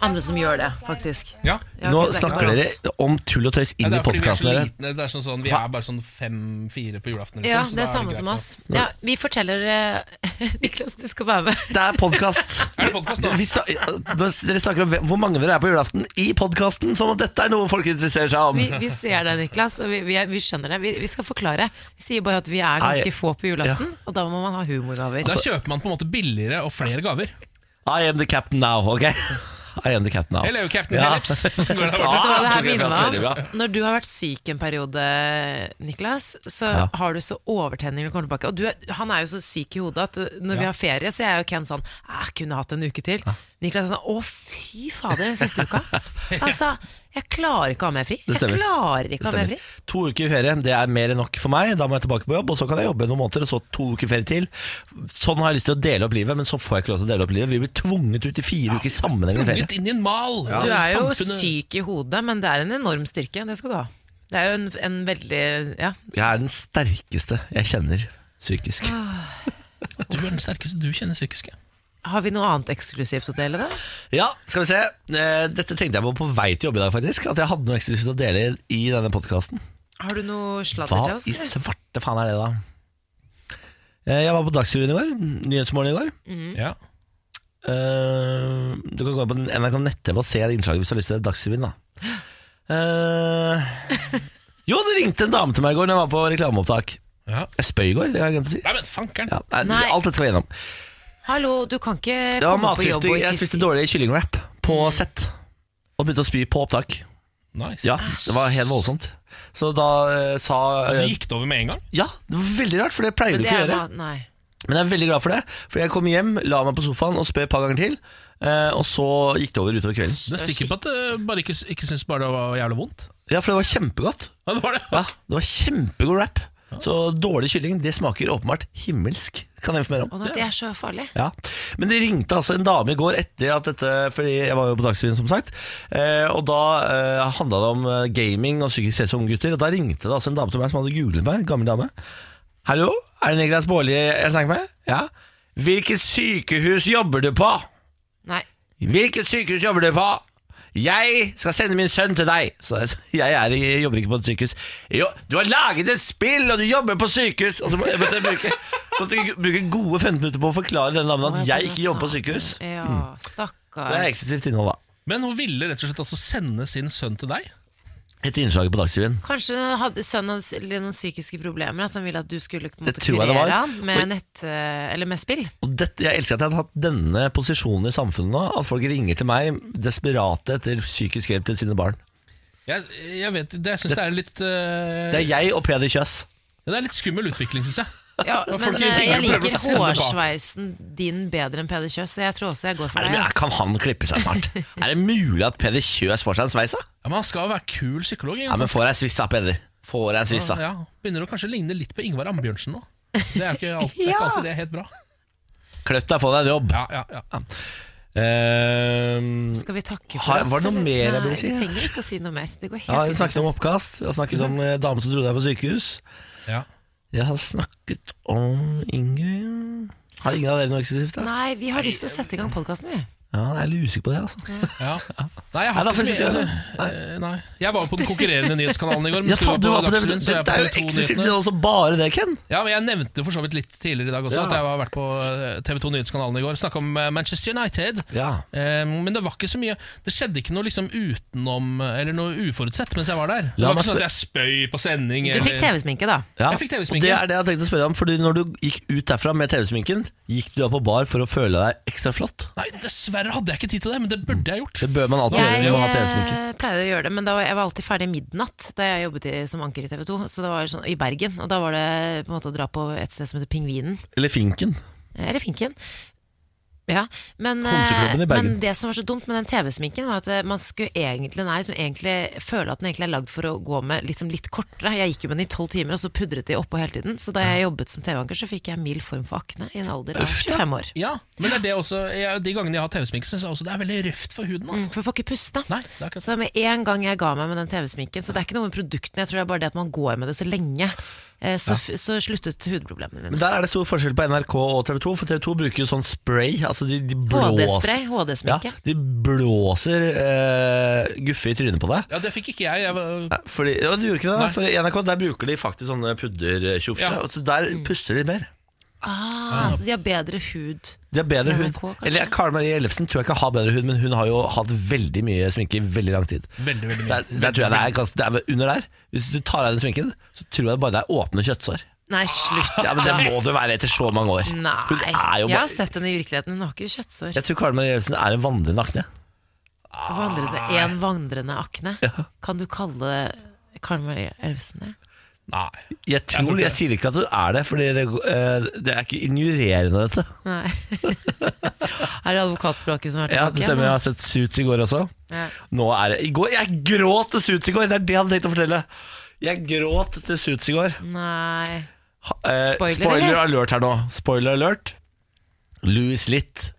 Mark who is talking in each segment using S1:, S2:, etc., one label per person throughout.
S1: andre som gjør det, faktisk.
S2: Ja.
S1: Ja,
S3: Nå
S1: ok, det er
S3: snakker
S1: ikke bare
S3: dere
S1: oss.
S3: om tull og tøys
S2: Nei,
S3: inn
S2: det
S3: i
S2: er fordi vi er,
S3: podkasten
S2: så
S3: deres.
S2: liten, det er sånn, sånn, vi
S3: Hva?
S2: er bare sånn fem-fire på julaften. Liksom,
S1: Ja, det
S2: så da
S1: er samme
S2: greit
S1: som
S2: nok.
S1: oss. Ja, vi forteller eh, Niklas du skal være med.
S3: Det er podkast.
S2: Er det podcast nå?
S3: Vi snak- Når dere snakker om hvem- hvor mange dere er på julaften i podkasten, som om dette er noe folk interesserer seg om.
S1: Vi, vi ser det, Niklas, og vi, vi, er- vi skjønner det. Vi, vi skal forklare. Vi sier bare at vi er
S3: Nei.
S1: ganske få på julaften, og da må man ha humorgaver.
S2: Da kjøper man på en måte billigere og flere gaver.
S3: I am the captain now, ok? I am the captain now.
S2: Eller er jo Captain
S3: Ja.
S2: Phillips. Hvordan går det der
S3: Ja.
S1: Vet du hva
S2: borte?
S1: det her
S3: tok jeg fra
S1: minner meg
S3: Sverige,
S1: om? Når du har vært syk en periode, Niklas, så
S3: Ja.
S1: har du så overtenning når du kommer tilbake. Og du, er- han er jo så syk i hodet at eh, når vi har ferie, så er jo Ken sånn Jeg kunne hatt en uke til. Niklas er sånn Å, fy fader, den siste uka. Altså, jeg klarer ikke å ha meg fri.
S3: Det
S1: Jeg
S3: stemmer.
S1: klarer ikke å ha meg
S3: Stemmer.
S1: fri.
S3: To uker ferie, det er mer enn nok for meg. Da må jeg tilbake på jobb, og så kan jeg jobbe noen måneder, og så to uker ferie til. Sånn har jeg lyst til å dele opp livet, men så får jeg ikke lov til å dele opp livet. Vi blir tvunget ut i fire uker sammenhengende ferie.
S2: Tvunget inn i en mal.
S1: Du er jo
S2: Samfunnet-
S1: syk i hodet, men det er en enorm styrke. Det skal du ha. Det er jo en, en veldig Ja.
S3: Jeg er den sterkeste jeg kjenner psykisk.
S2: Du er den sterkeste du kjenner psykiske.
S1: Har vi noe annet eksklusivt å dele, da?
S3: Ja, skal vi se. Eh, Dette tenkte jeg på på vei til jobb i dag, faktisk. At jeg hadde noe eksklusivt å dele i denne podkasten.
S1: Har du noe sladder
S3: Hva
S1: til oss?
S3: i
S1: eller?
S3: svarte faen er det, da? Eh, Jeg var på Dagsrevyen i går. Nyhetsmorgen i går.
S1: Mm.
S2: Ja.
S3: Eh, Du kan gå inn på den NRK Nett-TV og se det innslaget hvis du har lyst til det. Dagsrevyen, da. Eh, jo, det ringte en dame til meg i går Når jeg var på reklameopptak.
S2: ja.
S3: Jeg spøy i går, det har jeg glemt å si.
S2: Nei, men fankeren.
S3: Ja, nei,
S1: Nei.
S3: Alt dette skal vi gjennom.
S1: Hallo, du kan ikke
S3: Det var
S1: komme på jobb
S3: matforgifting.
S1: og Mm. ikke
S3: Jeg spiste
S1: si-
S3: dårlig kyllingwrap på sett. Og begynte å spy på opptak.
S2: Nice.
S3: Ja, det var helt voldsomt. Så da eh, sa
S2: Og så gikk det over med en gang.
S3: Ja, det var veldig rart, for det pleier
S1: Men
S3: du
S1: det
S3: ikke å
S1: er
S3: gjøre.
S1: ma- Nei.
S3: Men jeg er veldig glad for det, for jeg kom hjem, la meg på sofaen og spøy et par ganger til. eh, Og så gikk det over utover kvelden.
S2: Du er sikker på at du bare ikke, ikke syns bare det var jævlig vondt?
S3: Ja, for det var kjempegodt.
S2: Ja, det var det.
S3: Ja, det var kjempegod wrap. Så dårlig kylling, det smaker åpenbart himmelsk, kan jeg informere om.
S1: Å, nei, det er så farlig.
S3: Ja. Men det ringte altså en dame i går etter at dette Fordi jeg var jo på Dagsrevyen, som sagt. Eh, og da eh, handla det om eh, gaming og psykisk helse og unge gutter. Og da ringte det altså en dame til meg som hadde googlet meg. en Gammel dame. Hallo, er det Niklas Baarli jeg snakker med? Ja. Hvilket sykehus jobber du på?
S1: Nei.
S3: Hvilket sykehus jobber du på? Jeg skal sende min sønn til deg. Så jeg, jeg, er, jeg jobber ikke på et sykehus. Jo, du har laget et spill, og du jobber på sykehus! Og så må- jeg måtte bruke, måtte bruke gode 15 minutter på å forklare denne damen
S1: Å,
S3: at jeg ikke jobber på
S1: sa-
S3: sykehus. Hmm.
S1: Ja,
S3: Det er
S1: stakkar.
S3: eksklusivt innhold, da.
S2: Men hun ville rett og slett altså sende sin sønn til deg.
S3: Etter innslaget på Dagsrevyen.
S1: Kanskje han hadde sønnen hans litt noen psykiske problemer? At han ville at du skulle på en måte
S3: Det tror jeg det var.
S1: kurere han
S3: Og-
S1: med, nett, eh, eller med spill?
S3: Og dette, Jeg elsker at jeg har hatt denne posisjonen i samfunnet nå. At folk ringer til meg desperate etter psykisk hjelp til sine barn.
S2: Jeg, jeg vet, det, jeg synes det er en litt eh,
S3: Det er jeg og Peder Kjøs.
S2: ja, Det er litt skummel utvikling, syns jeg.
S1: Ja,
S2: Ja,
S1: men
S2: folk
S1: eh, jeg
S2: ringer og prøver å
S1: liker
S2: sende bak.
S1: hårsveisen din bedre enn Peder Kjøs, så jeg tror også jeg går for
S3: Er det,
S1: deg.
S3: men
S1: altså.
S3: kan han klippe seg snart? Er det mulig at Peder Kjøs får seg en sveis? da?
S2: Ja, men Han skal jo være kul psykolog. egentlig.
S3: Ja, men får jeg en sviss da, Peder? Får jeg en sviss da?
S2: ja, begynner å kanskje ligne litt på Ingvar Ambjørnsen nå. Det er jo ikke, alt, det er ikke alltid det er helt bra.
S3: Kløpp deg, få deg en jobb.
S2: Ja, ja, ja.
S3: Ehm,
S1: Skal vi takke for
S3: Har-
S1: oss?
S3: var det noe
S1: eller?
S3: mer jeg
S1: Nei,
S3: burde si?
S1: Vi trenger ikke å si noe mer. Det går helt
S3: ja, jeg
S1: fint,
S3: snakket om
S1: Niklas.
S3: oppkast, jeg har snakket om eh, damen som trodde jeg var på sykehus.
S2: ja.
S3: Jeg har snakket om Inge Har ingen av dere noe eksklusivt? da?
S1: Nei, vi har lyst til å sette i gang podkasten, vi.
S3: Ja, jeg er litt usikker på det, altså.
S2: Ja. Nei, jeg
S3: Nei,
S2: har
S3: da
S2: ikke
S3: får
S2: så
S3: jeg
S2: mye
S3: sitte
S2: altså, eh, Nei, jeg var jo på den konkurrerende nyhetskanalen i går.
S3: Ja,
S2: Mens
S3: faen, du var på det,
S2: Dagsrevyen, så jeg
S3: Dette er jo
S2: TV 2
S3: eksklusivt,
S2: nyhetene.
S3: det er også bare det, Ken.
S2: Ja, men Jeg nevnte for så vidt litt tidligere i dag også
S3: Ja.
S2: at jeg har vært på eh, TV 2 Nyhetskanalen i går. Snakka om eh, Manchester United.
S3: Ja.
S2: Eh, men det var ikke så mye Det skjedde ikke noe liksom utenom eh, Eller noe uforutsett mens jeg var der. Det
S3: La
S2: var
S3: meg
S2: ikke sånn at jeg spøy på sending.
S1: Du fikk
S2: eller-
S1: TV-sminke, da.
S3: Ja.
S2: Jeg fikk TV-sminke.
S3: Og Det er det jeg tenkte å spørre deg om, Fordi når du gikk ut derfra med TV-sminken, gikk du da på bar for å føle deg ekstra flott?
S2: Nei, dessverre hadde jeg ikke tid til det, men det burde jeg gjort.
S3: Det bør man alltid gjøre
S1: Jeg
S3: når man har TV-sminke.
S1: eh, pleide å gjøre det, men da var, jeg var alltid ferdig midnatt da jeg jobbet i, som anker i TV 2. Så det var sånn, I Bergen. Og da var det på en måte å dra på et sted som heter Pingvinen.
S3: Eller finken.
S1: eh, Eller Finken. Ja, men, eh,
S3: Homseklubben i Bergen.
S1: men det som var så dumt med den TV-sminken, var at eh, man skulle egentlig, den er liksom, egentlig føle at den egentlig er lagd for å gå med liksom litt kortere. Jeg gikk jo med den i tolv timer, og så pudret de oppå hele tiden. Så da jeg jobbet som TV-anker, så fikk jeg en mild form for akne i en alder av 25 år.
S2: Ja, men det er det også jeg, De gangene jeg har TV-sminke, syns jeg også det er veldig røft for huden.
S1: Mm,
S2: Altså.
S1: For du får ikke puste.
S2: Nei, det er akkurat
S1: så med en gang jeg ga meg med den TV-sminken Så det er ikke noe med produktene, jeg tror det er bare det at man går med det så lenge. eh, så, f- så sluttet hudproblemene mine.
S3: Men der er det stor forskjell på NRK og TV 2, for TV 2 bruker jo sånn spray. Altså de, de blåser
S1: HD-spray, HD-sminke.
S3: ja, De blåser eh, guffe i trynet på deg.
S2: Ja, det fikk ikke jeg. jeg var,
S3: Fordi, ja, du gjorde ikke det,
S2: Nei.
S3: da. For i NRK der bruker de faktisk sånne puddertjofse.
S2: Ja. Mm.
S3: og så Der puster de mer.
S1: Ah, Så de har bedre hud.
S3: De har bedre hud.
S1: NRK, kanskje?
S3: Eller Karen Marie Ellefsen tror jeg ikke har bedre hud, men hun har jo hatt veldig mye sminke i veldig lang tid.
S2: Veldig, veldig mye.
S3: Der, der tror jeg det er, ganske, det er vel under der. Hvis du tar av den sminken, så tror jeg bare det er åpne kjøttsår.
S1: Nei, slutt.
S3: Ja, men Det må det jo være etter så mange år.
S1: Nei.
S3: Hun er jo
S1: Jeg har
S3: bare,
S1: sett henne i virkeligheten, hun har ikke kjøttsår.
S3: jeg tror Karen Marie Ellefsen er en vandrende akne.
S1: Vandrende, en vandrende akne. Kan du kalle Karen Marie Elvesen det?
S2: nei.
S3: Jeg tror, jeg, sier ikke at du er det, Fordi det, eh, det er ikke injurerende dette.
S1: Nei. er det advokatspråket som er
S3: Ja,
S1: tilbake?
S3: det stemmer, Jeg har sett Suits i går også.
S1: Ja.
S3: Nå er det, i går, Jeg gråt til Suits i går! Det er det jeg hadde tenkt å fortelle. Jeg gråt til Suits i går.
S1: Nei
S3: Ha- eh,
S1: Spoiler,
S3: spoiler
S1: eller?
S3: alert her nå. Spoiler alert. Louis Litt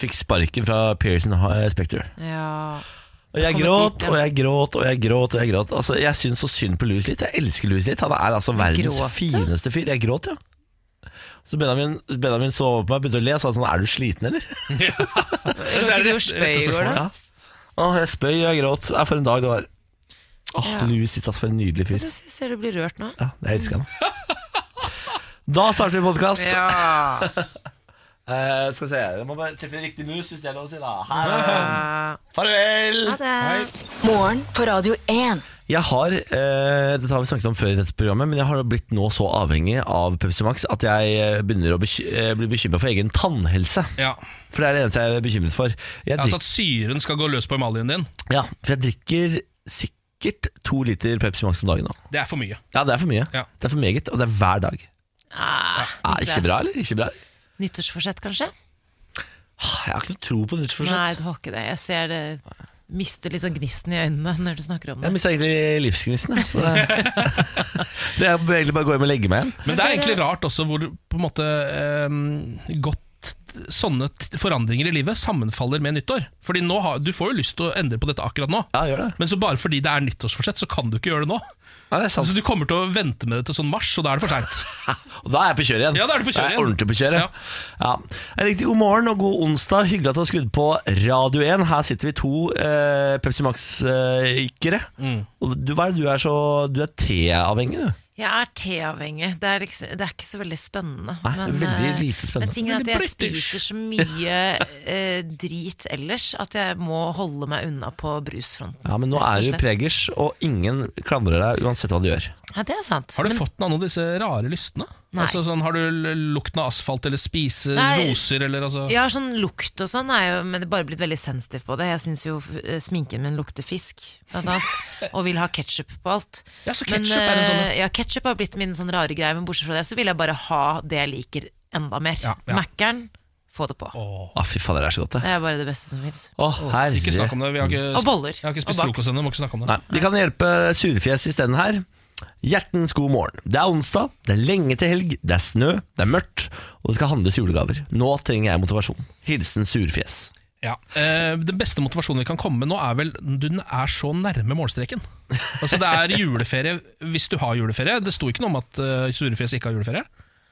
S3: fikk sparken fra Pearson eh, Spector.
S1: Ja.
S3: Og jeg
S1: Kommet
S3: gråt,
S1: dit, ja.
S3: og jeg gråt, og jeg gråt. og Jeg gråt Altså, jeg syns så synd på Louis Litt. Jeg elsker Louis Litt. Han er altså verdens
S1: gråt, du?
S3: fineste fyr. Jeg gråt, ja. Så Benjamin, Benjamin så over på meg, begynte å le og sa sånn Er du sliten, eller?
S2: Så er
S1: Ikke
S2: det
S1: du
S2: rett-
S1: spøy
S2: rette
S1: i går,
S2: spørsmålet.
S1: da?
S3: Ja. Å, jeg spøy og jeg gråt. Nei, for en dag det var. Åh,
S1: Ja.
S3: Louis Litt, altså, for en nydelig
S1: Jeg
S3: fyr.
S1: synes jeg ser du blir rørt nå.
S3: Ja, jeg elsker han. Da starter vi podkast. Eh, skal vi se, jeg må bare treffe riktig mus hvis det er lov å si da Her. Farvel!
S1: Eh, Ha det.
S4: Morgen på Radio 1.
S3: Jeg har, eh, dette har vi snakket om før i dette programmet Men jeg har blitt nå så avhengig av Pepsi Max At jeg eh, begynner å beky eh, bli bekymret for egen tannhelse
S2: Ja.
S3: For det er det eneste jeg er bekymret for Jeg
S2: Altså
S3: drikker,
S2: at syren skal gå løs på emaljen din,
S3: ja, for jeg drikker sikkert to liter Pepsi Max om dagen nå
S2: det er for mye.
S3: Ja, det er for mye
S2: Ja.
S3: Det er for meget, og det er hver dag
S1: Ah,
S3: ja,
S1: Niklas.
S3: Ikke bra, eller? Ikke bra Ah,
S1: Nyttårsforsett, kanskje?
S3: Jeg har ikke noe tro på
S1: Nei,
S3: nyttårsforsett
S1: du har ikke det. Jeg ser det mister litt sånn gnisten i øynene når du snakker om
S3: Jeg
S1: det.
S3: mistet egentlig livsgnisten jeg, så det, det er egentlig bare å gå hjem og legge meg igjen
S2: Men det er egentlig rart også hvor på en måte eh, godt sånne t- forandringer i livet sammenfaller med nyttår. Fordi nå har, du får jo lyst til å endre på dette akkurat nå.
S3: Ja, gjør det
S2: Men så bare fordi det er nyttårsforsett, så kan du ikke gjøre det nå.
S3: Ja, det er sant
S2: Så du kommer til å vente med det til sånn mars, og da er det for seint.
S3: Og da er jeg på kjøret igjen.
S2: Ja, da er du på kjøret
S3: jeg
S2: igjen.
S3: ordentlig på kjøret.
S2: Ja.
S3: Ja. Riktig god morgen og god onsdag. Hyggelig at du har skrudd på Radio 1. Her sitter vi to eh, Pepsi Max-ikere.
S2: Mm.
S3: Og du, hva er det du er så Du er teavhengig, du.
S1: Jeg er teavhengig. Det er, liksom, det er ikke så veldig spennende.
S3: Nei, veldig
S1: eh,
S3: lite spennende.
S1: Men ting er at jeg
S2: Veldig British.
S1: spiser så mye eh, drit ellers at jeg må holde meg unna på brusfronten.
S3: Ja, men nå
S1: Rett og
S3: er du
S1: slett.
S3: pregers, og ingen klandrer deg uansett hva du gjør.
S1: Ja, det er sant.
S2: Har du
S1: Men-
S2: fått noen av disse rare lystene?
S1: Nei.
S2: Altså sånn, Har du l- lukten av asfalt, eller spise
S1: Nei.
S2: roser, eller altså
S1: Ja, sånn lukt og sånn er jo Men det er bare blitt veldig sensitiv på det. Jeg syns jo eh, sminken min lukter fisk, blant annet. Og vil ha ketsjup på alt.
S2: Ja, så
S1: Men,
S2: ketchup er en sånn-
S1: eh, Ja, ketsjup har blitt min sånn rare greie, men bortsett fra det så vil jeg bare ha det jeg liker, enda mer.
S2: Ja, ja.
S1: Mackeren, få det på.
S3: Å, fy fader, det er så godt, det.
S1: Det er bare det beste som fins.
S3: Å, herre.
S2: Ikke snakk om det. Vi har ikke,
S1: Og boller.
S2: Jeg har ikke
S1: Og
S2: spist
S1: bakst.
S2: frokost ennå, må ikke snakke om det.
S3: Nei, vi kan hjelpe surfjes isteden her. Hjertens god morgen. Det er onsdag, det er lenge til helg, det er snø, det er mørkt, og det skal handles julegaver. Nå trenger jeg motivasjon. Hilsen surfjes.
S2: Ja. Eh, den beste motivasjonen vi kan komme med nå, er vel du den er så nærme målstreken. Altså Det er juleferie hvis du har juleferie. Det sto ikke noe om at uh, Surefjes ikke har juleferie.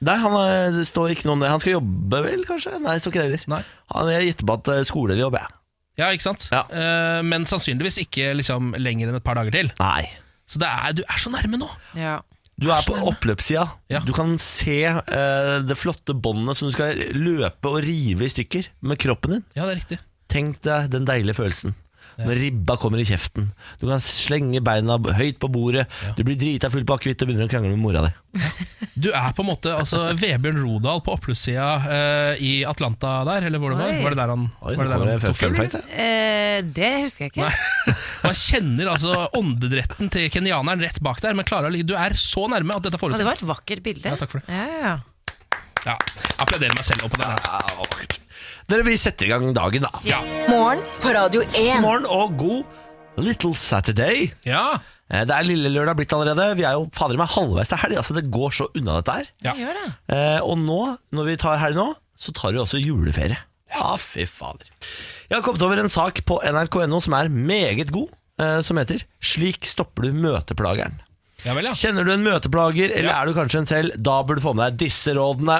S3: Nei, han eh, det står ikke noe om det. Han skal jobbe vel, kanskje? Nei, det står ikke det heller.
S2: Nei.
S3: Han jeg gjetter på at eh, skole eller jobb, jeg.
S2: Ja, ikke sant?
S3: Ja.
S2: Eh, men sannsynligvis ikke liksom, lenger enn et par dager til.
S3: Nei.
S2: Så det er, du er så nærme nå!
S1: Ja.
S3: Du er på oppløpssida.
S2: Ja.
S3: Du kan se eh, det flotte båndet som du skal løpe og rive i stykker med kroppen din.
S2: Ja, det er riktig.
S3: Tenk deg den deilige følelsen. Når ribba kommer i kjeften. Du kan slenge beina b- høyt på bordet. Du blir drita full på akevitt og begynner å krangle med mora di.
S2: Du er på en måte altså, Vebjørn Rodal på oppløpssida eh, i Atlanta der, eller hvor det var?
S1: Oi.
S2: Var det der han,
S3: Oi,
S2: var
S3: nå
S2: det der
S3: kommer det
S2: han
S3: fun
S2: tok
S3: fun
S2: gull?
S3: fact her.
S1: Eh, det husker jeg ikke.
S2: Man kjenner altså åndedretten til kenyaneren rett bak der, men klarer å ligge Du er så nærme at dette får
S1: Og
S2: ut
S1: det var et vakkert bilde.
S2: Ja, takk for det.
S1: Ja, ja, ja.
S2: Ja, applauderer meg selv oppå den. Altså.
S3: Ja, det var vakkert. Dere, vi setter i gang dagen, da.
S2: Ja.
S4: Morgen på Radio 1.
S3: God morgen og god Little Saturday.
S2: ja.
S3: Eh, Det er lille lørdag blitt allerede. Vi er jo fader meg halvveis til helg. Altså, det går så unna dette her.
S2: Ja.
S1: Jeg gjør det.
S3: Eh, og nå, når vi tar helg nå, så tar vi også juleferie. Ja, fy fader. Jeg har kommet over en sak på nrk.no som er meget god, eh, som heter 'Slik stopper du møteplageren'.
S2: Ja vel, ja.
S3: Kjenner du en møteplager, eller er du kanskje en selv? Da burde du få med deg disse rådene.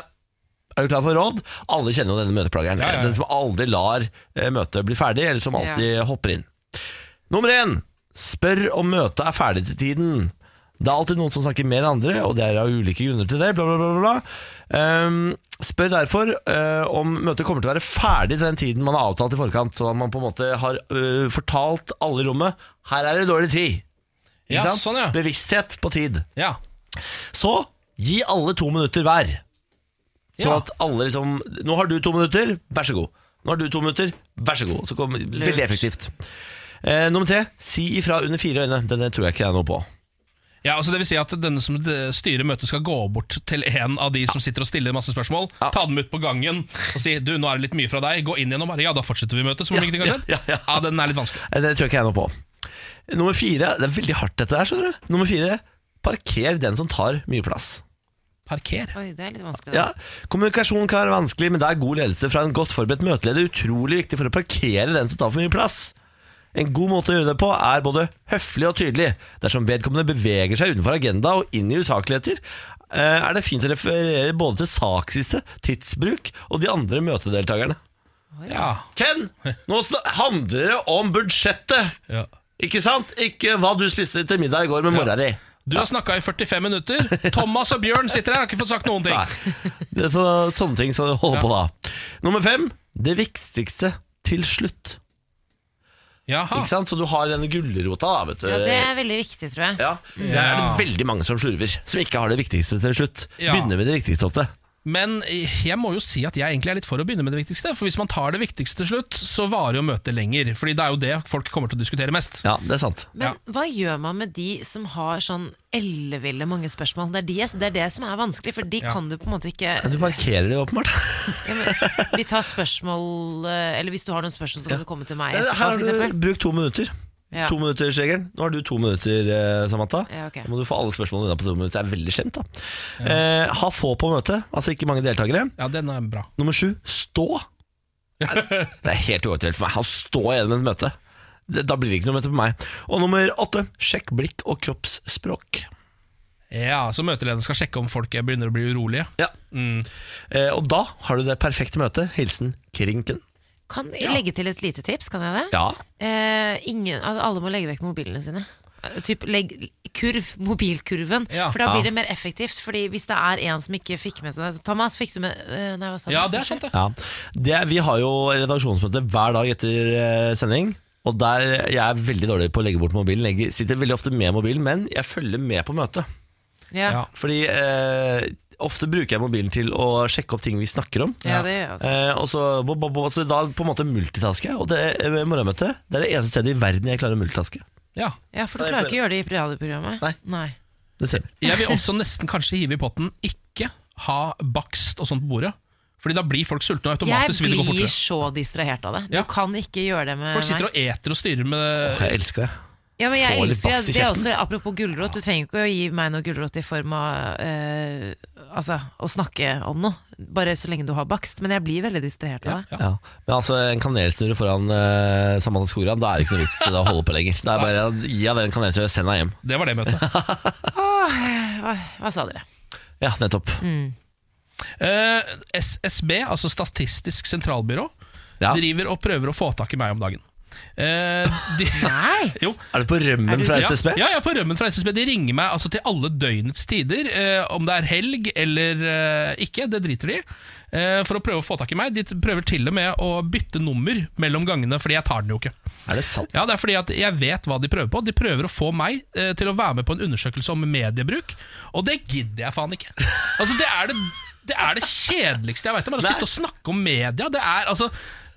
S3: Er du klar for råd? Alle kjenner jo denne møteplageren.
S2: Ja, ja, ja.
S3: Den som aldri lar eh, møtet bli ferdig, eller som alltid hopper inn. Nummer én spør om møtet er ferdig til tiden. Det er alltid noen som snakker mer enn andre, og det er av ulike grunner til det. Bla, bla, bla, bla. Ehm, spør derfor eh, om møtet kommer til å være ferdig til den tiden man har avtalt i forkant, sånn at man på en måte har eh, fortalt alle i rommet her er det dårlig tid. Ikke
S2: Ja,
S3: sant?
S2: sånn, ja.
S3: Bevissthet på tid.
S2: ja.
S3: Så gi alle to minutter hver. Sånn
S2: Ja.
S3: at alle liksom Nå har du to minutter, vær så god. Nå har du to minutter, vær så god. Så kom, veldig effektivt. Eh, nummer tre, si ifra under fire øyne. Denne tror jeg ikke jeg er noe på.
S2: Ja, altså det vil si at denne som d- styrer møtet skal gå bort til en av de som sitter og stiller masse spørsmål,
S3: Ja.
S2: ta dem ut på gangen og si du, nå er det litt mye fra deg, gå inn igjen og bare ja, da fortsetter vi møtet. Som om
S3: Ja,
S2: ingenting har skjedd.
S3: ja, ja, ja.
S2: den er litt vanskelig.
S3: Eh, Det tror jeg ikke jeg er noe på. Nummer fire, det er veldig hardt dette her, skjønner du. Nummer fire, parker den som tar mye plass.
S2: Parker.
S1: Oi, det er litt vanskelig.
S3: Ja,
S1: da.
S3: Kommunikasjon kan være vanskelig, men det er god ledelse fra en godt forberedt møteleder utrolig viktig for å parkere den som tar for mye plass. En god måte å gjøre det på er både høflig og tydelig. Dersom vedkommende beveger seg utenfor agenda og inn i usakligheter, eh, er det fint å referere både til saksliste, tidsbruk og de andre møtedeltakerne.
S2: Ja.
S3: Ken, nå sn- handler det om budsjettet!
S2: ja.
S3: Ikke sant? Ikke hva du spiste til middag i går med mora di.
S2: Du har snakka i 45 minutter. Thomas og Bjørn sitter her har ikke fått sagt noen ting.
S3: Det er så, sånne ting som holder på da. Nummer fem, det viktigste til slutt.
S2: Jaha.
S3: Ikke sant? Så du har denne gulrota, da, vet du.
S1: Ah. Ja, det er veldig viktig, tror jeg.
S3: Ja, det er det veldig mange som slurver, som ikke har det viktigste til slutt.
S2: Ja.
S3: Begynner med det viktigste ofte.
S2: Men jeg må jo si at jeg egentlig er litt for å begynne med det viktigste. For hvis man tar det viktigste til slutt, så varer jo møtet lenger. Fordi det er jo det folk kommer til å diskutere mest.
S3: Ja, det er sant.
S2: Ja.
S1: Men hva gjør man med de som har sånn elleville mange spørsmål? Det er, de, det er det som er vanskelig, for de
S2: Ja.
S1: kan du på en måte ikke
S3: Men du parkerer det åpenbart.
S1: ja, men, Vi tar spørsmål eh, Eller hvis du har noen spørsmål, så kan du komme til meg
S3: Her
S1: etterpå,
S3: har
S1: for
S3: du
S1: eksempel.
S3: brukt to minutter.
S1: Ja.
S3: To minuttersregelen. Nå har du to minutter, eh, Samantha.
S1: Ja, ok.
S3: Da må du få alle spørsmålene unna på to minutter. Det er veldig slemt, da. Eh, ha få på møtet, altså ikke mange deltakere.
S2: Ja, den er bra.
S3: Nummer sju, stå. Det er helt uaktuelt for meg å stå gjennom et møte. Det- Da blir det ikke noe møte på meg. Og nummer åtte, sjekk blikk og kroppsspråk.
S2: Ja, Så møtelederen skal sjekke om folk begynner å bli urolige.
S3: Ja. Eh, og da har du det perfekte møtet. Hilsen Krinken.
S1: Kan jeg legge til et lite tips, kan jeg det?
S3: Ja.
S1: Eh, ingen, altså, alle må legge vekk mobilene sine. Eh, Typ, legg kurv, mobilkurven,
S2: Ja.
S1: for da blir
S3: Ja.
S1: det mer effektivt. Fordi Hvis det er en som ikke fikk med seg det så, Thomas, fikk du med eh, Nei, hva sa du?
S2: Ja, det er sant, det.
S3: ja. Det, vi har jo redaksjonsmøte hver dag etter eh, sending. Og der Jeg er veldig dårlig på å legge bort mobilen. Jeg sitter veldig ofte med mobilen, men jeg følger med på møtet.
S1: Ja.
S2: Ja.
S1: Ja.
S3: Fordi eh, ofte bruker jeg mobilen til å sjekke opp ting vi snakker om.
S1: det gjør jeg også.
S2: Altså.
S3: Eh, og så, bo, bo, bo, så i dag på en måte multitasker jeg. Og det eh, morgenmøtet det er det eneste stedet i verden jeg klarer å multitaske.
S2: Ja.
S1: Ja, For
S3: Nei,
S1: du klarer
S3: for-
S1: ikke å gjøre det i radioprogrammet?
S3: Nei. Det ser vi.
S2: Jeg vil også nesten kanskje hive i potten ikke ha bakst og sånt på bordet. Fordi da blir folk sultne, og
S1: Jeg
S2: automatisk vil det gå
S1: blir
S2: fortere.
S1: så distrahert av det. Du
S2: Ja.
S1: kan ikke gjøre det med
S2: Folk sitter
S1: meg.
S2: og eter og styrer med
S3: Jeg elsker det.
S1: Ja, men jeg
S3: får litt
S1: elsker
S3: bass i
S1: det er
S3: kjeften.
S1: også Apropos gulrot, du trenger ikke å gi meg noe gulrot i form av eh, Altså, å snakke om noe. Bare så lenge du har bakst. Men jeg blir veldig distrahert av det.
S2: ja.
S3: Ja. Men altså, en kanelsnurre foran eh, Samantha Skogran, da er det ikke noe vits i å holde på lenger. Det er bare å gi henne den kanelsnurra, send henne hjem.
S2: Det var det møtet.
S1: Åh, hva, hva sa dere?
S3: Ja, nettopp.
S2: Mm. Eh, SSB, altså Statistisk sentralbyrå,
S3: Ja.
S2: driver og prøver å få tak i meg om dagen. Eh, de,
S1: Nei!
S2: jo,
S3: Er du på
S1: Er
S3: rømmen
S1: du-
S3: fra
S2: ja,
S3: SSB?
S2: Ja, ja, på rømmen fra SSB. De ringer meg altså, til alle døgnets tider, eh, om det er helg eller eh, ikke, det driter de i, eh, for å prøve å få tak i meg. De t- prøver til og med å bytte nummer mellom gangene, fordi jeg tar den jo ikke.
S3: Er det sant?
S2: Ja, det er fordi at jeg vet hva de prøver på. De prøver å få meg eh, til å være med på en undersøkelse om mediebruk, og det gidder jeg faen ikke. Altså, det er det, det, er det kjedeligste jeg veit om, bare å
S3: Nei.
S2: sitte og snakke om media. Det er altså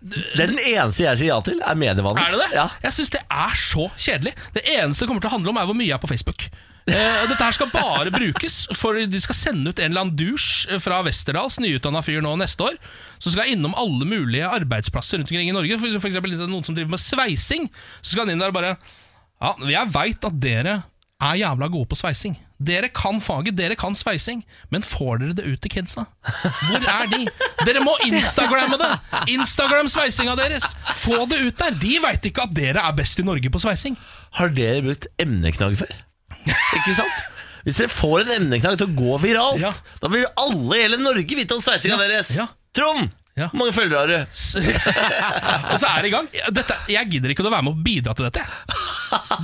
S3: Det er den eneste jeg sier ja til, er medievaner.
S2: er det det?
S3: Ja.
S2: Jeg syns det er så kjedelig. Det eneste det kommer til å handle om, er hvor mye jeg er på Facebook. Eh, og dette her skal bare brukes, for de skal sende ut en eller annen douche fra Westerdals, nyutdanna fyr nå neste år, som skal innom alle mulige arbeidsplasser rundt omkring i Norge. For, for eksempel noen som driver med sveising. Så skal han inn der og bare Ja, jeg veit at dere er jævla gode på sveising. Dere kan faget, dere kan sveising, men får dere det ut til kidsa? Hvor er de? Dere må instagramme det! Instagram sveisinga deres! Få det ut der! De veit ikke at dere er best i Norge på sveising.
S3: Har dere brukt emneknagg før? Ikke sant? Hvis dere får en emneknagg til å gå viralt,
S2: Ja.
S3: da vil alle i hele Norge vite om sveisinga
S2: Ja,
S3: deres.
S2: ja.
S3: Trond!
S2: Ja.
S3: Hvor mange følgere har du?
S2: S- og så er det i gang. Dette, jeg gidder ikke å være med og bidra til dette.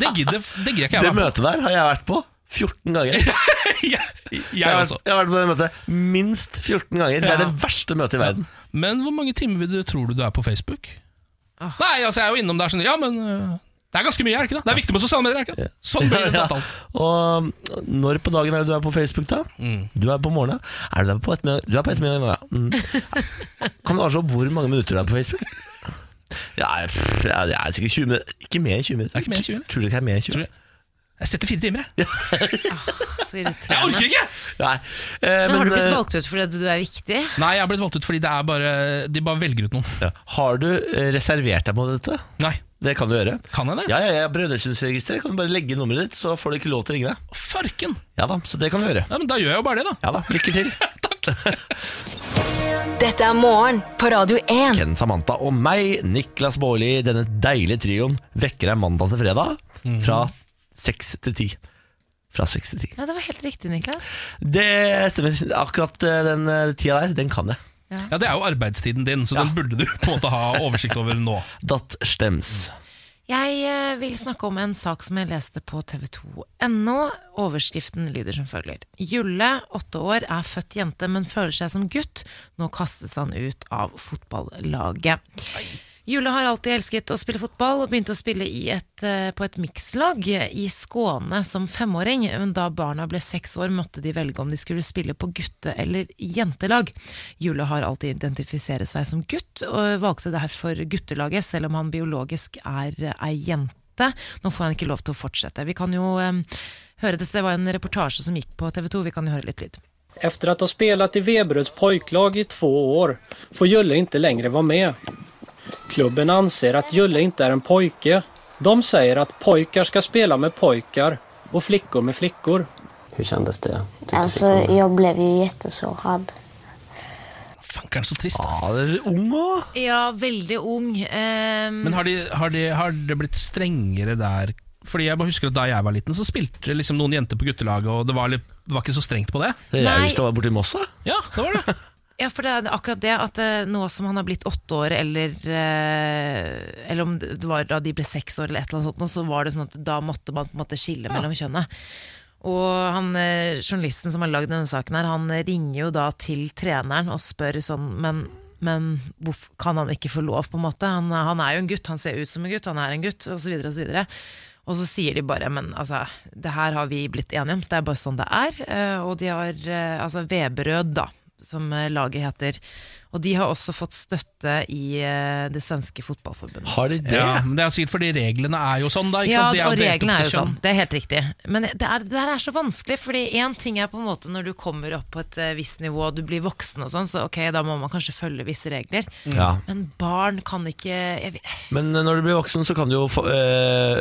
S2: Det gidder, det gidder jeg ikke
S3: Det
S2: jeg være med
S3: møtet der har jeg vært på 14 ganger. Jeg,
S2: på. Jeg, jeg
S3: har vært,
S2: også.
S3: jeg har vært på det møtet minst 14 ganger. Det
S2: Ja.
S3: er det verste møtet i verden.
S2: Men hvor mange timer vil du, tror du du er på Facebook? Nei, altså jeg er jo innom der sånn Ja, men øh, det er ganske mye, er det ikke det? Det er viktig med sosiale medier, er det ikke det? Sånn blir den
S3: Ja.
S2: samtalen.
S3: Og når på dagen er det du er på Facebook, da?
S1: Mm.
S3: Du er på morgenen. Er du der på ettermiddag? Du er på ettermiddag nå, ja. Mm. Kan du avslå hvor mange minutter du er på Facebook? Ja, pff, ja, det er sikkert 20 minutter. Ikke mer enn 20 minutter.
S2: Det er ikke mer enn 20 minutter.
S3: Tror du ikke det er mer enn 20?
S2: Tror jeg. Jeg setter fire timer, jeg.
S1: Så irriterende.
S2: Jeg orker ikke!
S3: Nei. Eh,
S1: Men har du blitt
S3: eh,
S1: valgt ut fordi at du er viktig?
S2: Nei, jeg er blitt valgt ut fordi det er bare de bare velger ut noen.
S3: ja. Har du eh, reservert deg på dette?
S2: Nei.
S3: Det kan du gjøre.
S2: Kan jeg det?
S3: Ja, ja, ja, Brønnøysundsregisteret. Kan du bare legge nummeret ditt, så får du ikke lov til å ringe deg.
S2: Farken!
S3: Ja da, så det kan du gjøre.
S2: Ja, men da gjør jeg jo bare det, da.
S3: Ja da, lykke til.
S4: Dette er morgen på Radio 1.
S3: Ken Samantha og meg, Niklas Baarli, denne deilige trioen, vekker deg mandag til fredag fra seks til ti. Fra seks til ti.
S1: Ja, det var helt riktig, Niklas.
S3: Det stemmer. Akkurat eh, den eh, tida der, den kan jeg.
S2: Ja, Det er jo arbeidstiden din, så den burde du på en måte ha oversikt over nå.
S3: Dat stems.
S1: Jeg eh, vil snakke om en sak som jeg leste på tv2.no. Overskriften lyder som følger. Julle, åtte år, er født jente, men føler seg som gutt. Nå kastes han ut av fotballaget. Julle har alltid elsket å spille fotball, og begynte å spille i et, eh, på et mikslag i Skåne som femåring. Men da barna ble seks år, måtte de velge om de skulle spille på gutte- eller jentelag. Julle har alltid identifisert seg som gutt, og valgte derfor guttelaget, selv om han biologisk er eh, ei jente. Nå får han ikke lov til å fortsette. Vi kan jo eh, høre dette, det var en reportasje som gikk på TV 2, vi kan jo høre litt lyd.
S5: Efter att ha spelat i Veberöds pojklag i två år får Julle inte längre vara med. Klubben anser att Julle inte är en pojke. De säger att pojkar ska spela med pojkar och flickor med flickor.
S6: Hur kändes det? tyckte
S7: Alltså,
S6: flickorna?
S7: jag blev ju jättesårad.
S2: Fankeren, så trist.
S3: Ja, dere er ung òg.
S1: Ja, veldig ung. eh,
S2: Men har, de, har, de, har det blitt strengere der? Fordi jeg bare husker at Da jeg var liten, så spilte det liksom noen jenter på guttelaget, og det var, litt, det var ikke så strengt på det.
S3: Jeg
S1: Nei.
S3: husker det var borti Mossa.
S2: Ja, det var det.
S1: Ja, for det er akkurat det at eh, nå som han har blitt åtte år, eller, eh, eller om det var da de ble seks år, eller et eller annet sånt, nå, så var det sånn at da måtte man på en måte skille mellom kjønnene. Og han, eh, journalisten som har lagd denne saken her, han ringer jo da til treneren og spør sånn, men, men hvorfor kan han ikke få lov, på en måte? Han, han er jo en gutt, han ser ut som en gutt, han er en gutt, og så videre og så videre. Og så sier de bare men altså, det her har vi blitt enige om, så det er bare sånn det er. Eh, Og de har eh, altså Veberød, da, som eh, laget heter. Og de har også fått støtte i eh, det svenske fotballforbundet.
S3: Har de det?
S2: Ja, men det er jo sikkert fordi reglene er jo sånn, da. Ikke
S1: Ja,
S2: sant? De
S1: og
S2: delt
S1: reglene er
S2: opp
S1: jo
S2: til
S1: sånn.
S2: kjønn.
S1: Det er helt riktig. Men det, er, det her er så vanskelig, fordi én ting er på en måte når du kommer opp på et eh, visst nivå, og du blir voksen og sånn, så ok, da må man kanskje følge visse regler.
S3: Ja.
S1: Men barn kan ikke jeg, vet-
S3: Men eh, når du blir voksen, så kan du jo få, eh,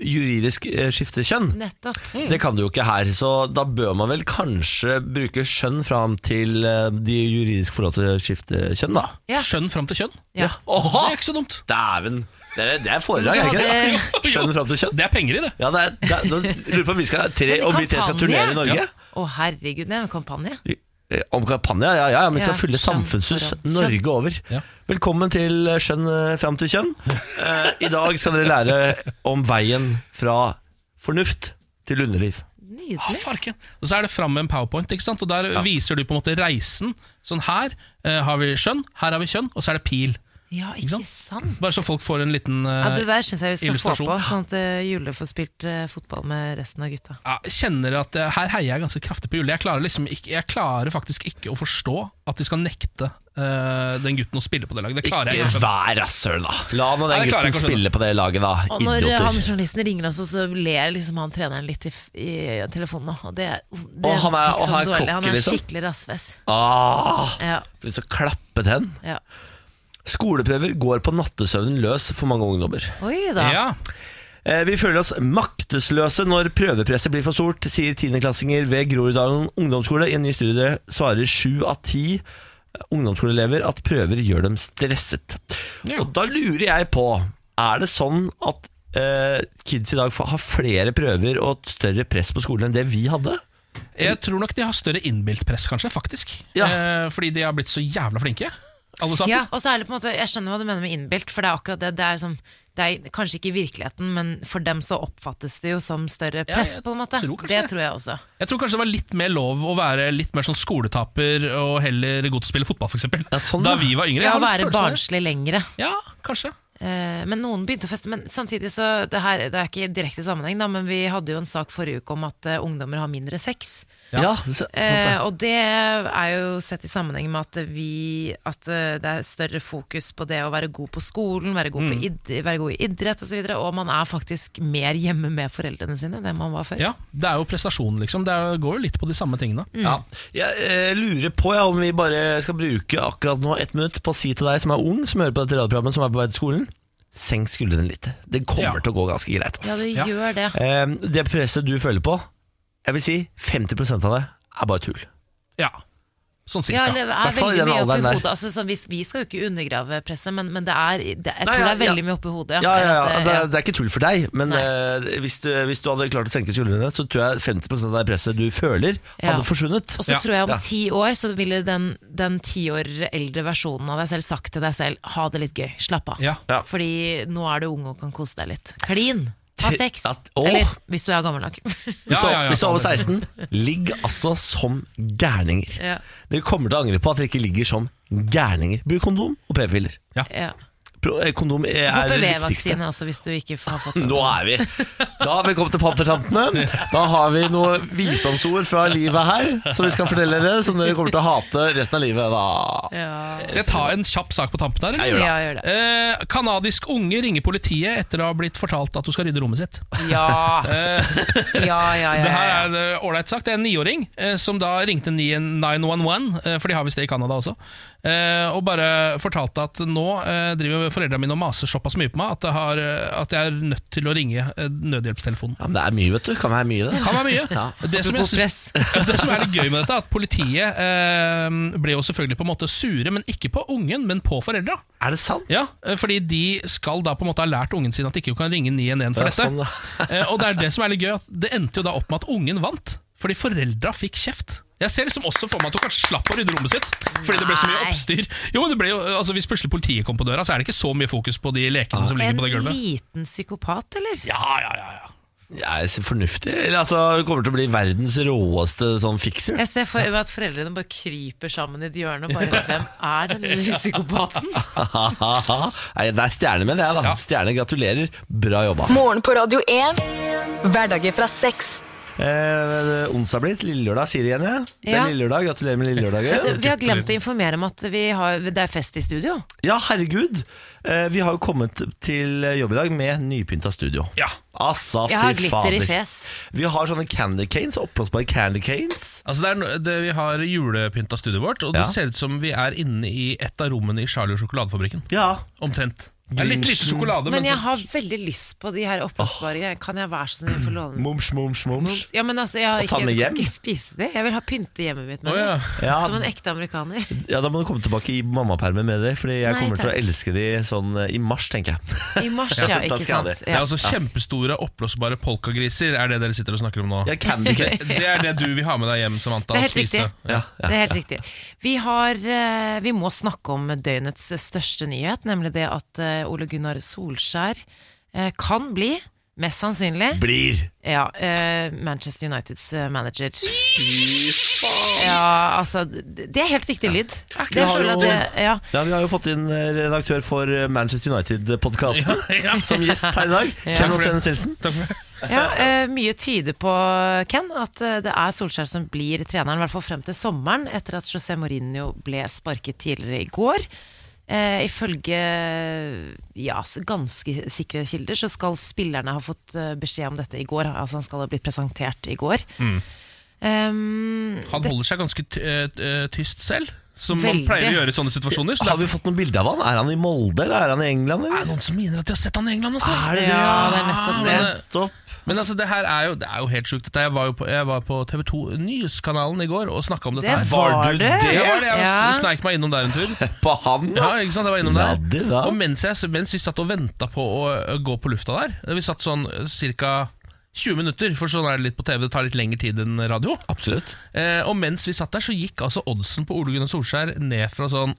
S3: juridisk eh, skifte kjønn.
S1: Nettopp.
S2: Mm.
S3: Det kan du jo ikke her, så da bør man vel kanskje bruke skjønn fram til eh, de juridisk får lov til å skifte kjønn, da.
S1: Ja.
S2: Skjønn fram til kjønn.
S1: Ja.
S2: Det
S3: Åha!
S2: er ikke så dumt.
S3: Dæven! Det er, det er foredrag, er det
S1: Men
S3: ikke det? Skjønn fram til kjønn.
S2: Det er penger i det.
S3: Ja, det er, det er, nå lurer jeg på om vi skal, tre,
S1: Men i
S3: om vi tre skal
S1: kampanje?
S3: turnere i Norge.
S2: Ja.
S1: Å herregud, det er jo en kampanje.
S3: Eh, Om kampanje, ja, ja, ja, men vi skal
S1: Ja,
S3: fylle
S1: skjønn
S3: samfunnshus
S1: foran.
S3: Norge over.
S2: Ja.
S3: Velkommen til eh, Skjønn eh, fram til kjønn. Eh, I dag skal dere lære om veien fra fornuft til underliv.
S2: Ah,
S1: Nydelig.
S2: farken. Og så er det fram med en powerpoint, ikke sant? og der viser du på en måte reisen. Sånn her eh, har vi skjønn, her har vi kjønn, og så er det pil.
S1: Ja, ikke
S2: sant?
S1: sant?
S2: Bare så folk får en liten
S1: Ja,
S2: eh,
S1: det der syns jeg vi skal få
S2: illustrasjon.
S1: på, sånn at eh, Julle får spilt eh, fotball med resten av gutta.
S2: ja, kjenner at eh, her heier jeg ganske kraftig på Julie. Jeg klarer, liksom ikke, jeg klarer faktisk ikke å forstå at de skal nekte eh, den gutten å spille på det laget. Det klarer jeg
S3: Ikke
S2: ikke.
S3: vær rasshøl, da! La nå
S2: Nei, det klarer jeg
S3: den gutten
S2: ikke å skjønne.
S3: spille på det laget, da.
S1: Og når eh, han
S3: Idioter.
S1: journalisten ringer også, så ler liksom han treneren litt i, f- i telefonen. nå, Og det, det
S3: Og han er-
S1: fikk
S3: og
S1: sånn
S3: han er
S1: dårlig.
S3: cocky,
S1: Han er
S3: liksom.
S1: skikkelig rassfess.
S3: Ah,
S1: Ja,
S3: blir så klappet hen.
S1: ja.
S3: Skoleprøver går på nattesøvnen løs for mange ungdommer.
S1: Oi da.
S2: Ja,
S3: Eh, Vi føler oss maktesløse når prøvepresset blir for stort, sier tiendeklassinger ved Groruddalen ungdomsskole. I en ny studie svarer sju av ti eh, ungdomsskoleelever at prøver gjør dem stresset.
S2: Ja.
S3: Og da lurer jeg på, er det sånn at eh, kids i dag fa- har flere prøver og et større press på skolen enn det vi hadde?
S2: Jeg tror nok de har større innbilt press, kanskje, faktisk.
S3: Ja.
S2: Eh, fordi de har blitt så jævla flinke, alle sammen.
S1: Ja, og så er det på en måte, Jeg skjønner hva du mener med innbilt, for det er akkurat det. Det er, som, det er kanskje ikke i virkeligheten, men for dem så oppfattes det jo som større press,
S2: jeg
S1: på en måte.
S2: tror kanskje
S1: det
S2: det.
S1: tror jeg også.
S2: Jeg tror kanskje det var litt mer lov å være litt mer sånn skoletaper og heller god til å spille fotball, f.eks.
S3: Ja, sånn,
S2: da
S3: ja.
S2: vi var yngre.
S1: Ja,
S2: Jeg
S1: å være
S2: har litt følelsen av det.
S1: barnslig lengre.
S2: Ja, kanskje.
S1: Eh, Men noen begynte å feste. Men samtidig så Det her det er ikke direkte sammenheng, da, men vi hadde jo en sak forrige uke om at eh, ungdommer har mindre sex.
S3: Ja, det er sant det.
S1: Eh, og det er jo sett i sammenheng med at vi At eh, det er større fokus på det å være god på skolen, være god,
S3: Mm.
S1: på id være god i idrett osv. Og, så videre, og man er faktisk mer hjemme med foreldrene sine enn man var før.
S2: Ja, Det er jo prestasjon, liksom. Det er- går jo litt på de samme tingene.
S1: Mm.
S3: Ja. Jeg eh, lurer på ja, om vi bare skal bruke akkurat nå ett minutt på å si til deg som er ung, som hører på dette radioprogrammet, som er på vei til skolen, senk skuldrene litt. Det kommer
S2: Ja.
S3: til å gå ganske greit.
S1: Ja,
S3: Ass.
S1: det
S2: Ja.
S1: gjør det.
S3: Eh, det presset du føler på, jeg vil si 50 av det er bare tull.
S2: Ja, Sånn
S1: Ja,
S2: cirka.
S1: det er
S3: hvert fall i
S1: veldig
S3: den
S1: mye oppi
S3: alderen der.
S1: hodet. Altså, sånn, vi, vi skal jo ikke undergrave presset, men, men det er, det, jeg
S3: Nei,
S1: tror det
S3: ja,
S1: er veldig
S3: ja.
S1: mye oppi hodet.
S3: Ja, ja, ja,
S1: At eh,
S3: Det,
S1: det-
S3: er- det er ikke tull for deg, men
S1: Nei.
S3: eh, hvis, du, hvis du hadde klart å senke skuldrene, så tror jeg 50 av det presset du føler,
S1: Ja.
S3: hadde forsvunnet.
S1: Og så
S2: Ja,
S1: tror jeg om
S3: ja.
S1: ti år så ville den, den ti år eldre versjonen av deg selv sagt til deg selv ha det litt gøy, slapp av.
S2: Ja.
S3: Ja.
S1: Fordi nå er du ung og kan kose deg litt. Klin! Ha
S3: Til
S1: sex!
S3: at- Åh.
S1: Eller hvis du er gammel nok.
S3: Hvis du,
S2: Ja, ja, ja,
S3: hvis du er over
S2: faen.
S3: 16, ligg altså som gærninger.
S1: Ja.
S3: Dere kommer til å angre på at dere ikke ligger som gærninger. Bruk kondom og p-piller.
S1: ja.
S3: Pro- eh, Kondom er det viktigste.
S1: HPV-vaksine også, hvis du ikke har fått den.
S3: Nå er vi Da Velkommen til Pantertantene. Da har vi noen visdomsord fra livet her som vi skal fortelle dere, som dere kommer til å hate resten av livet. da
S1: Ja.
S2: Skal jeg ta en kjapp sak på tampen her? eller?
S3: Jeg gjør det.
S1: Ja, gjør det.
S2: Eh, kanadisk unge ringer politiet etter å ha blitt fortalt at hun skal rydde rommet sitt.
S1: Ja. ja, ja, ja,
S2: Det her
S1: ja.
S2: er eh, ålreit sagt. Det er en niåring eh, som da ringte 911, eh, for de har visst det i Canada også, eh, og bare fortalte at nå eh, driver foreldrene mine og maser såpass mye på meg at jeg, har, eh, at jeg er nødt til å ringe eh, nødhjelpstelefonen.
S3: Ja, men Det er mye, vet du. Kan være mye, det.
S2: Kan være mye. Det, som jeg
S1: Apropos
S2: synes, det som er litt gøy med dette, er at politiet eh, ble jo selvfølgelig på en måte sure, men ikke på ungen, men på foreldra.
S3: Er det sant?
S2: Ja, eh, fordi de skal da på en måte ha lært ungen sin at de ikke kan ringe 911 for
S3: Ja,
S2: dette.
S3: sånn,
S2: Eh, og det er det som er litt gøy, at det endte jo da opp med at ungen vant, fordi foreldra fikk kjeft. Jeg ser liksom også for meg at hun kanskje slapp å rydde rommet sitt. Fordi det ble så mye
S1: Nei.
S2: oppstyr. Jo, men det ble jo, altså Hvis plutselig politiet kom på døra, så er det ikke så mye fokus på de lekene som ligger
S1: En
S2: på det gulvet.
S1: liten psykopat, eller?
S2: Ja, ja, ja, ja.
S3: Ja, er det fornuftig. Eller altså, det kommer til å bli verdens råeste sånn fikser.
S1: Jeg ser for meg at foreldrene bare kryper sammen i et hjørne og bare Hvem er den lille psykopaten?
S3: Nei, det er stjerne med det, da. Stjerne, gratulerer. Bra jobba.
S4: Morgen på Radio 1. Hverdager fra seks.
S3: Eh, onsdag blitt. Lillelørdag, sier igjen jeg. Det
S1: Ja.
S3: er lillelørdag. Gratulerer med
S1: Du,
S3: lillelørdagen.
S1: vi har glemt å informere om at vi har, det er fest i studio.
S3: Ja, herregud. Eh, vi har jo kommet til jobb i dag med nypynta studio.
S2: Ja.
S3: Altså,
S1: Jeg har
S3: fy
S1: glitter i
S3: fader.
S1: fjes.
S3: Vi har sånne candy canes, oppblåsbare candy canes.
S2: Altså det er, no- det, Vi har julepynta studioet vårt, og det
S3: Ja.
S2: ser ut som vi er inne i et av rommene i Charlie og sjokoladefabrikken.
S3: Ja.
S2: Omtrent. Det er litt lite
S3: Grinchen.
S2: sjokolade, men,
S1: Men jeg har veldig lyst på de her oppblåsbare greiene. Kan jeg være så snill få låne dem?
S3: Mums, mums, mums.
S1: Ja, men altså, jeg, har
S3: Og ta
S1: ikke,
S3: med
S1: jeg kan
S3: hjem?
S1: ikke spise det. Jeg vil ha pynte hjemmet mitt med
S2: Å, ja.
S1: det.
S3: Ja,
S1: Som en ekte amerikaner.
S3: ja, da må du komme tilbake i mammapermen med det, Fordi jeg
S1: Nei,
S3: kommer til å
S1: takk.
S3: elske de sånn eh, i mars, tenker jeg.
S1: I mars, ja.
S3: da
S1: Ikke
S3: skal jeg
S1: sant.
S2: Det er
S1: Ja.
S2: altså kjempestore oppblåsbare polkagriser, er det dere sitter og snakker om nå.
S3: Ja, candy cane.
S2: Det er det du vil ha med deg hjem, Samantha.
S1: Det er
S2: å
S1: helt riktig.
S2: spise.
S3: Ja,
S1: Det er helt riktig. Vi, har, eh, vi må snakke om døgnets største nyhet, nemlig det at eh, Ole Gunnar Solskjær eh, kan bli, mest sannsynlig,
S3: Blir.
S1: Ja, eh, Manchester Uniteds eh, manager. Ja, altså d- Det er helt riktig lyd. Det
S3: har
S1: føler jeg at
S3: jo-
S1: det, ja.
S3: Ja, Vi har jo fått inn eh, redaktør for eh, Manchester United-podkasten
S2: Ja,
S3: som gjest her i dag. Ken
S2: for det.
S3: Olsen Nilsen.
S2: Takk for det.
S1: ja, eh, Mye tyder på, Ken, at eh, det er Solskjær som blir treneren, i hvert fall frem til sommeren, etter at José Mourinho ble sparket tidligere i går. Eh, ifølge ja, s- ganske sikre kilder så skal spillerne ha fått eh, beskjed om dette i går. Altså Han skal ha blitt presentert i går. Um,
S2: Han holder seg ganske ty- eh, eh, tyst selv, som
S1: Veldig.
S2: man pleier å gjøre i sånne situasjoner. Så det
S3: Har vi fått noen bilde av han? Er han i Molde, eller er han i England?
S2: er
S3: Eller?
S2: noen som mener at de har sett han i England, altså.
S3: Er det det?
S1: Ja, det er nettopp det.
S3: Nettopp.
S2: Men altså, det her er jo, det er jo helt sjukt. Dette. Jeg, var jo på, jeg var på TV2 Nyhetskanalen i går og snakka om dette
S1: Det
S2: her.
S1: var Var du det? det?
S2: Jeg var det, jeg
S1: Ja.
S2: s- sneik meg innom der en tur.
S3: På han,
S2: Ja, ikke sant, jeg var innom
S3: Ja, det
S2: der
S3: da.
S2: Og mens, jeg, mens vi satt og venta på å ø, gå på lufta der Vi satt sånn ca. 20 minutter, for sånn er det litt på TV. Det tar litt lengre tid enn radio.
S3: Absolutt.
S2: Eh, og mens vi satt der, så gikk altså oddsen på Ole Gunnar Solskjær ned fra sånn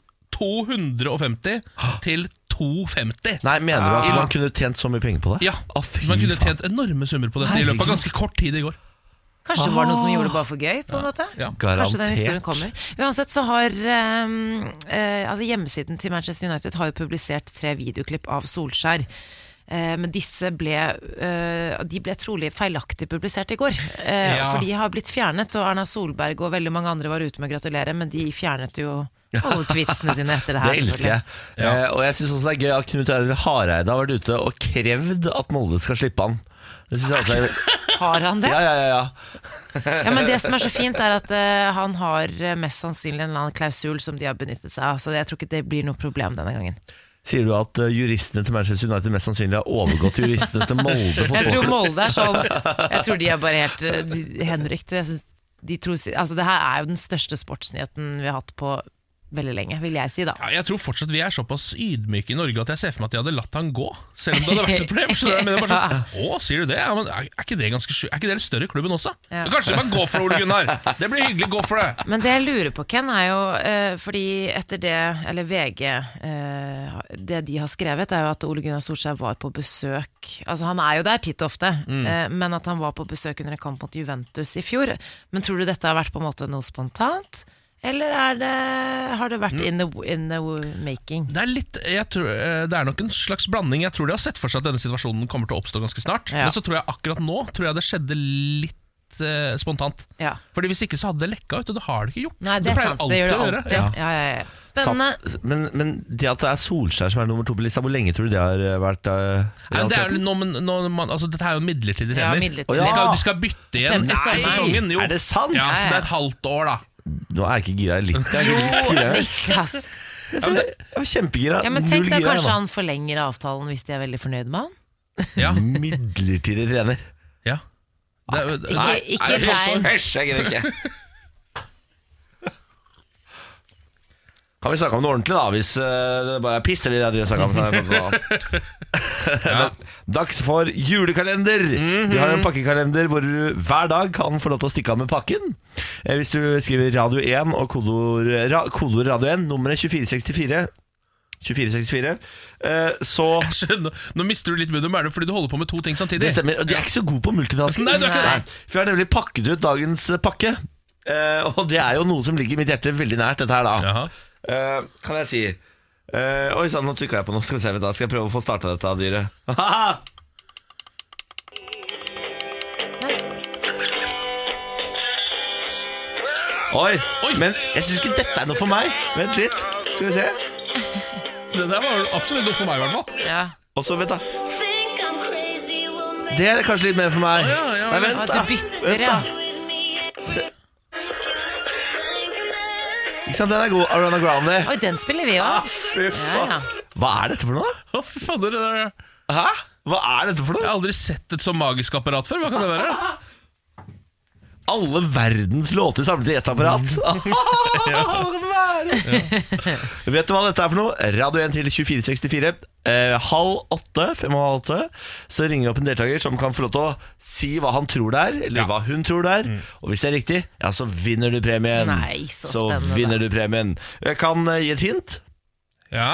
S2: 250 til 250.
S3: Nei, Mener du at
S2: Ja.
S3: man kunne tjent så mye penger på det?
S2: Ja,
S3: Å, fy
S2: Man kunne
S3: faen.
S2: tjent enorme summer på dette i løpet av ganske kort tid i går.
S1: Kanskje det var noen som gjorde det bare for gøy, på en måte.
S2: Ah. Ja.
S1: Kanskje den historien
S3: Garantert.
S1: kommer. Uansett så har ehm, eh, altså Hjemmesiden til Manchester United har jo publisert tre videoklipp av Solskjær. Eh, men disse ble, eh, de ble trolig feilaktig publisert i går. Eh,
S2: Ja.
S1: For de har blitt fjernet, og Erna Solberg og veldig mange andre var ute med å gratulere, men de fjernet jo alle tweetsene sine etter det
S3: Det
S1: her.
S3: elsker jeg. Eh, og jeg syns også det er gøy at Knut Arild Hareide har vært ute og krevd at Molde skal slippe han. Det synes jeg også er
S1: selvfølgelig. Har han det?
S3: Ja, ja, ja. ja.
S1: Ja, men det som er så fint er at eh, han har eh, mest sannsynlig en eller annen klausul som de har benyttet seg av, så jeg tror ikke det blir noe problem denne gangen.
S3: Sier du at eh, juristene til Manchester United mest sannsynlig har overgått juristene til Molde?
S1: Jeg tror
S3: fotballklubb?
S1: Molde er sånn Jeg tror de er bare helt eh, de- henrykt. Jeg synes de tror, si- altså, det her er jo den største sportsnyheten vi har hatt på veldig lenge, vil jeg si da.
S2: Ja, jeg tror fortsatt vi er såpass ydmyke i Norge at jeg ser for meg at de hadde latt han gå. Selv om det hadde vært et problem. skjønner du? Men det var sånn, Å, sier du det? Ja, men er, er ikke det ganske sju- Er ikke det litt større i klubben også?
S1: Ja.
S2: Men Kanskje man går for Ole Gunnar? Det blir hyggelig. Gå for det.
S1: Men det jeg lurer på, Ken, er jo eh, fordi etter det, eller VG, eh, det de har skrevet, er jo at Ole Gunnar Solskjær var på besøk Altså han er jo der titt og ofte, eh, men at han var på besøk under en kamp mot Juventus i fjor. Men tror du dette har vært på en måte noe spontant? Eller er det, har det vært in the, in the making?
S2: Det er, litt, jeg tror, eh, det er nok en slags blanding. Jeg tror de har sett for seg at denne situasjonen kommer til å oppstå ganske snart.
S1: Ja.
S2: Men så tror jeg akkurat nå tror jeg det skjedde litt eh, spontant.
S1: Ja.
S2: Fordi Hvis ikke så hadde det lekka ut, og det har det ikke gjort.
S1: Nei, det er
S2: pleier
S1: sant. Det gjør det
S2: å gjøre.
S1: alltid. Ja. Ja, ja, ja. Spennende.
S3: Satt- Men, men det at det er Solskjær som er nummer to på lista, hvor lenge tror du det har eh, vært? eh,
S2: Nei, men det er,
S3: realiteten?
S2: jo nå, men, nå, man, altså, dette er jo en midlertidig
S1: Ja,
S2: trener.
S1: midlertidig.
S2: De, skal,
S3: Å, ja.
S2: de skal bytte igjen
S1: Frem til
S2: etter
S1: sommeren.
S2: sesongen. Jo.
S3: Er det sant?
S2: Ja,
S1: Ja,
S2: så
S1: ja.
S2: det er et halvt år, da.
S3: Nå er jeg ikke gira litt. Jeg, er ikke litt gira.
S1: Niklas.
S3: jeg, føler- jeg var kjempegira.
S1: Ja, men tenk
S3: Null
S1: deg
S3: gira
S1: kanskje
S3: nå.
S1: han forlenger avtalen hvis de er veldig fornøyd med han.
S2: Ja,
S3: Midlertidig trener.
S2: ja. Det er, jo-
S1: Ikke, ikke regn
S3: Æsj, jeg gidder ikke. Kan vi snakke om det ordentlig, da? Hvis eh, det bare er piss eller jeg driver og snakker om det. Dags for julekalender. Vi har en pakkekalender hvor du hver dag kan få lov til å stikke av med pakken. Eh, Hvis du skriver Radio 1 og kodord, ra, kodord Radio 1, nummeret 2464 2464 eh, Så
S2: Jeg skjønner. Nå mister du litt munnen, men er det fordi du holder på med to ting samtidig?
S3: det stemmer. Og de er ikke så gode på multitasking.
S2: Nei, du er ikke det.
S3: For jeg har nemlig pakket ut dagens eh, pakke. Eh, og det er jo noe som ligger mitt hjerte veldig nært, dette her, da.
S2: Jaha.
S3: Eh, kan jeg si eh, Oi sann, nå trykka jeg på noe. Skal vi se, vent da. Skal jeg prøve å få starta dette dyret? Haha! Oi.
S2: Oi.
S3: Men jeg syns ikke dette er noe for meg. Vent litt. Skal vi se.
S2: Det der var absolutt noe for meg, i hvert fall.
S1: ja.
S3: Og så, vent, da. Det er kanskje litt mer for meg.
S2: ja, ja, ja.
S3: Nei, vent,
S1: At
S3: da.
S1: du bytter,
S3: Vent,
S1: ja.
S3: da. Ikke sant, den er god. Ariana Grande.
S1: Oi, den spiller vi
S3: Ah,
S1: òg.
S3: fy
S1: Ja, ja.
S3: faen. Hva er dette for noe, da?
S2: Å, fy fader, det der.
S3: Hæ? Hva er dette for
S2: Jeg
S3: noe?
S2: har aldri sett et så magisk apparat før. Hva kan det være? da?
S3: Alle verdens låter samlet i ett apparat. Hva kan det være? Vet du hva dette er for noe? Radio 1 til 2464. Eh, halv åtte, fem og halv åtte, så ringer det opp en deltaker som kan få lov til å si hva han tror det er, eller hva hun tror det er. Og hvis det er riktig, ja, så vinner du premien.
S1: Nei, så
S3: så
S1: spennende.
S3: vinner du premien. Jeg kan eh, gi et hint.
S2: Ja.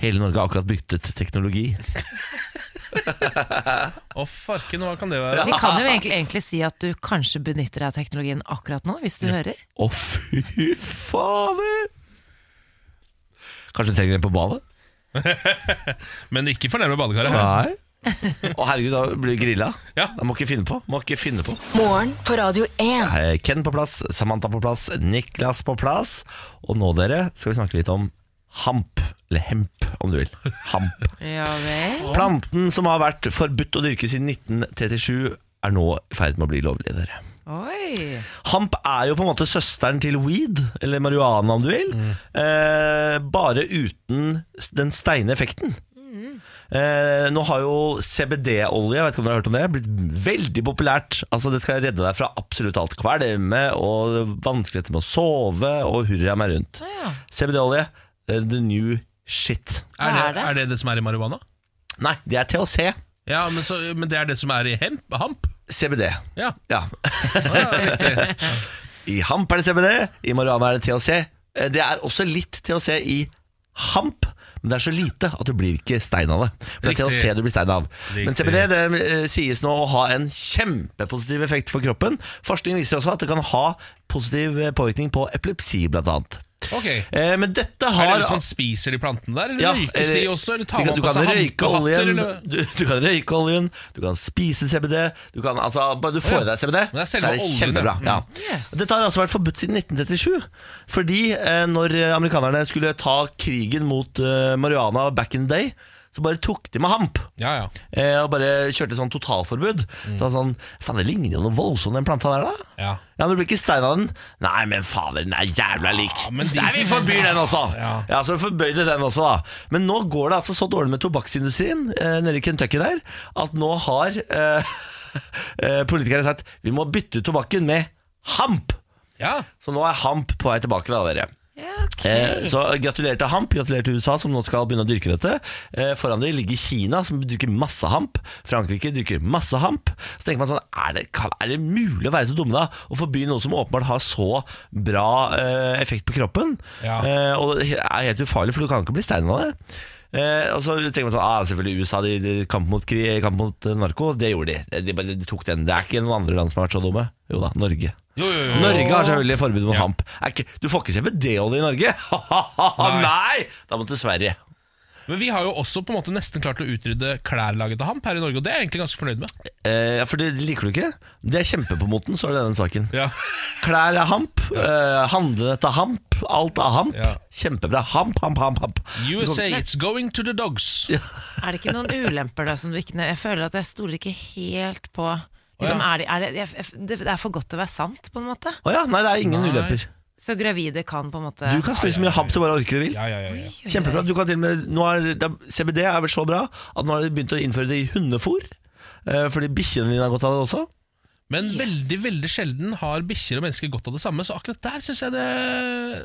S3: Hele Norge har akkurat byttet teknologi.
S2: Å, farken, hva kan det være?
S1: Vi kan jo egentlig, egentlig si at du kanskje benytter deg av teknologien akkurat nå, hvis du hører.
S3: Å, fy fader! Kanskje du trenger en på badet?
S2: Men ikke fornærme badekaret. her.
S3: Nei. Å, herregud, da blir du grilla.
S2: Ja.
S3: Da må ikke finne på. Må ikke finne på.
S4: Morgen på Radio 1.
S3: Eh, Ken på plass, Samantha på plass, Niklas på plass. Og nå, dere, skal vi snakke litt om hamp. Eller hemp, om du vil. Hamp.
S1: Ja vel.
S3: Planten som har vært forbudt å dyrke siden 1937, er nå i ferd med å bli lovlig, dere.
S1: Oi.
S3: Hamp er jo på en måte søsteren til weed, eller marihuana om du vil, eh, bare uten s- den steine effekten. Eh, nå har jo CBD-olje, jeg vet ikke om dere har hørt om det, blitt veldig populært. Altså Det skal redde deg fra absolutt alt. Kvalme og vanskeligheter med å sove og hurra meg rundt.
S1: Ja.
S3: CBD-olje, eh, the new shit.
S1: Hva
S2: Er,
S1: er
S2: det,
S1: det?
S2: er det det som er i marihuana?
S3: Nei, det er THC.
S2: Ja, men, så, men det er det som er i hemp, hamp?
S3: CBD.
S2: Ja. Ah,
S3: Ja.
S2: Ja, riktig.
S3: I hamp er det CBD, i marihuana er det THC. Eh, Det er også litt THC i hamp, men det er så lite at du blir ikke stein av det. For det er
S2: Riktig.
S3: THC du blir stein av. Men
S2: Riktig.
S3: CBD det eh, sies nå å ha en kjempepositiv effekt for kroppen. Forskning viser også at det kan ha positiv eh, påvirkning på epilepsi, blant annet.
S2: Ok.
S3: Eh, Men dette
S2: Er
S3: har
S2: det liksom hvis man spiser de plantene der, eller
S3: ja,
S2: røykes de
S3: eller-
S2: også? Eller
S3: du
S2: tar
S3: kan-
S2: man på seg
S3: du kan røyke
S2: hampehatter?
S3: oljen,
S2: eller-
S3: du, du kan røyke oljen, du kan spise CBD Du kan, altså, Bare du får
S2: Ja.
S3: i deg CBD,
S2: Men det er
S3: så
S2: selve
S3: er det
S2: oljen,
S3: kjempebra.
S2: ja.
S3: Ja. Dette har altså vært forbudt siden 1937. Fordi eh, når amerikanerne skulle ta krigen mot eh, marihuana back in the day, så bare tok de med hamp.
S2: Ja, ja.
S3: Eh, og bare kjørte sånn totalforbud. Så det er sånn, Faen, det ligner jo noe voldsomt, den planta der, da.
S2: Mm. Ja.
S3: Ja, men Du blir ikke stein av den? Nei, men fader, den er jævla lik.
S2: Ja, men de
S3: Nei, vi
S2: som-
S3: forbyr den også! Ja,
S2: Ja.
S3: så forbøyde den også, da. Men nå går det altså så dårlig med tobakksindustrien eh, nede i Kentucky der, at nå har eh, eh, politikerne sagt vi må bytte ut tobakken med hamp.
S2: ja.
S3: Så nå er hamp på vei tilbake, da, dere.
S1: Ja, ok.
S3: Eh, Så gratulerer til Hamp, gratulerer til USA som nå skal begynne å dyrke dette. Eh, Foran dem ligger Kina som dyrker masse hamp. Frankrike dyrker masse hamp. Så tenker man sånn, er det, kan, er det mulig å være så dumme da å forby noe som åpenbart har så bra eh, effekt på kroppen?
S2: Ja.
S3: Eh, og det er helt ufarlig, for du kan ikke bli stein av det. Eh, og så tenker man sånn, ah, selvfølgelig USA, de, de, kamp mot, krig, kamp mot eh, narko, det gjorde de. De, bare- de tok den. Det er ikke noen andre land som har vært så dumme. Jo da, Norge.
S2: Jo, jo, jo.
S3: Norge har selvfølgelig forbud mot
S2: Mm. Ja.
S3: hamp. Er ikke, du får ikke CBD-olje i Norge! Nei. Da må du til Sverige.
S2: Men vi har jo også på en måte nesten klart å utrydde klær laget av hamp her i Norge, og det er jeg egentlig ganske fornøyd med.
S3: Eh, ja, for det liker du ikke. Det er kjempepromoten, så er det denne saken.
S2: Ja.
S3: Klær er hamp, eh, handlenett er hamp, alt er hamp.
S2: Ja.
S3: Kjempebra. Hamp, hamp, hamp. hamp.
S2: USA, it's going to the dogs.
S1: Er det ikke noen ulemper da som du ikke Jeg føler at jeg stoler ikke helt på liksom, er det, er det, jeg- jeg- det er for godt til å være sant, på en måte.
S3: Å ja, nei, det er ingen
S2: Nei.
S3: ulemper.
S1: Så gravide kan på en måte
S3: Du kan spise så mye hamp du bare orker og vil.
S2: Ja, ja, ja, ja.
S3: Kjempebra. Du kan til og med, nå er, da, CBD er vel så bra at nå har de begynt å innføre det i hundefôr. eh, Fordi bikkjene dine har godt av det også.
S2: Men veldig, veldig sjelden har bikkjer og mennesker godt av det samme, så akkurat der syns jeg det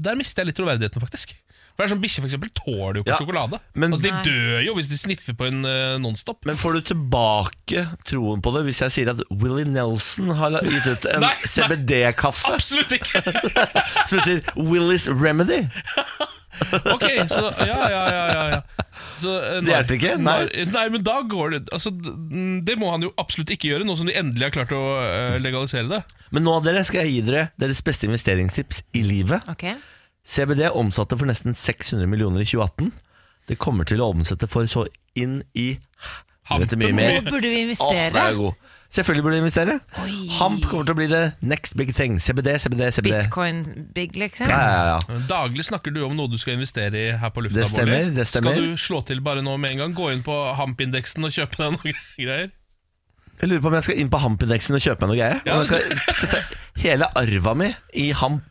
S2: Der mister jeg litt troverdigheten, faktisk. For det er sånn Bikkjer for eksempel, tåler jo ikke
S3: Ja,
S2: sjokolade.
S3: men-
S2: altså, de
S1: Nei.
S2: dør jo hvis de sniffer på en eh, Nonstop.
S3: Men får du tilbake troen på det hvis jeg sier at Willy Nelson har la- gitt ut en
S2: Nei, nei.
S3: CBD-kaffe
S2: Absolutt ikke!
S3: som heter Willys Remedy?
S2: Ok, så Ja, ja, ja. ja, ja. Så, eh,
S3: Det
S2: når-
S3: hjelper ikke, nei.
S2: når- nei, men da går det altså, d- Det må han jo absolutt ikke gjøre, nå som de endelig har klart å eh, legalisere det.
S3: Men nå dere skal jeg gi dere deres beste investeringstips i livet.
S1: Ok.
S3: CBD omsatte for nesten 600 millioner i 2018. Det kommer til å omsette for så inn i
S2: Hampen.
S3: Dette mye
S1: Hvor
S3: mer.
S1: burde vi
S3: Åh,
S1: investere?
S3: det er jo god. Selvfølgelig burde du investere. Hamp kommer til å bli det next big thing. CBD, CBD, CBD.
S1: Bitcoin big, liksom?
S3: Ja, ja, ja.
S2: Daglig snakker du om noe du skal investere i her på lufta.
S3: Det stemmer,
S2: Bårdli.
S3: det stemmer.
S2: Skal du slå til bare nå med en gang? Gå inn på Hamp-indeksen og kjøpe deg noen greier?
S3: Jeg lurer på om jeg skal inn på Hamp-indeksen og kjøpe meg noe greier. Om jeg skal sette hele arva mi i Hamp.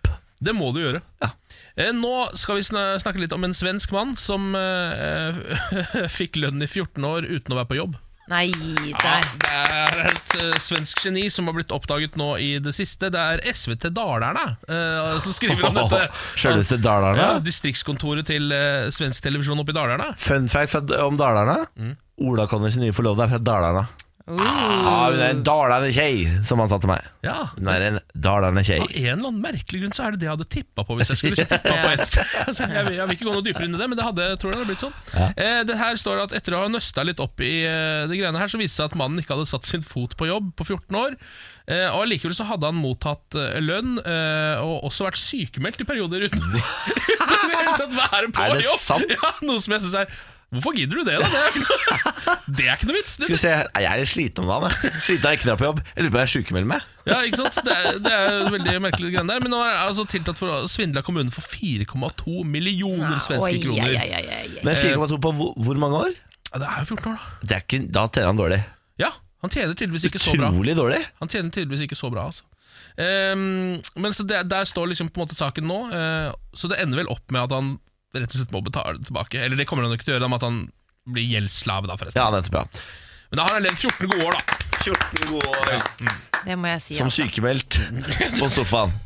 S2: Det må du gjøre.
S3: Ja.
S2: Eh, Nå skal vi sna- snakke litt om en svensk mann som eh, fikk lønn i 14 år uten å være på jobb.
S1: Nei,
S2: Ja,
S1: der.
S2: det er et eh, svensk geni som har blitt oppdaget nå i det siste. Det er SVT Dalarna eh, som skriver om dette.
S3: Sjølveste Dalarna?
S2: Ja, distriktskontoret til eh, svensk televisjon oppe i Dalarna.
S3: Fun fact fra, om Dalarna.
S2: Mm.
S3: Ola Connors nye forlovede er fra Dalarna. Ja, hun er en Dalarne-kjei, som han sa til meg.
S2: Ja,
S3: Hun er en Dalarne-kjei.
S2: Av en eller annen merkelig grunn så er det det jeg hadde tippa på. Hvis jeg skulle tippa på et sted altså, jeg, vil- jeg vil ikke gå noe dypere inn i det, men det hadde, jeg tror det hadde blitt sånn. Eh, det her står at Etter å ha nøsta litt opp i eh, det greiene her, så viste det seg at mannen ikke hadde satt sin fot på jobb på 14 år. Eh, og Allikevel så hadde han mottatt eh, lønn, eh, og også vært sykemeldt i perioder uten, uten i det hele tatt være på
S3: Er det
S2: jobb.
S3: sant?
S2: Ja, noe som jeg synes er Hvorfor gidder du det, da? Det er ikke noe, det er ikke noe vits. Det,
S3: Skal vi se, Nei, jeg er sliten om dagen. jeg. Sliten av ikke dra på jobb. Jeg lurer på om jeg sykemelder meg.
S2: Ja, ikke sant? Det er, det er veldig merkelig greier der. Men nå er det altså tiltatt for å svindle av kommunen for 4,2 millioner svenske
S1: Oi,
S2: kroner.
S1: ai, ai, ai, ai, ai.
S3: Men 4,2 på hvor, hvor mange år?
S2: Ja, det er jo 14 år, da.
S3: Det er ikke, da tjener han dårlig.
S2: Ja, han tjener tydeligvis ikke så bra.
S3: Utrolig dårlig.
S2: Han tjener tydeligvis ikke så bra, altså. Ehm, men så der, der står liksom på en måte saken nå, eh, så det ender vel opp med at han rett og slett må betale det tilbake. Eller det kommer han jo ikke til å gjøre, da, med at han blir gjeldsslave, da, forresten.
S3: Ja, nettopp. ja.
S2: Men da har han levd 14 gode år, da.
S3: 14 gode år
S1: Det må jeg si.
S3: som
S1: altså.
S3: sykemeldt på sofaen.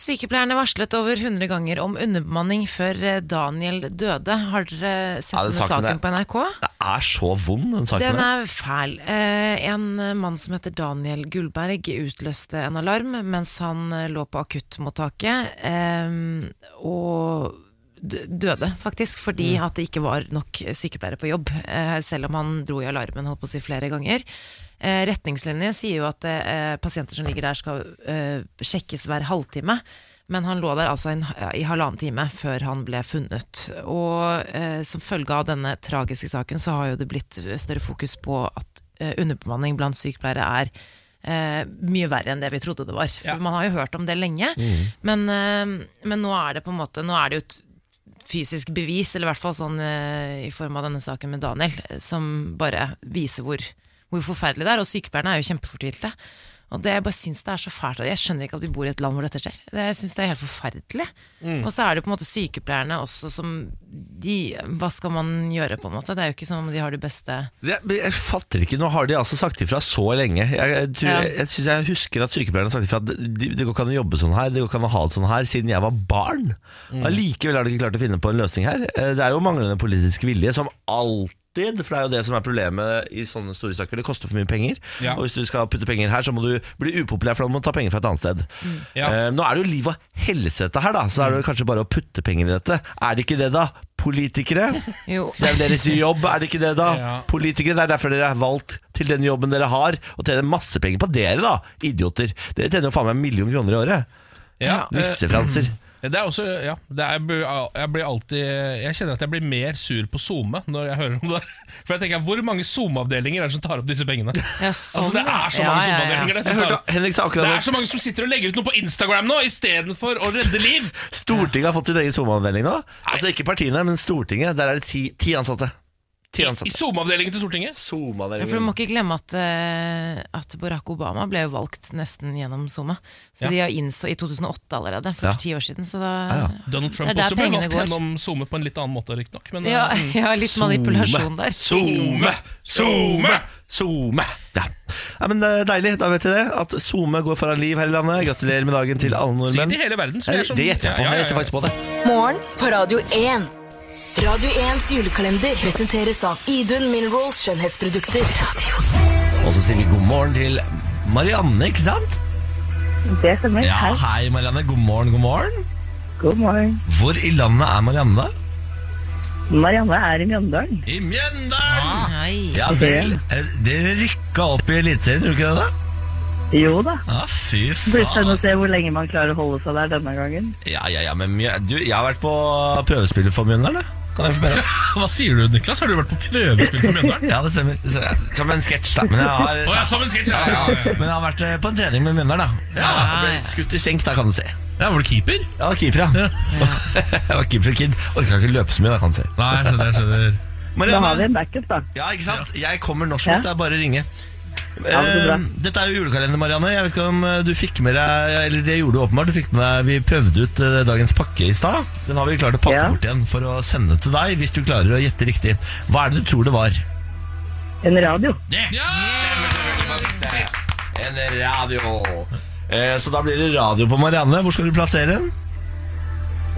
S1: Sykepleierne varslet over 100 ganger om underbemanning før eh, Daniel døde. Har dere sett
S3: Ja, den
S1: denne
S3: saken
S1: saken
S3: er-
S1: på NRK?
S3: Det er så vond, den saken.
S1: Den
S3: her.
S1: er fæl. Eh, En mann som heter Daniel Gullberg utløste en alarm mens han eh, lå på akuttmottaket, eh, og d- døde faktisk fordi at det ikke var nok sykepleiere på jobb, eh, selv om han dro i alarmen holdt på å si flere ganger. Eh, Retningslinjene sier jo at eh, pasienter som ligger der skal eh, sjekkes hver halvtime. Men han lå der altså en, i halvannen time før han ble funnet. Og eh, som følge av denne tragiske saken, så har jo det blitt større fokus på at eh, underbemanning blant sykepleiere er eh, mye verre enn det vi trodde det var.
S2: Ja.
S1: For man har jo hørt om det lenge, men, eh, men nå er det på en måte Nå er det jo et fysisk bevis, eller i hvert fall sånn eh, i form av denne saken med Daniel, eh, som bare viser hvor, hvor forferdelig det er. Og sykepleierne er jo kjempefortvilte. Og det, Jeg bare synes det er så fælt. og Jeg skjønner ikke at vi bor i et land hvor dette skjer. Det, jeg synes det er helt forferdelig.
S2: Mm.
S1: Og så er det jo på en måte sykepleierne også som de, Hva skal man gjøre, på en måte? Det er jo ikke som om de har de beste
S3: Det, men jeg fatter ikke, nå har de altså sagt ifra så lenge. Jeg, jeg, tror,
S1: Ja.
S3: jeg, jeg synes jeg husker at sykepleierne har sagt ifra at det, det går ikke an å jobbe sånn her, det går ikke an å ha det sånn her, siden jeg var barn.
S1: Mm.
S3: Allikevel har de ikke klart å finne på en løsning her. Eh, Det er jo manglende politisk vilje, som alltid, for det er jo det som er problemet i sånne store saker. Det koster for mye penger,
S2: Ja.
S3: og hvis du skal putte penger her, så må du bli upopulær, for da må du ta penger fra et annet sted.
S1: Mm.
S2: Ja. Mm.
S3: Eh, Nå er det jo liv og helse dette her, da, så er det jo kanskje bare å putte penger i dette. Er det ikke det, da? Politikere?
S1: Jo,
S3: Det er jo deres jobb, er det ikke det da?
S2: Ja.
S3: Politikere, det er derfor dere er valgt til den jobben dere har, og tjener masse penger på dere da, idioter. Dere tjener jo faen meg en million kroner i året.
S2: Ja, eh,
S3: Nissefranser.
S2: Det er også, ja, det er, jeg blir- jeg blir alltid Jeg kjenner at jeg blir mer sur på SoMe når jeg hører om det. der. For jeg tenker, Hvor mange SoMe-avdelinger er det som tar opp disse pengene?
S1: Ja, sånn,
S2: altså, Det
S1: ja.
S2: er så
S1: Ja,
S2: mange
S1: ja, ja.
S2: SoMe-avdelinger det,
S3: Jeg
S2: som tar
S3: hørte
S2: opp-
S3: Henrik sa
S2: Det
S3: akkurat
S2: er
S3: at
S2: så mange som sitter og legger ut noe på Instagram nå istedenfor å redde liv!
S3: Stortinget har fått sin egen SoMe-avdeling nå. Altså ikke partiene, men Stortinget. Der er det ti, ti ansatte.
S2: I
S3: Ti ansatte.
S2: SoMe-avdelingen til Stortinget.
S1: Ja, for Du
S3: SoMe-avdelingen.
S1: må ikke glemme at, eh, at Barack Obama ble jo valgt nesten gjennom Zuma. Så
S2: Ja.
S1: de har innså i 2008 allerede, for
S3: Ja.
S1: ti år siden. Så da,
S3: Ja,
S2: Donald
S1: Det
S2: Trump
S1: er der
S2: også ble
S1: pengene
S2: valgt
S1: går.
S2: gjennom SoMe på en litt annen måte, riktignok. Men eh,
S1: ja,
S2: mm.
S1: ja, litt manipulasjon der.
S3: SoMe! SoMe! SoMe! Ja. ja, men eh, Deilig, da vet dere det. At SoMe går foran liv her i landet. Gratulerer med dagen til alle
S2: si
S3: nordmenn.
S2: det i hele verden. så vi
S3: Nei,
S2: er som-
S3: Det gjetter jeg på.
S2: Ja, ja, ja,
S3: Jeg
S2: ja.
S3: gjetter faktisk på det.
S4: Morgen på Radio 1. Radio 1s julekalender presenteres av Idun Minerals skjønnhetsprodukter.
S3: Og så sier vi god morgen til Marianne, ikke sant?
S8: Det stemmer. Hei.
S3: Ja, hei Marianne. God morgen, god morgen.
S8: God morgen.
S3: Hvor i landet er Marianne?
S8: Marianne er i Mjøndalen.
S3: I Mjøndalen!
S2: Ah,
S1: Nei.
S3: Ja vel. Eh, Dere rykka opp i Eliteserien, gjorde dere ikke det? da?
S8: Jo da.
S3: Ja, fy
S8: Det blir spennende
S3: faen.
S8: å se hvor lenge man klarer å holde seg der denne gangen.
S3: Ja, ja, ja, men Mjø- du, jeg har vært på prøvespillet for Mjøndalen, da. Kan jeg få spørre?
S2: Hva sier du, Niklas? Har du vært på prøvespill for Mjøndalen?
S3: Ja, det stemmer. Så, ja, Som en sketsj, da. Men jeg har,
S2: Å, ja, som en sketsj, ja, ja, ja.
S3: men jeg har vært eh, på en trening med Mjøndalen, da. Ja, jeg ble skutt i senk, da, kan du se.
S2: Ja, Var du keeper?
S3: Jeg var keeper, ja. jeg var keeper og kid. Orka ikke løpe så mye, da, kan du si.
S2: Nei, skjønner, jeg skjønner.
S8: Da har vi en backup, da.
S3: Ja, ikke sant? Jeg kommer når som helst, det er bare å ringe.
S8: Ja, det er bra.
S3: Eh, Dette er jo julekalender, Marianne. Jeg vet ikke om eh, du fikk med deg Eller det gjorde du åpenbart. Du fikk med deg Vi prøvde ut eh, dagens pakke i stad. Den har vi klart å pakke
S8: Ja.
S3: bort igjen for å sende til deg, hvis du klarer å gjette riktig. Hva er det du tror det var?
S8: En radio.
S3: Det
S2: Ja!
S3: En radio. Eh, Så da blir det radio på Marianne. Hvor skal du plassere den?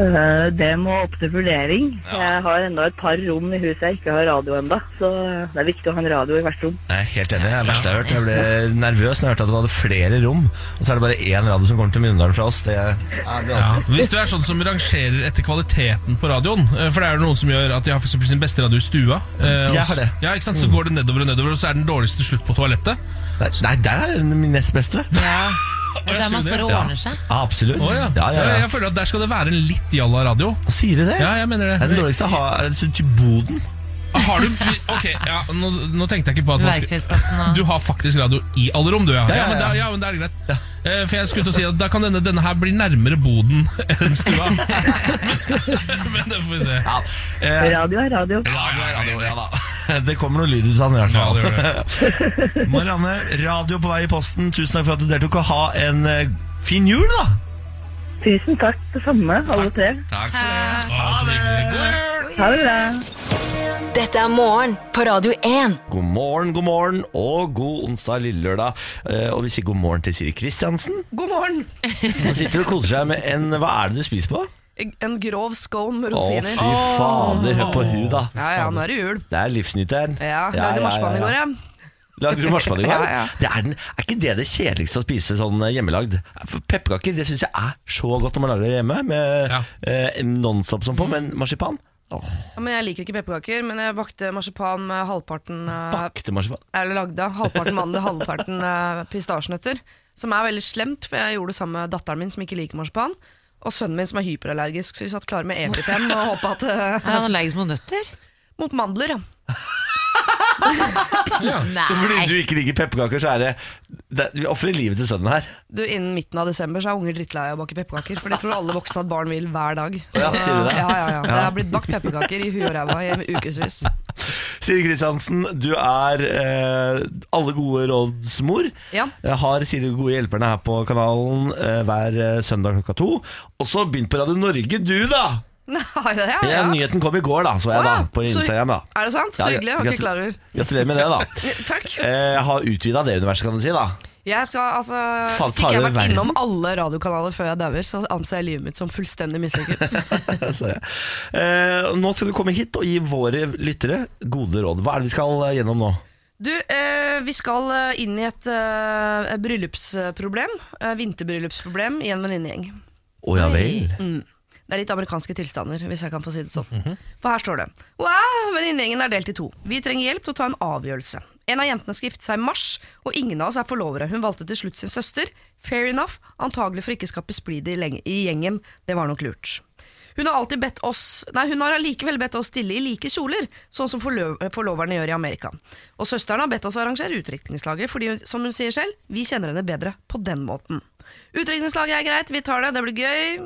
S8: Eh, Det må opp til vurdering. Jeg har ennå et par rom i huset jeg ikke har radio ennå, så det er viktig å ha en radio i hvert rom.
S3: Jeg er helt enig. Det er det verste jeg har hørt. Jeg ble nervøs når jeg hørte at du hadde flere rom, og så er det bare én radio som kommer til Mjøndalen fra oss. Det er
S2: Ja, hvis du er sånn som rangerer etter kvaliteten på radioen eh, For det er jo noen som gjør at de har for eksempel sin beste radio i stua eh, og
S3: Jeg
S2: s-
S3: har det.
S2: Ja, ikke sant? Så går det nedover og nedover Og så er den dårligste til slutt på toalettet
S3: Nei, Nei, der er den min nest beste.
S1: Ja. Det er der man
S2: skjønner.
S1: står og ordner seg.
S3: Ja, absolutt.
S2: Å, ja.
S3: Ja, ja, ja.
S2: Jeg føler at der skal det være en litt jalla radio
S3: Sier du det?
S2: Ja, jeg mener det
S3: Det er den dårligste ha, eh, til boden.
S2: Har du Ok, ja, nå, nå tenkte jeg ikke på at man skulle-
S1: Verktøyskassen og
S2: Du har faktisk radio i alle rom, du, ja.
S3: ja,
S2: Ja,
S3: ja.
S2: men, da, ja men det er greit. Eh, for jeg skulle til å si at da kan denne, denne her bli nærmere boden enn stua. men, men det får vi se.
S3: Ja. Eh,
S8: Radio er radio.
S3: radio er radio, ja da. Det kommer noe lyd ut av den i hvert fall.
S2: Ja, det
S3: Marianne, radio på vei i posten. Tusen takk for at du deltok, og ha en eh, fin jul, da!
S8: Tusen takk, det samme, alle tre.
S3: Takk for det.
S2: Å, så hyggelig. God jul!
S8: Ha det bra.
S4: Dette er morgen på Radio 1.
S3: God morgen, god morgen og god onsdag lille lørdag. Eh, Og vi sier god morgen til Siri Kristiansen.
S9: God morgen!
S3: Som sitter og koser seg med en Hva er det du spiser på?
S9: En grov scone med
S3: Å,
S9: rosiner.
S3: fy fader, hør på hun, da.
S9: Ja, ja, nå er det jul.
S3: Det er livsnyteren.
S9: Ja, Lagde marsipan i går, jeg.
S3: Lagde du marsipan i går?
S9: Ja, ja.
S3: Det er, den, er ikke det det kjedeligste å spise sånn eh, hjemmelagd? For Pepperkaker det syns jeg er så godt når man lager det hjemme, med
S2: Ja.
S3: eh, Nonstop som på, men marsipan? Åh,
S9: Mm. Ja, men jeg liker ikke pepperkaker, men jeg bakte marsipan med halvparten eh,
S3: bakte marsipan.
S9: Eller lagde av halvparten mandel, halvparten eh, pistasjenøtter. Som er veldig slemt, for jeg gjorde det sammen med datteren min som ikke liker marsipan. Og sønnen min som er hyperallergisk, så vi satt klare med EpiPen og håpa at eh,
S1: Er han allergisk mot nøtter?
S9: Mot mandler, ja.
S3: Så fordi du
S1: Nei.
S3: ikke liker pepperkaker, så er det, det Vi ofrer livet til sønnen her.
S9: Du, Innen midten av desember så er unger drittlei av å bake pepperkaker. For det tror alle voksne at barn vil hver dag.
S3: Ja, sier du det?
S9: Ja, ja, ja. Det har blitt bakt pepperkaker i huet og ræva i ukevis.
S3: Siri Kristiansen, du er eh, alle gode råds mor.
S9: Ja.
S3: Jeg har Siri og gode hjelperne her på kanalen eh, hver eh, søndag klokka to. Og så begynt på Radio Norge, du, da!
S9: Nei, det er
S3: Ja, Nyheten kom i går, da, så jeg da, på
S9: Så-
S3: Instagram. da
S9: Er det sant? Så
S3: Ja,
S9: hyggelig. Jeg var
S3: gratu-
S9: ikke klar over
S3: Gratulerer med det, da.
S9: Takk.
S3: Eh, Jeg har utvida det universet, kan du si. da
S9: Jeg skal, altså,
S3: Faen,
S9: hvis ikke
S3: tar
S9: jeg
S3: du
S9: har vært
S3: verden?
S9: innom alle radiokanaler før jeg dauer, så anser jeg livet mitt som fullstendig mislykket.
S3: Så, eh, Nå skal du komme hit og gi våre lyttere gode råd. Hva er det vi skal eh, gjennom nå?
S9: Du, eh, vi skal eh, inn i et eh, bryllupsproblem. Eh, vinterbryllupsproblem i en venninnegjeng.
S3: Å ja vel.
S9: Det er litt amerikanske tilstander, hvis jeg kan få si det sånn. For her står det Wow, venninnegjengen er delt i to. Vi trenger hjelp til å ta en avgjørelse. En av jentene skal gifte seg i mars, og ingen av oss er forlovere. Hun valgte til slutt sin søster. Fair enough, antagelig for ikke å skape splid i, lenge- i gjengen. Det var nok lurt. Hun har alltid bedt oss Nei, hun har allikevel bedt oss stille i like kjoler, sånn som forlø- forloverne gjør i Amerika. Og søsteren har bedt oss arrangere utdrikningslaget, fordi hun, som hun sier selv, vi kjenner henne bedre på den måten. Utdrikningslaget er greit, vi tar det, det blir gøy.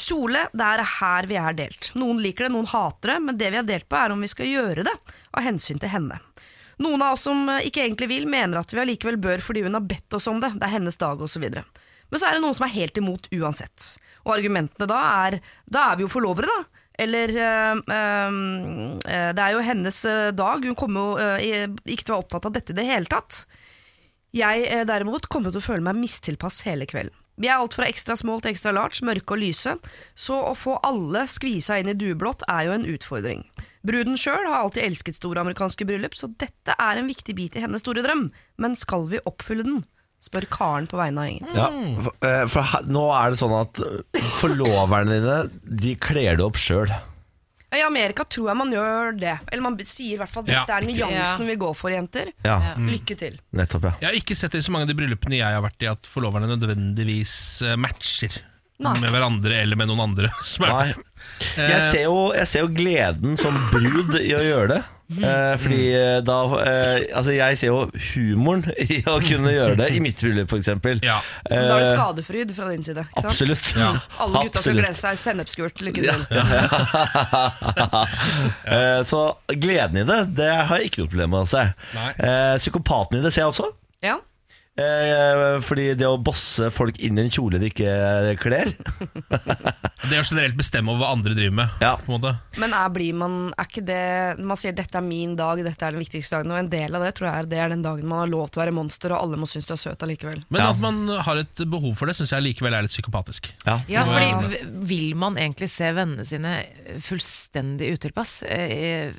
S9: Kjole, det er her vi er delt. Noen liker det, noen hater det, men det vi er delt på, er om vi skal gjøre det av hensyn til henne. Noen av oss som eh, ikke egentlig vil, mener at vi allikevel bør fordi hun har bedt oss om det, det er hennes dag osv. Men så er det noen som er helt imot uansett. Og argumentene da er da er vi jo forlovere, da. Eller eh, eh, det er jo hennes eh, dag, hun kommer jo eh, i- ikke til å være opptatt av dette i det hele tatt. Jeg eh, derimot kommer til å føle meg mistilpass hele kvelden. Vi er alt fra ekstra small til ekstra large, mørke og lyse, så å få alle skvisa inn i dueblått er jo en utfordring. Bruden sjøl har alltid elsket store amerikanske bryllup, så dette er en viktig bit i hennes store drøm. Men skal vi oppfylle den? spør Karen på vegne av gjengen.
S3: Ja, for, eh, for her- nå er det sånn at eh, forloverne dine De kler det opp sjøl.
S9: I Amerika tror jeg man gjør det. Eller man sier i hvert fall at
S2: Ja.
S9: dette er nyansen vi går for, jenter.
S3: Ja,
S9: Lykke til.
S3: nettopp, ja.
S2: Jeg har ikke sett det i så mange av de bryllupene jeg har vært i, at forloverne nødvendigvis eh, matcher
S9: Nei.
S2: med hverandre eller med noen andre. Som er,
S3: Nei. Jeg ser, jo, jeg ser jo gleden som brud i å gjøre det.
S9: Mhm.
S3: Eh, fordi eh, da eh, Altså, jeg ser jo humoren i å kunne gjøre det i mitt bryllup, f.eks.
S2: Ja.
S9: Men Da er det skadefryd fra din side. Ikke sant?
S3: Eh, Absolutt.
S2: Ja.
S9: Alle gutta skal
S3: Absolutt.
S9: glede seg. Sennepsgult. Lykke til.
S3: Eh, Så gleden i det, det har jeg ikke noe problem med å se.
S2: Nei.
S3: Eh, Psykopaten i det ser jeg også.
S9: Ja.
S3: Eh, Fordi det å bosse folk inn i en kjole de ikke eh, kler
S2: Det å generelt bestemme over hva andre driver med.
S3: Ja.
S2: På en måte.
S9: Men er, blir man, er ikke det Man sier 'dette er min dag, dette er den viktigste dagen', og en del av det tror jeg er, det er den dagen man har lov til å være monster, og alle må synes du er søt allikevel.
S2: Men
S3: Ja.
S2: at man har et behov for det, syns jeg likevel er litt psykopatisk.
S3: Ja,
S1: Ja, fordi v- vil man egentlig se vennene sine fullstendig utilpass? Eh,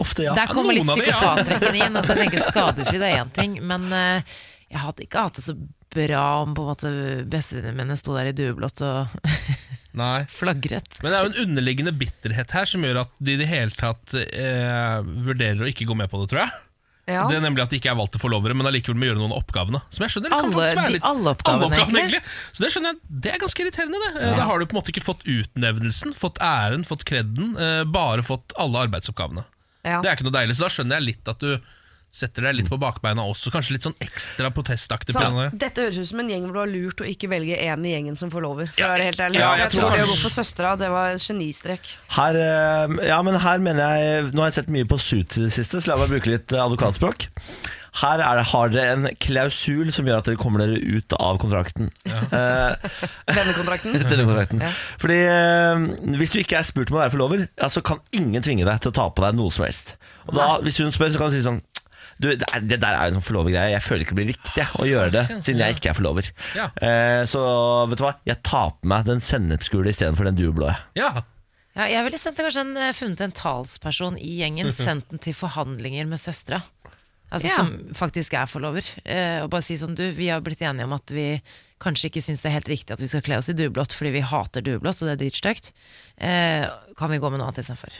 S3: ofte ja.
S1: Der kommer
S2: noen
S1: litt
S2: av de, ja.
S1: psykopattrekken inn. Altså, jeg tenker Skadefri det er én ting, men eh, jeg hadde ikke hatt det så bra om på en måte bestevenninnene mine sto der i dueblått og
S2: Nei.
S1: flagret.
S2: Men det er jo en underliggende bitterhet her som gjør at de i det hele tatt eh, vurderer å ikke gå med på det, tror jeg.
S9: Ja.
S2: Det er nemlig at de ikke er valgt til forlovere, men allikevel må gjøre noen av oppgavene. Som jeg skjønner, det kan
S1: Alle-
S2: faktisk
S1: de-
S2: være litt
S1: alle oppgavene, egentlig.
S2: Så det skjønner jeg, det er ganske irriterende, det. Eh, Da har du på en måte ikke fått utnevnelsen, fått æren, fått kredden, eh, bare fått alle arbeidsoppgavene.
S9: Ja.
S2: Det er ikke noe deilig, så da skjønner jeg litt at du setter deg litt på bakbeina også, kanskje litt sånn ekstra protestaktig. på
S9: Så,
S2: grunn av det.
S9: dette høres ut som en gjeng hvor du har lurt å ikke velge én i gjengen som forlover. For
S2: Ja,
S9: å være helt ærlig.
S2: ja, jeg
S9: jeg,
S2: tror
S9: tror det å gå
S2: kanskje-
S9: for søstera, det var genistrek.
S3: Her, eh, ja, men her mener jeg Nå har jeg sett mye på Suits i det siste, så la meg bruke litt eh, advokatspråk. Her er det, har dere en klausul som gjør at dere kommer dere ut av kontrakten. Eh,
S9: Vennekontrakten.
S3: denne kontrakten. Fordi eh, Hvis du ikke er spurt om å være forlover, ja, så kan ingen tvinge deg til å ta på deg noe som helst. Og da, hvis hun spør, så kan du si sånn du, det, er, det der er jo en sånn forlovergreie. Jeg føler ikke det blir riktig jeg, å gjøre det, siden jeg ikke er forlover.
S2: Ja.
S3: Eh, så vet du hva, jeg tar på meg den sennepsgule istedenfor den dueblå. jeg.
S2: Ja.
S1: Ja, jeg ville sendt det kanskje en, eh, funnet en talsperson i gjengen,
S2: Mhm.
S1: sendt den til forhandlinger med søstera. Altså
S9: Ja.
S1: Som faktisk er forlover. Eh, og bare si sånn, du, vi har blitt enige om at vi kanskje ikke syns det er helt riktig at vi skal kle oss i dueblått fordi vi hater dueblått, og det er dritstygt. Eh, kan vi gå med noe annet istedenfor?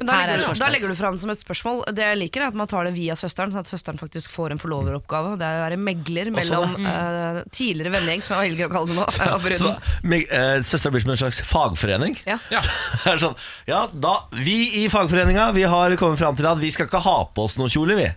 S9: Men da
S1: Her er
S9: legger,
S1: et
S9: du, da
S1: forslag.
S9: legger du fram som et spørsmål. Det jeg liker, er at man tar det via søsteren, sånn at søsteren faktisk får en forloveroppgave. Det er å være megler mellom eh, tidligere vennegjeng, som jeg velger å kalle det nå, og
S3: Så,
S9: bruden.
S3: meg- eh, Søstera blir som en slags fagforening.
S9: Ja.
S2: Ja.
S3: Det er sånn, ja, da, vi i fagforeninga Vi har kommet fram til at vi skal ikke ha på oss noen kjoler, vi.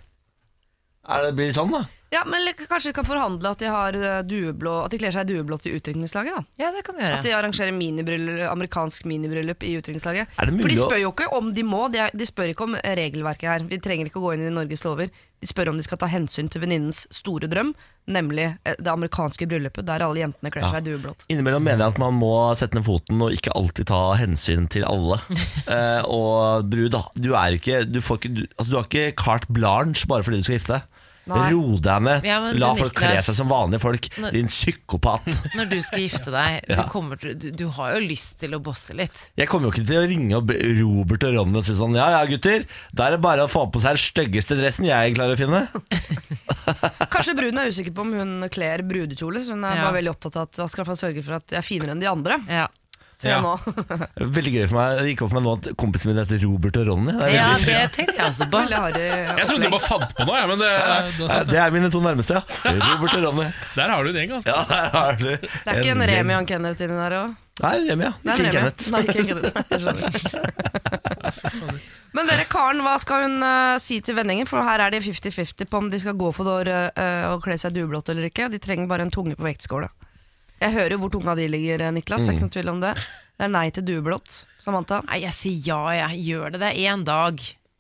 S3: Er det, blir det sånn, da?
S9: Ja, men eller kanskje de kan forhandle at de, har eh, dueblå, at de kler seg i dueblått i utdrikningslaget, da.
S1: Ja, det kan vi gjøre.
S9: At de arrangerer minibryllup, amerikansk minibryllup i utdrikningslaget.
S3: Er det mulig
S9: For de
S3: å-
S9: spør jo ikke om de må, de, er, de spør ikke om regelverket her. Vi trenger ikke å gå inn i Norges lover. De spør om de skal ta hensyn til venninnens store drøm, nemlig eh, det amerikanske bryllupet der alle jentene kler
S3: Ja.
S9: seg i dueblått.
S3: Innimellom mener jeg at man må sette ned foten og ikke alltid ta hensyn til alle. Eh, og brud, da, du, er ikke, du, får ikke, du, altså, du har ikke carte blanche bare fordi du skal gifte deg.
S9: Nei.
S3: Ro deg ned.
S1: Ja, men du,
S3: La folk kle
S1: Niklas.
S3: seg som vanlige folk.
S1: Når-
S3: Din psykopat.
S1: Når du skal gifte deg, du,
S3: Ja.
S1: kommer til, du, du har jo lyst til å bosse litt.
S3: Jeg kommer jo ikke til å ringe opp Robert og Ronny og si sånn Ja ja, gutter. Da er det bare å få på seg den styggeste dressen jeg klarer å finne.
S9: Kanskje bruden er usikker på om hun kler brudekjole, så hun er
S1: Ja.
S9: bare veldig opptatt av at jeg skal få sørge for at jeg er finere enn de andre.
S1: Ja.
S9: Se
S2: Ja.
S9: nå.
S3: Veldig gøy for meg. Det gikk opp for meg nå at kompisen min heter Robert og Ronny. Det er,
S1: ja,
S3: veldig-
S1: det tenkte jeg også på.
S9: Veldig harde
S2: Jeg trodde du
S9: opplegg.
S2: bare fant på noe, ja, men det, det,
S3: Nei, det er mine to nærmeste, ja. Robert og Ronny.
S2: der har du en gjeng. Altså.
S3: Ja, der har du
S9: Det er ikke en Remi og en Kenneth inni der òg?
S3: Nei, Remi, ja. Ikke en Kenneth.
S9: Nei, ikke en Kenneth. Jeg skjønner. Men dere, Karen, hva skal hun eh, si til vendingen? For her er de 50-50 på om de skal gå for det og, eh, og kle seg i dueblått eller ikke. De trenger bare en tunge på vektskåla. Jeg hører jo hvor tunga di ligger, eh, Niklas.
S3: Mm.
S9: Det er ikke noe tvil om det. Det er nei til dueblått, Samantha.
S1: Nei, jeg sier ja, jeg gjør det. Det er én dag.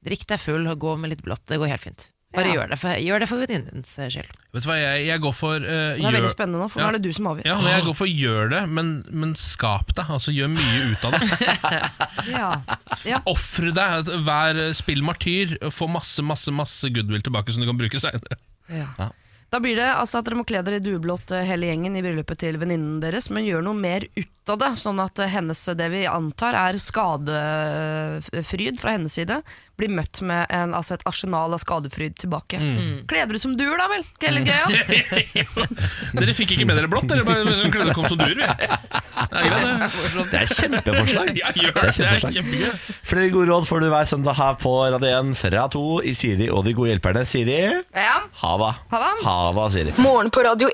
S1: Drikk deg full og gå med litt blått. Det går helt fint. Bare
S9: Ja.
S1: gjør det for, gjør det for venninnens eh, skyld.
S2: Vet du hva, jeg, jeg går for eh,
S9: Det er
S2: gjør-
S9: veldig spennende nå, for
S2: Ja.
S9: nå er det du som avgjør.
S2: Ja, men jeg går for gjør det, men, men skap deg. Altså Gjør mye ut av det.
S9: Ja. Ja.
S2: Ofre deg. Vær spill martyr. Få masse masse, masse goodwill tilbake som du kan bruke seinere.
S9: Ja. Da blir det altså at dere må kle dere i dueblått eh, hele gjengen i bryllupet til venninnen deres, men gjør noe mer ut av det, sånn at eh, hennes, det vi antar er skadefryd fra hennes side, blir møtt med en, altså et arsenal av skadefryd tilbake. Kle dere som duer, da vel? Ikke heller gøy, ja?
S2: Dere fikk ikke med dere blått, dere bare liksom klødde kom som duer. Vi. Det er greit,
S3: Det er kjempeforslag.
S2: det. Ja, gjør
S3: Det
S2: det. Det
S3: er
S2: er
S3: kjempeforslag.
S2: kjempegøy.
S3: Flere gode råd får du hver søndag her på Radio 1 fra 2 i Siri og de gode hjelperne. Siri,
S9: ja.
S3: hava.
S9: Hava.
S3: Hava, Siri.
S4: Morgen på Radio 1.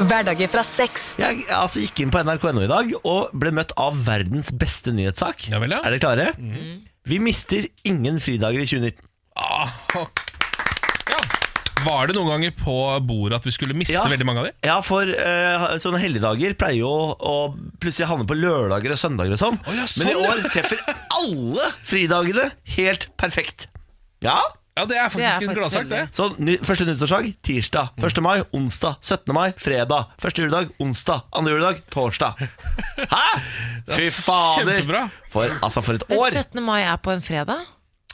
S4: Hverdager fra seks.
S3: Jeg altså, gikk inn på nrk.no i dag og ble møtt av verdens beste nyhetssak.
S2: Ja vel, ja. Mhm.
S3: Er dere klare? Vi mister ingen fridager i 2019.
S2: Ah, ja. Var det noen ganger på bordet at vi skulle miste
S3: Ja.
S2: veldig mange av de?
S3: Ja, for eh, sånne helligdager pleier jo å plutselig havne på lørdager og søndager og sånn.
S2: Å, ja, sånn,
S3: Men i
S2: ja.
S3: år treffer alle fridagene helt perfekt. Ja,
S2: Ja, Det er faktisk
S1: Det er
S2: en
S1: faktisk
S2: gladsak, det.
S1: veldig.
S3: Så ny, første nyttårsdag tirsdag,
S2: Mm.
S3: 1. mai onsdag, 17. mai fredag, første juledag onsdag, andre juledag torsdag. Hæ?! Fy fader!
S2: Kjempebra.
S3: For, altså, for et
S1: Men
S3: år!
S1: 17. mai er på en fredag.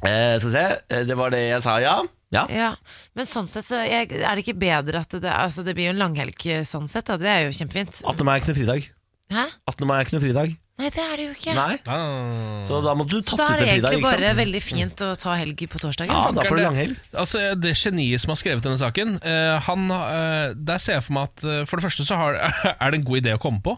S3: Eh, skal vi se, eh, det var det jeg sa, ja. Ja,
S1: Ja. Men sånn sett så jeg, er det ikke bedre at det altså Det blir jo en langhelg eh, sånn sett, da. Det er jo kjempefint.
S3: 18. mai er ikke noe fridag.
S1: Hæ?
S3: 18. mai er ikke noe fridag.
S1: Nei, det er det jo ikke.
S3: Nei,
S2: Ah.
S3: Så da måtte du
S1: Så
S3: tatt
S1: da
S3: ut
S1: er det
S3: en fridag,
S1: egentlig
S3: ikke
S1: bare
S3: sant?
S1: veldig fint å ta helg på torsdagen.
S3: Ja, da
S2: Fanker
S3: får du
S2: det-
S3: langhelg.
S2: Altså, det geniet som har skrevet denne saken, eh, han, eh, der ser jeg for meg at eh, for det første så har, er det en god idé å komme på.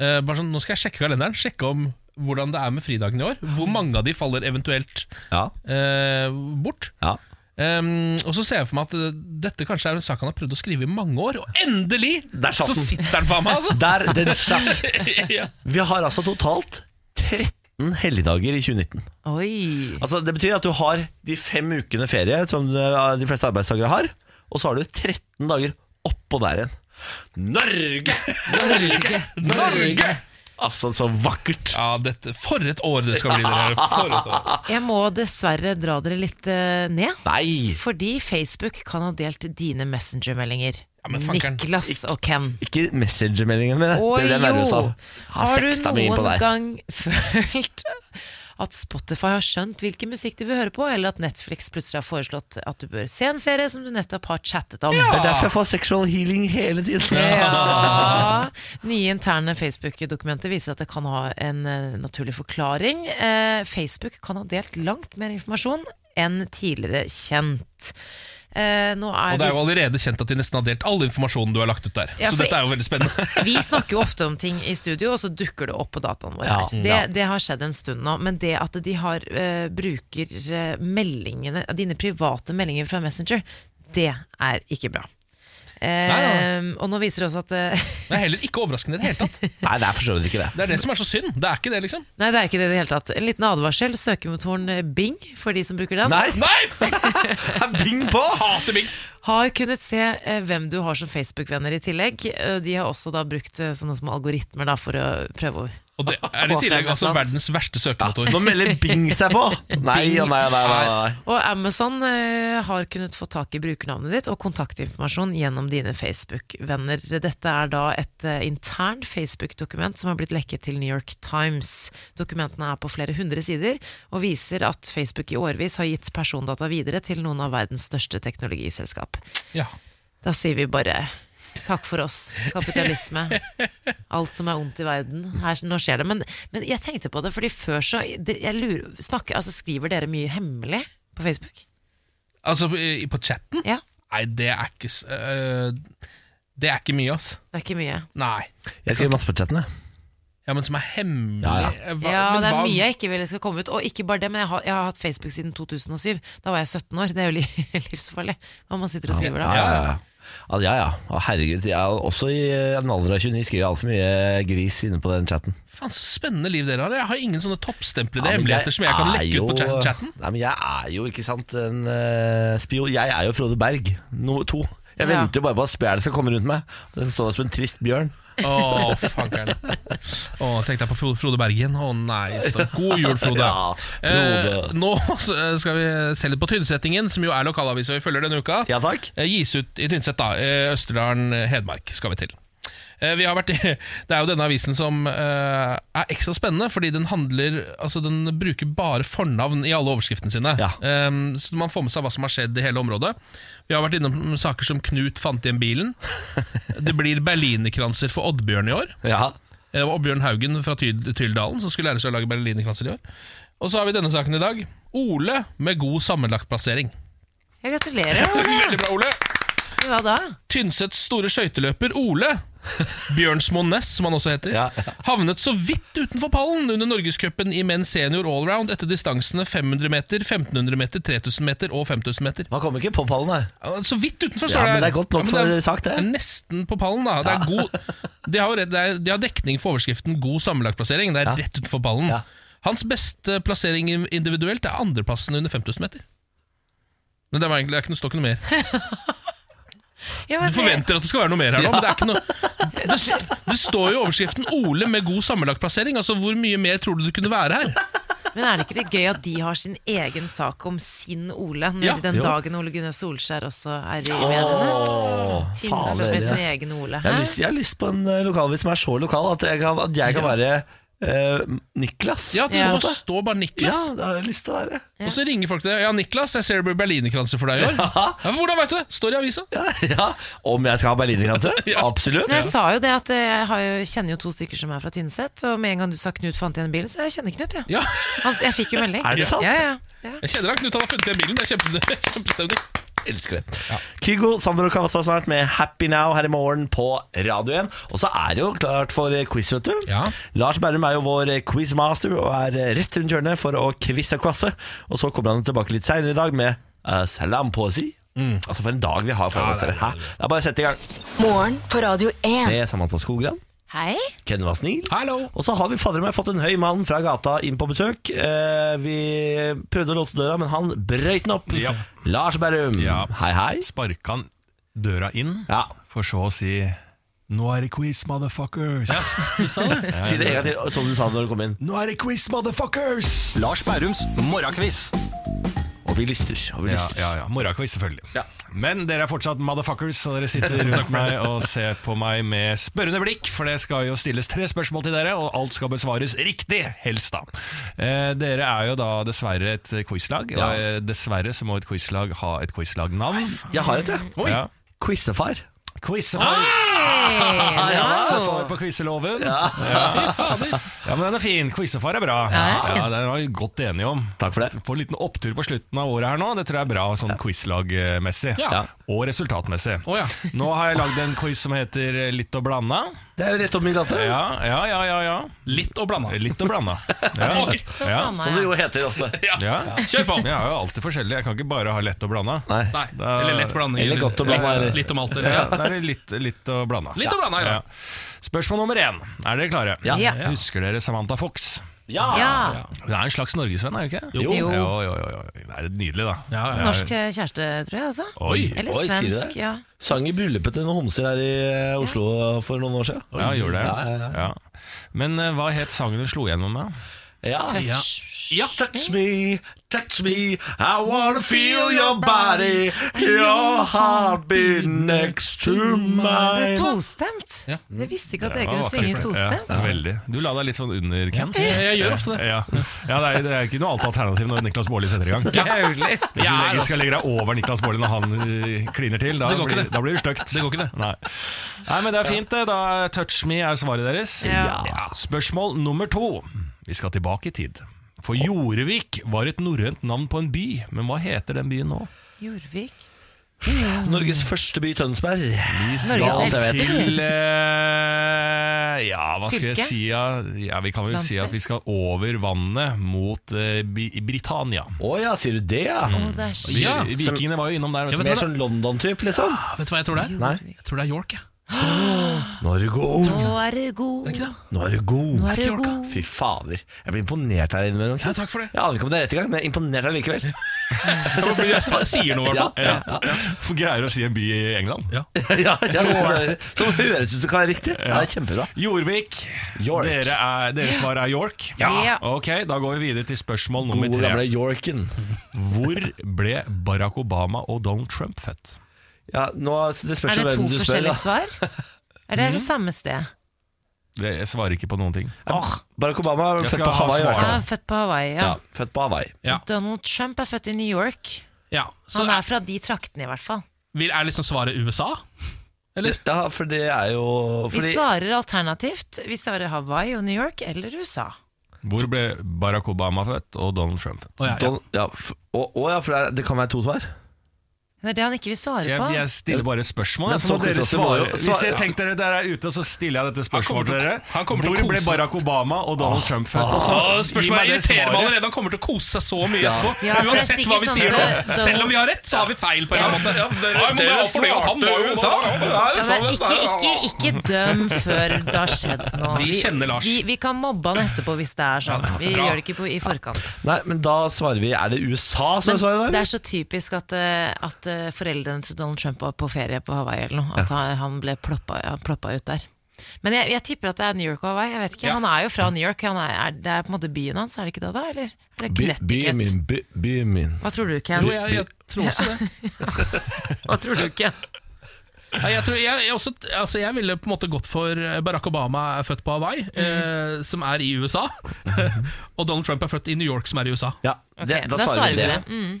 S2: Eh, bare sånn, Nå skal jeg sjekke kalenderen, sjekke om hvordan det er med fridagene i år. Hvor mange av de faller eventuelt
S3: Ja,
S2: eh, bort.
S3: ja.
S2: Ehm, og så ser jeg for meg at eh, dette kanskje er en sak han har prøvd å skrive i mange år, og endelig
S3: Der satt
S2: så
S3: den.
S2: sitter han faen meg, altså!
S3: Der, den satt.
S2: ja.
S3: Vi har altså totalt 13 helligdager i 2019.
S1: Oi.
S3: Altså, det betyr at du har de fem ukene ferie som eh, de fleste arbeidstakere har, og så har du 13 dager oppå der igjen. Norge!
S1: Norge.
S2: Norge!
S3: Altså, så vakkert.
S2: Ja, dette, For et år det skal bli, dere. For et år.
S1: Jeg må dessverre dra dere litt eh, ned.
S3: Nei,
S1: Fordi Facebook kan ha delt dine messengermeldinger.
S2: Ja, men fankeren.
S1: Niklas og Ken.
S3: ikke messengermeldingen min.
S1: Å
S3: Det blir jeg nervøs
S1: jo!
S3: av. Har
S1: Har
S3: sexta
S1: du
S3: mye på
S1: noen
S3: deg.
S1: gang følt at Spotify har skjønt hvilken musikk du vil høre på, eller at Netflix plutselig har foreslått at du bør se en serie som du nettopp har chattet om?
S3: Det er derfor jeg får sexual healing hele tiden.
S1: Ja. Nye interne Facebook-dokumenter viser at det kan ha en eh, naturlig forklaring. Eh, Facebook kan ha delt langt mer informasjon enn tidligere kjent. Eh, nå er
S2: Og det er jo
S1: vi,
S2: allerede kjent at de nesten har delt all informasjonen du har lagt ut der.
S1: Ja,
S2: så
S1: for-
S2: dette er jo veldig spennende.
S1: vi snakker jo ofte om ting i studio, og så dukker det opp på dataen vår.
S3: Ja,
S1: her. det,
S3: ja.
S1: det har skjedd en stund nå. Men det at de har, eh, bruker eh, meldingene, dine private meldinger fra Messenger, det er ikke bra. Eh, og nå viser det også at eh,
S2: Det er heller ikke overraskende i det hele tatt.
S3: Nei, det er for så vidt ikke det.
S2: Det er det som er så synd. Det er ikke det, liksom.
S1: Nei, det er ikke det i det hele tatt. En liten advarsel. Søkemotoren eh, Bing, for de som bruker den,
S3: Nei,
S2: Nei! f-
S3: er Bing på!
S2: Hater Bing!
S1: har kunnet se eh, hvem du har som Facebook-venner i tillegg. Eh, De har også da brukt eh, sånne små algoritmer da, for å prøve å
S2: Og det er i tillegg altså verdens verste søkemotor.
S3: Nå melder Bing seg på! Nei og nei og nei. nei, nei.
S1: Og Amazon eh, har kunnet få tak i brukernavnet ditt og kontaktinformasjon gjennom dine Facebook-venner. Dette er da et eh, internt Facebook-dokument som har blitt lekket til New York Times. Dokumentene er på flere hundre sider og viser at Facebook i årevis har gitt persondata videre til noen av verdens største teknologiselskap.
S2: Ja.
S1: Da sier vi bare takk for oss, kapitalisme. Alt som er ondt i verden. Her, nå skjer det. Men, men jeg tenkte på det, fordi før så det, jeg lurer, snakker, altså, Skriver dere mye hemmelig på Facebook?
S2: Altså, i- på chatten?
S1: Ja,
S2: Nei, det er ikke s- øh, Det er ikke mye, altså.
S1: det er ikke mye.
S2: Nei.
S3: Jeg skriver masse på chatten, jeg.
S2: Ja, men som er hemmelig
S3: Ja, ja.
S2: Hva-
S1: Ja,
S2: men
S1: det er
S2: hva-
S1: mye jeg ikke ville skal komme ut. Og ikke bare det, men jeg har, jeg har hatt Facebook siden 2007. Da var jeg 17 år. Det er jo li livsfarlig hva man sitter og skriver
S3: Ja,
S1: da.
S3: ja, ja. Ja, ja, ja. Å, herregud. Jeg er også i en alder av 29 skriver jeg altfor mye gris inne på den chatten.
S2: Faen, så spennende liv dere har. Jeg har ingen sånne toppstemplede
S3: Ja, men
S2: hemmeligheter som jeg kan
S3: er
S2: lekke ut på
S3: jo-
S2: chat- chatten.
S3: Nei, men jeg er jo ikke sant en eh, spion. Jeg er jo Frode Berg, no, to. Jeg
S1: Ja.
S3: venter jo bare på at spjælet skal komme rundt meg. Den står der som en trist bjørn.
S2: Å, fankeren. Å, tenkte jeg på Fro- Frode Bergen. Å nei, så god jul, Frode.
S3: Ja, Frode.
S2: Eh, nå så, eh, skal vi se litt på Tynsettingen, som jo er lokalavisa vi følger denne uka.
S3: Ja takk.
S2: Eh, gis ut i Tynset, da. Eh, Østerdalen, eh, Hedmark skal vi til. Eh, Vi har vært i, det er jo denne avisen som eh, er ekstra spennende, fordi den handler Altså den bruker bare fornavn i alle overskriftene sine.
S3: Ja.
S2: Eh, så man får med seg hva som har skjedd i hele området. Vi har vært innom saker som Knut fant igjen bilen. Det blir berlinerkranser for Oddbjørn i år.
S3: Ja.
S2: Det var Oddbjørn Haugen fra Ty Tyldalen som skulle lære seg å lage berlinerkranser i år. Og så har vi denne saken i dag. Ole med god sammenlagtplassering.
S1: Jeg gratulerer. Ole.
S2: Veldig bra, Ole.
S1: Hva da?
S2: Tynsets store skøyteløper Ole Bjørnsmoen Næss, som han også heter,
S3: Ja.
S2: havnet så vidt utenfor pallen under Norgescupen i menn senior allround etter distansene 500 meter, 1500 meter, 3000 meter og 5000 meter.
S3: Man kommer ikke på pallen her.
S2: Ja, Så vidt utenfor,
S3: Ja,
S2: står det
S3: men
S2: her.
S3: det er godt nok
S2: men det er
S3: for sak, det.
S2: Nesten på pallen, da. Det er god, de, har jo rett, det er, de har dekning for overskriften 'god sammenlagtplassering'. Det er rett utenfor pallen.
S3: Ja.
S2: Hans beste plassering individuelt er andreplassen under 5000 meter. Men det, var egentlig, det er ikke noe, står ikke noe mer.
S1: Ja,
S2: Du
S1: men det-
S2: forventer at det skal være noe mer her nå, men det er ikke noe det, s- det står jo i overskriften 'Ole med god sammenlagtplassering'. Altså, hvor mye mer tror du det kunne være her?
S1: Men er det ikke litt gøy at de har sin egen sak om sin Ole, når
S2: Ja.
S1: den
S3: Jo.
S1: dagen Ole Gunnar Solskjær også er i mediene? Tynset
S3: fader,
S1: med sin
S3: jeg-
S1: egen Ole.
S3: Jeg har,
S1: hæ?
S3: lyst, jeg har lyst på en eh, lokalvis som er så lokal at jeg kan, at jeg kan være eh, Niklas.
S2: Ja, det
S1: Ja.
S2: bare står bare
S3: ja,
S2: Niklas.
S3: det har jeg lyst til å være.
S2: Og så ringer folk til deg. 'Ja, Niklas, jeg ser det blir berlinerkranse for deg i år'. Ja, men hvordan veit du det? Står det i avisa.
S3: Ja, ja. Om jeg skal ha berlinerkranse?
S2: Ja.
S3: Absolutt.
S1: Men jeg sa jo det at eh, jeg har jo, kjenner jo to stykker som er fra Tynset, og med en gang du sa Knut fant igjen bilen, så jeg kjenner Knut, jeg.
S2: Ja,
S1: Han, jeg fikk jo melding.
S3: Er det sant?
S1: Ja, ja, ja.
S2: Jeg kjenner han Knut, han har funnet igjen bilen. Det er kjempestemning. kjempestemning.
S3: Elsker det. Kygo, Sander og Kavasa snart med Happy Now her i morgen på radioen. Og så er det jo klart for quiz, vet du.
S2: Ja.
S3: Lars Berrum er jo vår quizmaster og er rett rundt hjørnet for å quize og kvasse. Og så kommer han tilbake litt seinere i dag med eh, salam poesi.
S2: Mm.
S3: Altså for en dag vi har foran oss. dere. Hæ? Det er bare å sette i gang.
S4: Morgen på Radio 1.
S3: Det er Samantha Skogran.
S1: Hei.
S3: Ken var snill.
S2: Hallo.
S3: Og så har vi fader meg fått en høy mann fra gata inn på besøk. Eh, vi prøvde å låse døra, men han brøyt den opp.
S10: Ja.
S3: Lars Berrum. Hei, hei.
S10: Sparka han døra inn,
S3: Ja.
S10: for så å si
S9: Nå er det quiz, motherfuckers!
S2: Vi sa det.
S3: Si det en gang til, som du sa det når du kom inn.
S9: Nå er det quiz, motherfuckers!
S11: Lars Bærums morgenquiz.
S3: Og vi lyster. Og vi
S9: Ja,
S3: lyster.
S9: ja, ja. Morgenquiz, selvfølgelig.
S3: Ja.
S9: Men dere er fortsatt motherfuckers, og dere sitter rundt meg og ser på meg med spørrende blikk, for det skal jo stilles tre spørsmål til dere, og alt skal besvares riktig, helst da. Eh, dere er jo da dessverre et quizlag, og eh, dessverre så må et quizlag ha et quizlagnavn.
S3: Jeg har et, jeg.
S9: Ja.
S3: Quizefar. Ah,
S9: Quizfar
S1: Hey,
S9: Quizefar på quizeloven. Ja. ja, men den er fin. Quizefar er bra. Ja,
S1: den er fin.
S9: Den var vi godt enige om.
S3: Takk for det.
S9: Få en liten opptur på slutten av året her nå. Det tror jeg er bra sånn quizlagmessig.
S2: Ja.
S9: Og resultatmessig.
S2: Å, ja.
S9: Nå har jeg lagd en quiz som heter Litt og blanda.
S3: Det er jo rett opp min gate.
S9: Ja, ja, ja, ja, ja.
S2: Litt og blanda.
S9: Litt og blanda. Ja.
S2: Ok.
S9: Ja.
S1: Anna,
S3: Som det sånn jo heter ofte.
S9: Ja.
S2: Kjør på.
S9: Jeg er jo alltid forskjellig. Jeg kan ikke bare ha lett og blanda.
S3: Nei.
S2: Nei, eller lett blanding.
S3: Eller godt og blanda, eller-
S2: Litt om alt. eller-
S9: Ja, det er litt, litt å blanda.
S2: Litt å blande, ja.
S9: Spørsmål nummer én. Er dere klare?
S3: Ja.
S1: Ja.
S9: Husker dere Samantha Fox?
S1: ja. ja.
S9: Hun er en slags norgesvenn, er hun ikke?
S1: Jo. Jo.
S9: Jo, jo, jo, jo. Det er nydelig, da.
S2: Ja, ja.
S1: Norsk eh, kjæreste, tror jeg også.
S9: Oi.
S1: Eller
S3: Oi, sier du
S1: svensk.
S3: det?
S1: Ja.
S3: Sang i bryllupet til noen homser her i eh, Oslo for noen år siden.
S9: Ja, gjorde det.
S3: Ja, ja, ja.
S9: Ja. Men eh, hva het sangen hun slo gjennom med?
S3: Ja.
S2: Ja. Ja.
S3: Touch me, touch me, I wanna feel your body, your heartbeat next to
S1: Det er
S3: mine.
S1: tostemt! Jeg visste ikke at jeg kunne
S9: Ja,
S1: synge
S9: vakkert.
S1: tostemt.
S9: Ja, veldig. Du la deg litt sånn under, Ken.
S2: Jeg, jeg gjør ofte det.
S9: Ja, ja det, er, det er ikke noe annet alternativ når Niklas Baarli setter i gang.
S2: Ja.
S9: Hvis du
S2: Ja,
S9: legger,
S2: altså.
S9: skal legge deg over Niklas Baarli når han eh, kliner til, da
S2: Det går ikke
S9: blir
S2: det.
S9: da blir det stygt.
S2: Det går ikke det.
S9: Nei. Nei, men det er fint, det. Da er touch me er svaret deres. Ja. Spørsmål nummer to. Vi skal tilbake i tid. For Jorevik var et norrønt navn på en by, men hva heter den byen nå?
S1: Jorvik.
S3: Norges første by, Tønsberg.
S9: Vi
S1: Norges
S9: skal
S1: eldste.
S9: til eh, Ja, hva skal jeg
S1: Fylke?
S9: si? Ja, ja, vi kan vel si
S1: Landsdel?
S9: at vi skal over vannet mot eh, Bi- Britannia.
S3: Å ja, sier du det, ja?
S1: Å, det er
S9: Mm. Vi,
S1: skitt.
S2: Ja.
S9: Vikingene var jo innom
S2: Ja,
S9: der. Vet
S2: men
S9: du.
S2: hva
S3: Mer sånn London-type, liksom?
S2: Vet du hva jeg tror det er?
S3: Nei.
S2: Jeg tror det er York. jeg.
S3: Norge,
S1: Nå er du god,
S2: Ikke det?
S3: nå er du god.
S1: nå er du god.
S3: Fy fader. Jeg blir imponert her innimellom.
S2: Ja, takk for det.
S3: Jeg aner ikke om det er rett i gang, men jeg er imponert allikevel.
S2: Ja, men fordi jeg sa- sier noe, i hvert fall.
S3: Ja,
S9: For greier å si en by i England.
S3: ja, ja, ja, Som høres ut som kan være riktig. Ja, det er kjempebra.
S9: Jorvik,
S3: York.
S9: Dere, er, dere svar er York?
S1: Ja.
S9: Ok, Da går vi videre til spørsmål nummer
S3: Gode gamle
S9: tre.
S3: Yorken.
S9: Hvor ble Barack Obama og Donald Trump født?
S3: Ja, nå, det spørs
S1: Er
S3: jo
S1: det to
S3: hvem du spør.
S1: forskjellige
S3: Da.
S1: svar? Er det det samme sted?
S9: Det- Jeg svarer ikke på noen ting.
S3: Barack Obama er
S9: Jeg
S3: født
S9: skal
S3: på
S9: ha
S3: Hawaii. i hvert
S9: svar.
S1: Han
S3: fall.
S1: er født på Hawaii, ja.
S3: Ja, født på Hawaii.
S2: Ja.
S1: Donald Trump er født i New York.
S2: Ja. Så
S1: Han er fra de traktene, i hvert fall.
S2: vil- er liksom svaret USA? Eller?
S3: Ja, for det er jo
S1: Vi
S3: fordi,
S1: svarer alternativt. Vi svarer Hawaii og New York eller USA.
S9: Hvor ble Barack Obama født og Donald Trump født?
S2: Å, ja, ja.
S3: Don, ja, f- å, å ja, for det, er, det kan være to svar.
S1: Det er det han ikke vil svare
S9: Jeg,
S1: på.
S9: jeg stiller bare et spørsmål.
S3: Men
S9: jeg, så må
S3: så
S9: dere
S3: kose oss, vi må
S9: svare.
S3: jo-
S9: Hvis jeg tenk dere dere er ute, og så stiller jeg dette spørsmålet
S2: til å-
S9: til dere.
S2: han kommer til å
S9: Hvor ble
S2: kose-
S9: Barack Obama og Donald Trump født? Og så
S2: Å,
S9: gi meg
S2: Ah, spørsmålet
S9: det
S2: irriterer meg
S9: svaret.
S2: allerede. Han kommer til å kose seg så mye etterpå.
S1: Ja, for det er
S2: Uansett hva
S1: sikkert
S2: vi
S1: sånn
S2: sier
S1: at
S2: nå.
S1: det-
S2: Selv om vi har rett, så har vi feil på en eller annen måte. Ja, men det er jo fordi at han var jo
S1: Ja, men ikke, ikke, ikke døm før det har skjedd noe.
S2: Vi kjenner Lars.
S1: Vi, vi kan mobbe han etterpå hvis det er sånn. Vi
S2: Bra.
S1: gjør det ikke på, i forkant.
S3: Nei, men da svarer vi Er det USA
S1: Men
S3: som er svaret der?
S1: det er så typisk at, eh, at eh, foreldrene til Donald Trump var på ferie på Hawaii eller noe. At han- han ble ploppa, ja, ploppa ut der. Men jeg, jeg tipper at det er New York og Hawaii. Jeg vet ikke,
S2: Ja.
S1: Han er jo fra New York. Han er, er, det er på en måte byen hans, er det ikke det? da? Eller er det
S3: By- Byen
S1: Connecticut?
S3: min, by- byen min.
S1: Hva tror du, Ken?
S2: Jo, jeg, jeg tror også det.
S1: Hva tror du, Ken?
S2: Nei, jeg, tror, jeg, jeg, også, altså jeg ville på en måte gått for eh, Barack Obama er født på Hawaii,
S3: Mm.
S2: eh, som er i USA. og Donald Trump er født i New York, som er i USA.
S3: Ja, det,
S1: Ok,
S3: da, svarer vi det.
S1: Mm.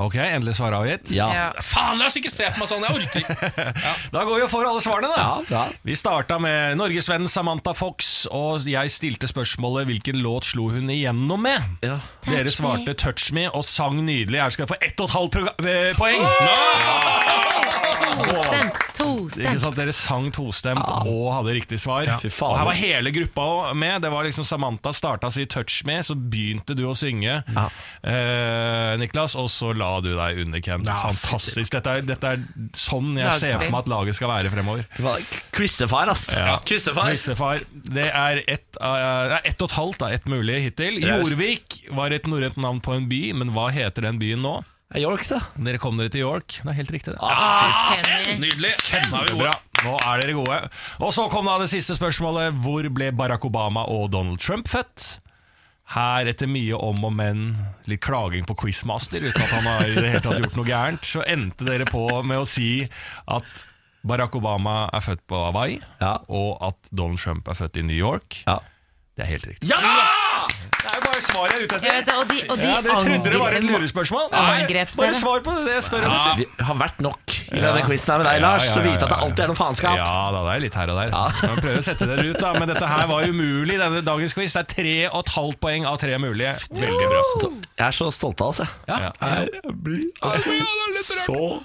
S9: Ok, endelig svar avgitt.
S3: Ja.
S1: Ja.
S2: Faen, Lars, ikke se på meg sånn! Jeg orker ikke!
S9: Da går vi og får alle svarene, da.
S3: Ja, ja.
S9: Vi starta med norgesvennen Samantha Fox, og jeg stilte spørsmålet hvilken låt slo hun igjennom med.
S3: Ja.
S9: Dere svarte 'Touch Me' og sang nydelig. Her skal jeg få ett og et halvt proga- eh, poeng!
S1: Tostemt, tostemt.
S9: Ikke sant, Dere sang tostemt
S2: Ah.
S9: og hadde riktig svar.
S3: Ja. Fy faen.
S9: Og her var hele gruppa også med. Det var liksom Samantha starta si 'Touch Me', så begynte du å synge, eh, Niklas, og så la du deg under, Ken. Fantastisk. Dette er, dette er sånn jeg ser
S1: Lagspill.
S9: for meg at laget skal være fremover.
S3: Fy faen, k- Quizefar, ass.
S9: Ja.
S3: Quizefar.
S9: Nissefar. Det er ett
S10: eh,
S9: av- nei, ett og et halvt, da. Ett mulig hittil. Jorvik var et norrønt navn på en by, men hva heter den byen nå?
S3: Er York, da.
S9: Dere kom dere til York. Det er helt riktig, det.
S1: Henny.
S2: Nydelig! Kjempebra.
S9: Bra.
S10: Nå er dere gode. Og så kom da det siste spørsmålet. Hvor ble Barack Obama og Donald Trump født? Her etter mye om og men, litt klaging på quizmaster uten at han har i det hele tatt gjort noe gærent, så endte dere på med å si at Barack Obama er født på Hawaii, og at Donald Trump er født i New York. Det er helt riktig.
S2: Ja da!
S10: Det er jo bare svar jeg er ute etter.
S1: Jeg vet det, og de- og de
S10: ja, dere trodde det var et
S1: angrep-
S10: lurespørsmål?
S1: angrep
S10: bare
S1: dere.
S10: svar på det jeg spør om.
S3: Ja, det har vært nok i denne quizen her med deg, Lars, å vite at det alltid er noe faenskap.
S10: Ja da, det er litt her og der. Ja. Prøver å sette dere ut, da. Men dette her var umulig. Denne dagens quiz Det er tre og et halvt poeng av tre mulige. Veldig bra.
S3: Jeg er så stolt av oss, jeg.
S10: Ja.
S3: Jeg blir altså så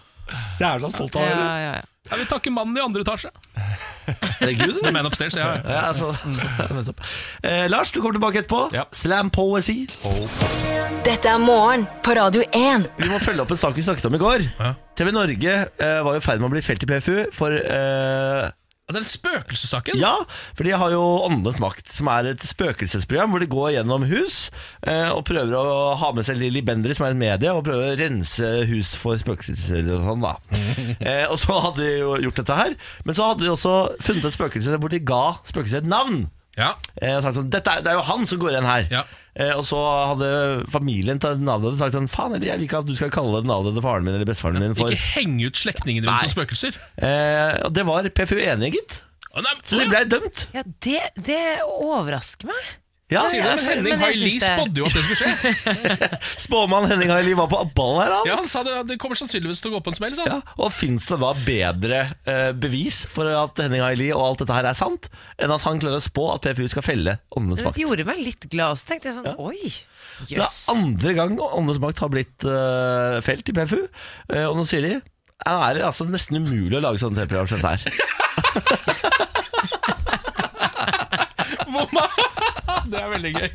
S3: jævla stolt av
S2: Ja,
S3: dere.
S2: Jeg vil takke mannen i andre etasje.
S3: Er det Gud,
S2: The man upstairs, ja.
S3: Ja, altså,
S10: Mm.
S3: nettopp. eh, Lars, du kommer tilbake etterpå. Slam poesi.
S4: Dette er morgen på Radio 1.
S3: Vi må følge opp en sak vi snakket om i går. TV Norge eh, var jo i ferd med å bli felt i PFU for eh,
S2: Den spøkelsessaken?
S3: Ja, for de har jo Åndenes makt, som er et spøkelsesprogram hvor de går gjennom hus eh, og prøver å ha med seg Lilly Bendriss, som er en medie, og prøver å rense hus for spøkelser og sånn, da. Eh, og så hadde de jo gjort dette her, men så hadde de også funnet et spøkelse hvor de ga spøkelset et navn. Eh, og sagt sånn, dette er, det er jo han som går igjen her. Eh, og så hadde familien til navnet sagt sånn Faen, eller jeg vil ikke at du skal kalle navnet til faren min eller bestefaren min for
S2: Ikke heng ut slektningene
S3: Nei.
S2: dine som spøkelser.
S3: eh, Og det var PFU enig, E, gitt. Så de ble dømt.
S1: Ja, det, det overrasker meg.
S3: Ja.
S2: Sier du det?
S1: jeg-
S2: Men Henning
S1: men jeg
S2: Haili
S1: syns det-
S2: spådde jo at det skulle skje.
S3: Spåmann Henning Haili var på ballen her, han.
S2: Ja, Han sa det, det kommer sannsynligvis til å gå på en smell. Sånn.
S3: Og fins det da bedre eh, bevis for at Henning Haili og alt dette her er sant, enn at han klarer å spå at PFU skal felle Åndenes
S1: Men
S3: makt?
S1: Det gjorde meg litt glad, så tenkte jeg sånn oi, jøss.
S3: Så Det er andre gang Åndenes makt har blitt eh, felt i PFU, eh, og nå sier de "Ja, nå er det altså nesten umulig å lage sånne TV-program som dette her.
S2: Hvor man- Det er veldig gøy.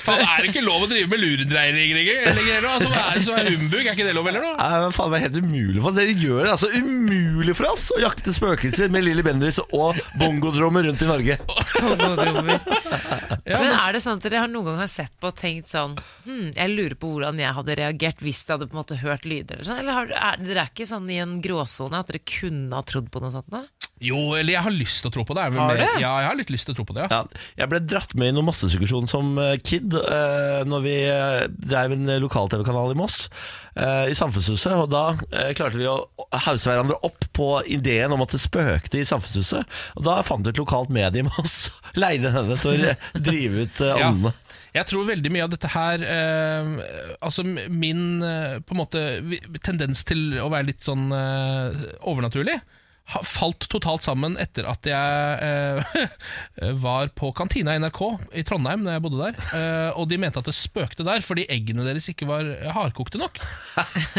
S2: Faen, er det ikke lov å drive med lurendreieringer lenger? heller? Altså, hva er det som er humbug? Er ikke det lov heller, da?
S3: Det er jo faen meg helt umulig for Dere gjør det altså umulig for oss å jakte spøkelser med Lilly Bendriss og bongodrommer rundt i Norge.
S1: men er det sånn at dere har noen gang har sett på og tenkt sånn hm, Jeg lurer på hvordan jeg hadde reagert hvis jeg hadde på en måte hørt lyder eller sånn? Eller har, er, dere er ikke sånn i en gråsone at dere kunne ha trodd på noe sånt nå?
S2: Jo, eller jeg har lyst til å tro på det. er vel
S1: Har
S2: mer-
S1: du?
S2: Ja, jeg har litt lyst til å tro på det, ja.
S3: Ja, jeg ble dratt med i noe massesuggesjon som eh, kid eh, Når vi eh, drev en lokal-tv-kanal i Moss eh, I samfunnshuset Og da eh, klarte vi å hause hverandre opp på ideen om at det spøkte i samfunnshuset Og da fant vi et lokalt medie i Moss Leide henne til å drive ut eh,
S2: Ja.
S3: åndene
S2: Jeg tror veldig mye av dette her eh, Altså min eh, på en måte vi- tendens til å være litt sånn eh, overnaturlig har falt totalt sammen etter at jeg eh, var på kantina i NRK i Trondheim da jeg bodde der. eh, og de mente at det spøkte der fordi eggene deres ikke var hardkokte nok.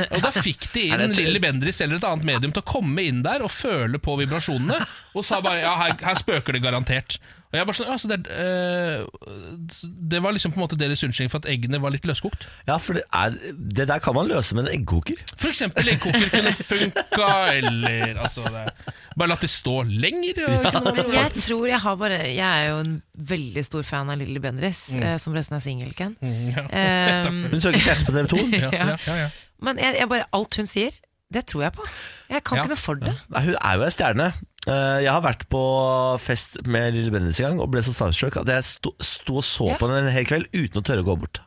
S2: Og da fikk de
S3: Er
S2: inn
S3: det et-
S2: Lilly Bendriss eller et annet medium til å komme inn der og føle på vibrasjonene, og sa bare ja, her, her spøker det garantert. Og jeg bare sånn, ja, så det, er, eh, det var liksom på en måte deres unnskyldning for at eggene var litt løskokt.
S3: Ja, for det, er, det der kan man løse med en eggkoker
S2: For eksempel eggkoker kunne funka, eller altså det, Bare latt de stå lenger. og kunne man-
S1: Men jeg tror jeg har bare Jeg er jo en veldig stor fan av Lilly Bendriss,
S2: Mm.
S1: eh, som resten er singel, Ken.
S10: Mm.
S2: ja.
S1: Eh,
S3: Hun søker kjæreste på TV 2
S1: Ja, ja, Men jeg, jeg bare, alt hun sier, det tror jeg på. Jeg kan ikke noe for det.
S3: Nei, hun er jo en stjerne. Eh, Jeg har vært på fest med Lille Bendriss en gang og ble så starstruck at jeg sto, sto og så på henne en hel kveld uten å tørre å gå bort.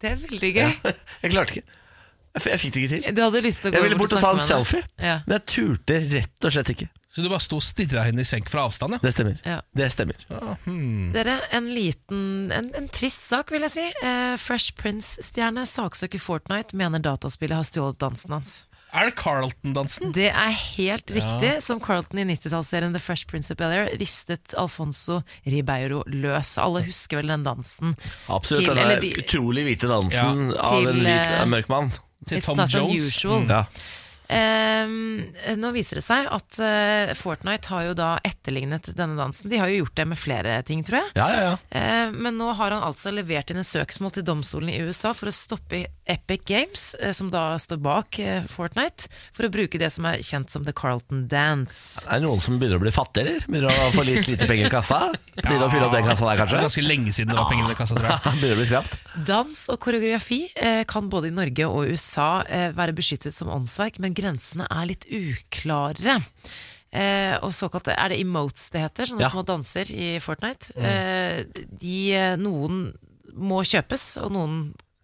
S1: Det er veldig gøy.
S3: Jeg klarte ikke. Jeg, f- jeg fikk det ikke til.
S1: Du hadde lyst til å gå
S3: Jeg ville bort og ta en
S1: snakke med
S3: selfie,
S1: henne. Ja.
S3: men jeg turte rett og slett ikke.
S2: Så du bare sto og stirra henne i senk fra avstand? Ja.
S3: Det stemmer.
S1: Ja.
S3: Det stemmer. Mm.
S1: Dere, en liten, en, en trist sak vil jeg si. Eh, Fresh Prince-stjerne saksøker Fortnite, mener dataspillet har stjålet dansen hans.
S2: Er det Carlton-dansen?
S1: Det er helt riktig.
S2: Ja.
S1: Som Carlton i 90-tallsserien The Fresh Prince of Bel-Air ristet Alfonso Ribeiro løs. Alle husker vel den dansen.
S3: Absolutt.
S1: Til-
S3: Den
S1: eller
S3: der
S1: de-
S3: utrolig hvite dansen
S1: Ja.
S3: av en
S1: Til,
S3: hvit
S1: eh,
S3: eh, mørk mann.
S1: Til It's Tom not Jones. unusual.
S3: Ja.
S1: Ehm, nå viser det seg at eh, Fortnite har jo da etterlignet denne dansen. De har jo gjort det med flere ting, tror jeg.
S3: Ja, ja, ja.
S1: Eh, Men nå har han altså levert inn en søksmål til domstolen i USA for å stoppe Epic Games, eh, som da står bak eh, Fortnite, for å bruke det som er kjent som The Carlton Dance.
S3: Er det noen som begynner å bli fattig, eller? Begynner å få litt lite penger i kassa? Begynner å fylle opp den kassa der,
S2: Det
S3: kanskje?
S2: er ganske lenge siden det var penger i den kassa, tror jeg.
S3: Begynner å bli skrapt.
S1: Dans og koreografi eh, kan både i Norge og USA eh, være beskyttet som åndsverk, men grensene er litt uklare. Eh, og såkalte Er det emotes det heter? Sånne
S9: Ja.
S1: små danser i Fortnite.
S9: Mm.
S1: Eh, de, eh, noen må kjøpes, og noen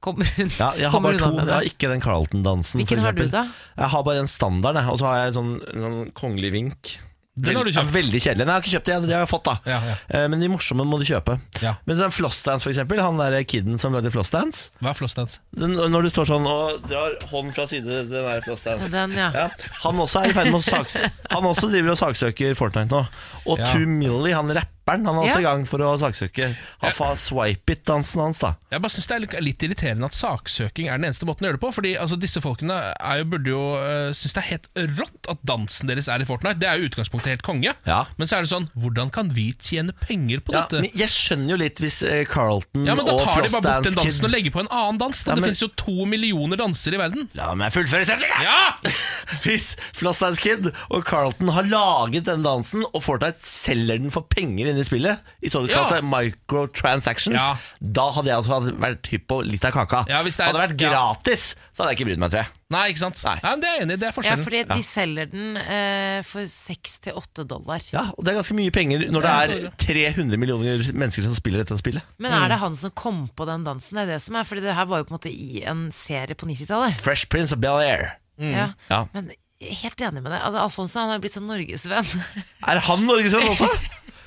S1: kommer,
S3: Ja, jeg har
S1: kommer
S3: bare
S1: unna
S3: to,
S1: med
S3: jeg
S1: det.
S3: har ikke den Carlton-dansen.
S1: Hvilken
S3: for
S1: har du
S3: eksempel.
S1: da?
S3: Jeg har bare den standarden, jeg, og så har jeg en sånn, en sånn kongelig vink.
S2: Den har du
S3: Vel-
S2: kjøpt.
S3: er Veldig kjedelig. Nei, jeg har ikke kjøpt det, det har jeg fått, da. Eh, Men de morsomme må du kjøpe. Men sånn flossdance, for eksempel. Han der kiden som lagde flossdance.
S2: Hva er flossdance?
S3: Når du står sånn og drar hånden fra side til den der flossdance.
S1: Den, ja.
S3: Han også er i ferd med å saks Han også driver og saksøker Fortnite nå. Og
S2: Ja.
S3: Two Millie, han rapperen, han er
S2: Ja.
S3: også i gang for å saksøke. Han får swipe it-dansen hans, da.
S2: Jeg bare synes Det er litt irriterende at saksøking er den eneste måten å gjøre det på. Fordi altså, Disse folkene er jo, burde jo eh, synes det er helt rått at dansen deres er i Fortnite. Det er jo i utgangspunktet helt konge. Men så er det sånn Hvordan kan vi tjene penger på
S3: Ja,
S2: dette?
S3: men jeg skjønner jo litt hvis eh, Carlton
S2: Ja, men Da
S3: og
S2: tar de bare bort den
S3: Flossdance
S2: dansen og
S3: Kid
S2: legger på en annen dans. Da.
S3: Ja, men-
S2: Det fins jo to millioner dansere i verden.
S3: La meg fullføre setninga!
S2: Ja!
S3: Hvis Flossdance Kid og Carlton har laget den dansen, og Fortnite selger den for penger inne i spillet, i såkalte
S2: Ja.
S3: microtransactions,
S2: Ja.
S3: da hadde jeg også vært hypp på litt av kaka.
S2: Ja, hvis det er-
S3: hadde det vært gratis, så hadde jeg ikke brydd meg, tror jeg.
S2: Nei, ikke sant? Nei. men Det er jeg enig i. Det er
S1: Ja,
S2: forskjellen.
S1: fordi de selger den eh, for seks til åtte dollar.
S3: Ja, og det er ganske mye penger når
S1: Ja,
S3: det er 300 millioner mennesker som spiller dette spillet.
S1: Men er det han som kom på den dansen? Det er det som er, fordi det her var jo på en måte i en serie på 90-tallet.
S3: Fresh Prince of Bel-Air.
S1: Ja.
S3: Ja.
S1: Men jeg er helt enig med deg. Altså, Alfonso han har jo blitt sånn norgesvenn.
S3: Er han norgesvenn også?